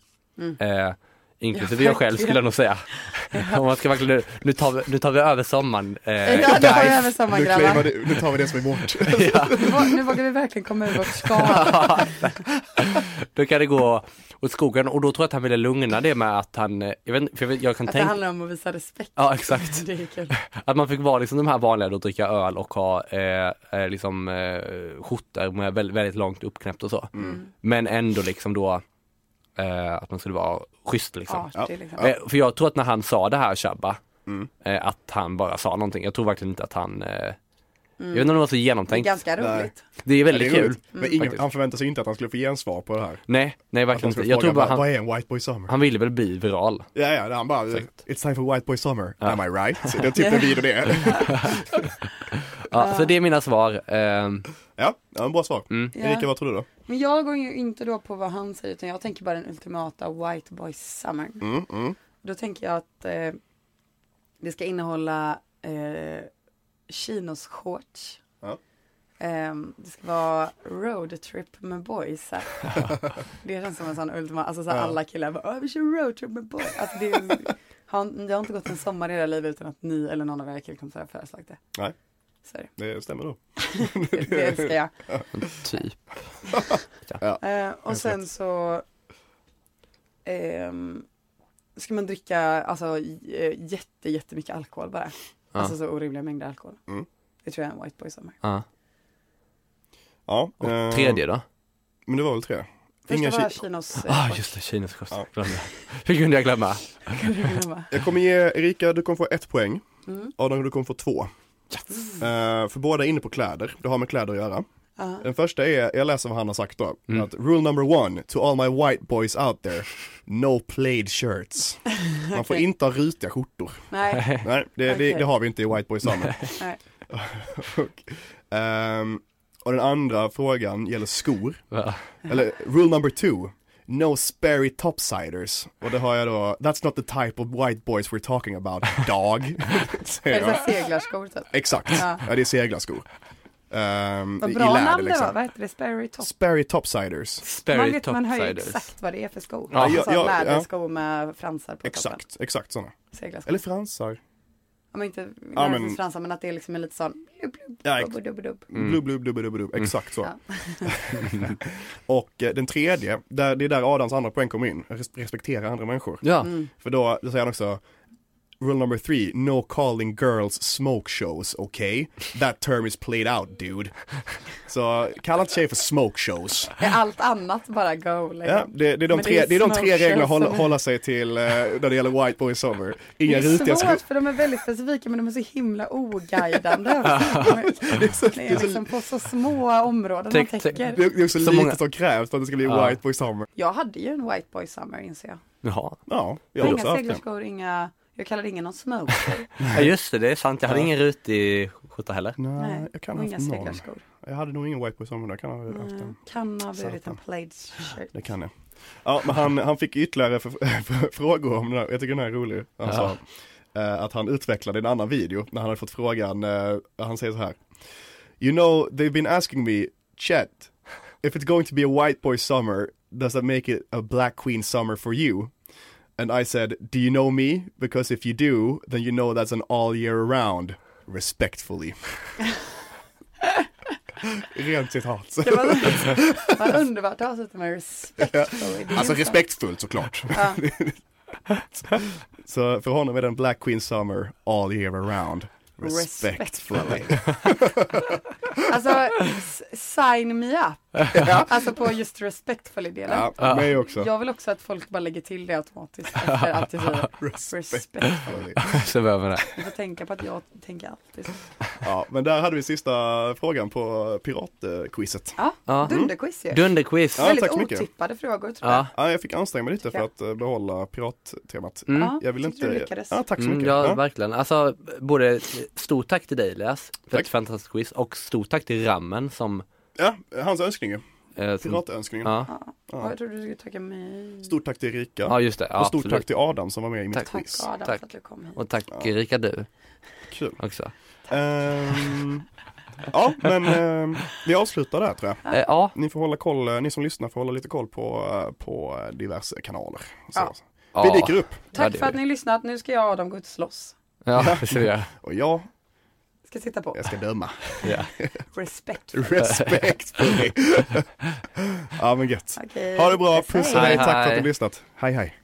Speaker 5: Eh, inklusive
Speaker 4: Mm. Ja,
Speaker 5: jag själv skulle jag nog säga. Om man ska verkligen, nu tar vi, nu tar vi över sommaren. Eh,
Speaker 4: Ja, det var ju
Speaker 5: guys.
Speaker 4: över sommar
Speaker 3: Nu, claimar
Speaker 4: grabbar.
Speaker 3: det, nu tar vi det som är vårt.
Speaker 4: Nu vå- Nu vågar vi verkligen komma ur vårt skal.
Speaker 5: Då kan det gå åt skogen och då tror jag att han ville lugna det med att han, eh, jag vet inte, för jag, vet- jag kan
Speaker 4: Att det
Speaker 5: tänka,
Speaker 4: handlar om att visa respekt.
Speaker 5: ja exakt.
Speaker 4: Det är kul.
Speaker 5: Att man fick vara liksom de här vanliga då, dricka öl och ha eh, eh, liksom eh, skjortor med väldigt, väldigt långt uppknäppt och så. Men ändå liksom då eh, att man skulle vara schysst liksom.
Speaker 4: Artig liksom.
Speaker 5: Eh, för jag tror att när han sa det här Shabba,
Speaker 3: Mm.
Speaker 5: eh, att han bara sa någonting. Jag tror verkligen inte att han, eh, jag vet inte om det var så
Speaker 4: Det är
Speaker 5: genomtänkt.
Speaker 4: ganska roligt.
Speaker 5: Det är väldigt
Speaker 3: Ja, det är
Speaker 5: kul.
Speaker 3: roligt. Men ingen,
Speaker 5: Faktiskt.
Speaker 3: han förväntar sig inte att han skulle få gensvar på det här.
Speaker 5: Nej, nej
Speaker 3: Att han
Speaker 5: verkligen
Speaker 3: skulle
Speaker 5: inte. Jag
Speaker 3: fråga
Speaker 5: tror bara
Speaker 3: vad, vad
Speaker 5: han,
Speaker 3: är en White Boy Summer?
Speaker 5: han ville väl bli viral.
Speaker 3: Ja, ja, han bara,
Speaker 5: Exakt.
Speaker 3: it's time for White Boy Summer, am I right? Det är typ en video det är.
Speaker 5: Ja, så det är mina svar. mm, Eh,
Speaker 3: Ja, ja en bra svar. Erika,
Speaker 4: Ja.
Speaker 3: vad tror du då?
Speaker 4: Men jag går ju inte då på vad han säger utan jag tänker bara den ultimata White Boy Summer.
Speaker 3: Mm, mm.
Speaker 4: Då tänker jag att eh, det ska innehålla eh, chinos-shorts.
Speaker 3: Ja.
Speaker 4: Ehm, det ska vara roadtrip med boys. här. det känns som en sån ultima, alltså så här,
Speaker 3: Ja.
Speaker 4: alla killar bara, "Åh, vi kör roadtrip med boys. Alltså, det, är, har, det har inte gått en sommar i era liv utan att ni eller någon av era killkompisar har föreslagit det.
Speaker 3: Nej.
Speaker 4: Så är det.
Speaker 3: Det stämmer då.
Speaker 4: det, det älskar jag.
Speaker 5: typ.
Speaker 4: Eh, och sen så ehm, ska man dricka alltså j- eh, jätte, jättemycket alkohol bara.
Speaker 5: Ja.
Speaker 4: Alltså så orimliga mängder alkohol.
Speaker 3: Mm.
Speaker 4: Det tror jag är en white boy summer.
Speaker 5: Ja.
Speaker 3: Ja,
Speaker 5: Och
Speaker 3: eh,
Speaker 5: tredje då?
Speaker 3: Men det var väl tre? Inga
Speaker 4: Första var
Speaker 3: ki-
Speaker 4: Kinos eh,
Speaker 5: Ah
Speaker 4: shorts.
Speaker 5: just det, Kinas kost.
Speaker 3: Ja.
Speaker 5: Glömde. Hur kunde jag glömma?
Speaker 3: Jag kommer ge Erika, du kommer få ett poäng.
Speaker 4: Mm.
Speaker 3: Adam, du kommer få två. Eh, för båda är inne på kläder, det har med kläder att göra.
Speaker 4: Ja.
Speaker 3: Den första är, jag läser vad han har sagt då, att rule number one, to all my white boys out there, no plaid shirts. Man får inte ha rutiga skjortor.
Speaker 4: Nej,
Speaker 3: Nej, det,
Speaker 4: Okej.
Speaker 3: det, det har vi inte i White Boy Summer.
Speaker 4: nej.
Speaker 3: och, ehm, och den andra frågan gäller skor.
Speaker 5: Va?
Speaker 3: Eller rule number two. No sperry topsiders. Och det har jag då, that's not the type of white boys we're talking about, dog.
Speaker 4: Är
Speaker 3: Säger
Speaker 4: det
Speaker 3: jag.
Speaker 4: såhär seglarskor typ?
Speaker 3: Exakt,
Speaker 4: Ja.
Speaker 3: ja. det är seglarskor. Um,
Speaker 4: Vad bra namn det var, vad hette det? Sperry top?
Speaker 3: Sperry topsiders.
Speaker 4: Man,
Speaker 5: Sperry
Speaker 4: vet, man hör ju
Speaker 5: topsiders.
Speaker 4: exakt vad det är för skor.
Speaker 5: Ja,
Speaker 4: alltså
Speaker 3: ja,
Speaker 4: såhär
Speaker 3: ja, ja.
Speaker 4: läderskor med fransar på toppen.
Speaker 3: Exakt, exakt sådana.
Speaker 4: Seglarskor.
Speaker 3: Eller fransar.
Speaker 4: ja, men inte
Speaker 3: Ja,
Speaker 4: ja,
Speaker 3: men-
Speaker 4: fransar men att det är liksom en lite sån blub, blub,
Speaker 3: Ja,
Speaker 4: blub, blub, blub.
Speaker 5: Mm.
Speaker 3: Blub, blub, blub, blub, blub. Exakt så.
Speaker 4: Ja.
Speaker 3: och eh, den tredje,
Speaker 4: Mm.
Speaker 3: där, det är där Adams andra poäng kommer in. Res- Respektera andra människor.
Speaker 5: Ja,
Speaker 3: För då, då säger han också Rule number three, no calling girls smoke shows, okay? That term is played out dude. Så kalla inte tjejer för smoke shows.
Speaker 4: Är allt annat bara go liksom?
Speaker 3: Ja, det, det, är de
Speaker 4: Men
Speaker 3: tre, det är de
Speaker 4: smoke
Speaker 3: tre reglerna att
Speaker 4: shows
Speaker 3: hålla,
Speaker 4: som är-
Speaker 3: hålla sig till eh, när det gäller White Boy Summer.
Speaker 4: Det
Speaker 3: Inga
Speaker 4: är
Speaker 3: rutiga
Speaker 4: svårt för de är väldigt specifika men de är så himla oguidande. det är, så, det är liksom på så små områden
Speaker 5: Tänk-
Speaker 4: man täcker.
Speaker 3: Det är det är också
Speaker 5: Så
Speaker 3: lite
Speaker 5: många-
Speaker 3: som krävs för att det ska bli
Speaker 5: Ja.
Speaker 3: White Boy Summer.
Speaker 4: Jag hade ju en white boy summer inser jag.
Speaker 5: Jaha.
Speaker 3: Ja, jag har
Speaker 4: Inga
Speaker 3: också haft det.
Speaker 4: seglarskor, inga, jag kallade ingen någon smoke.
Speaker 5: Ja just det, det är sant. Jag hade ingen rutig skjorta heller.
Speaker 3: Nej,
Speaker 4: Nej,
Speaker 3: jag kan
Speaker 4: och
Speaker 3: ha
Speaker 4: inga
Speaker 3: haft någon.
Speaker 4: seglarskor. Mm,
Speaker 3: Jag hade nog ingen White Boy Summer, där. jag kan ha haft den.
Speaker 4: Kan ha burit
Speaker 3: Satan.
Speaker 4: en plaid shirt.
Speaker 3: Det kan jag. Ja, men han, han fick ytterligare för, för, frågor om det här. Jag tycker den här är rolig. Han
Speaker 5: Ja.
Speaker 3: sa eh, att han utvecklade en annan video när han hade fått frågan. eh, han säger så här. You know, they've been asking me, Chet, if it's going to be a white boy summer, does that make it a black queen summer for you? And I said, do you know me? Because if you do, then you know that's an all year round, respectfully. Rent citat.
Speaker 4: Det var, var underbart att avsluta med respect.
Speaker 3: Alltså respektfullt såklart.
Speaker 4: Ja.
Speaker 3: Så för honom är den Black Queen Summer all year around. Respectfully.
Speaker 4: Alltså, s- sign me up. Alltså på just respectfully delen.
Speaker 3: Ja, mig också.
Speaker 4: Jag vill också att folk bara lägger till det automatiskt efter allt jag säger. Respect.
Speaker 3: Respectfully.
Speaker 5: Så behöver man det.
Speaker 4: Jag får tänka på att jag tänker alltid så.
Speaker 3: Ja, men där hade vi sista frågan på piratquizet.
Speaker 4: Ja,
Speaker 5: Ja.
Speaker 4: dunderquiz ju.
Speaker 5: Dunderquiz.
Speaker 3: Ja,
Speaker 4: Väldigt
Speaker 3: tack så mycket.
Speaker 4: otippade frågor tror jag.
Speaker 5: Ja.
Speaker 3: Ja, jag fick anstränga mig lite för att eh, behålla pirattemat.
Speaker 5: Mm.
Speaker 4: Ja,
Speaker 3: Jag vill
Speaker 4: tyckte Du
Speaker 3: inte...
Speaker 4: lyckades.
Speaker 3: Ja, tack så
Speaker 5: Mm,
Speaker 3: mycket.
Speaker 5: ja,
Speaker 3: Ja,
Speaker 5: verkligen. Alltså, både stort tack till dig Elias för
Speaker 3: Tack.
Speaker 5: ett fantastiskt quiz och stort tack till Rammen som...
Speaker 3: ja, hans önskning ju.
Speaker 5: Eh, som
Speaker 3: Piratönskningen.
Speaker 5: ja.
Speaker 4: Ja, jag trodde du skulle tacka mig.
Speaker 3: Stort tack till Erika.
Speaker 5: ja, just det. Ja,
Speaker 3: och stort
Speaker 5: absolut.
Speaker 3: tack till Adam som var med i mitt
Speaker 5: Tack.
Speaker 4: Tack
Speaker 3: quiz.
Speaker 4: Adam
Speaker 5: Tack.
Speaker 4: för att du kom hit.
Speaker 5: Och tack Erika du
Speaker 3: Kul.
Speaker 5: också.
Speaker 3: Ehm, ja, men ehm, vi avslutar där tror jag.
Speaker 5: Eh, ja,
Speaker 3: Ni får hålla koll, eh, ni som lyssnar får hålla lite koll på, eh, på eh, diverse kanaler. Så.
Speaker 4: Ja.
Speaker 5: Ja.
Speaker 3: Vi dyker upp.
Speaker 5: Ja,
Speaker 4: Tack
Speaker 5: det
Speaker 4: för
Speaker 5: är
Speaker 4: att ni har lyssnat. Nu ska jag och Adam gå ut och slåss.
Speaker 5: ja, det ska vi göra.
Speaker 3: Och jag,
Speaker 4: Ska titta på.
Speaker 3: jag ska döma.
Speaker 5: Ja.
Speaker 4: Respect.
Speaker 3: Respekt för dig. ja men gött.
Speaker 4: Okej.
Speaker 3: Ha det bra, puss och
Speaker 5: Hej,
Speaker 3: hej, tack för att
Speaker 5: hej.
Speaker 3: ni har lyssnat. Hej hej.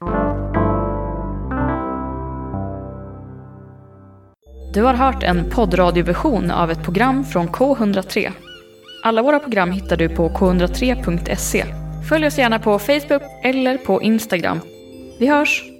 Speaker 1: Du har hört en poddradioversion av ett program från K103. Alla våra program hittar du på k103.se. Följ oss gärna på Facebook eller på Instagram. Vi hörs!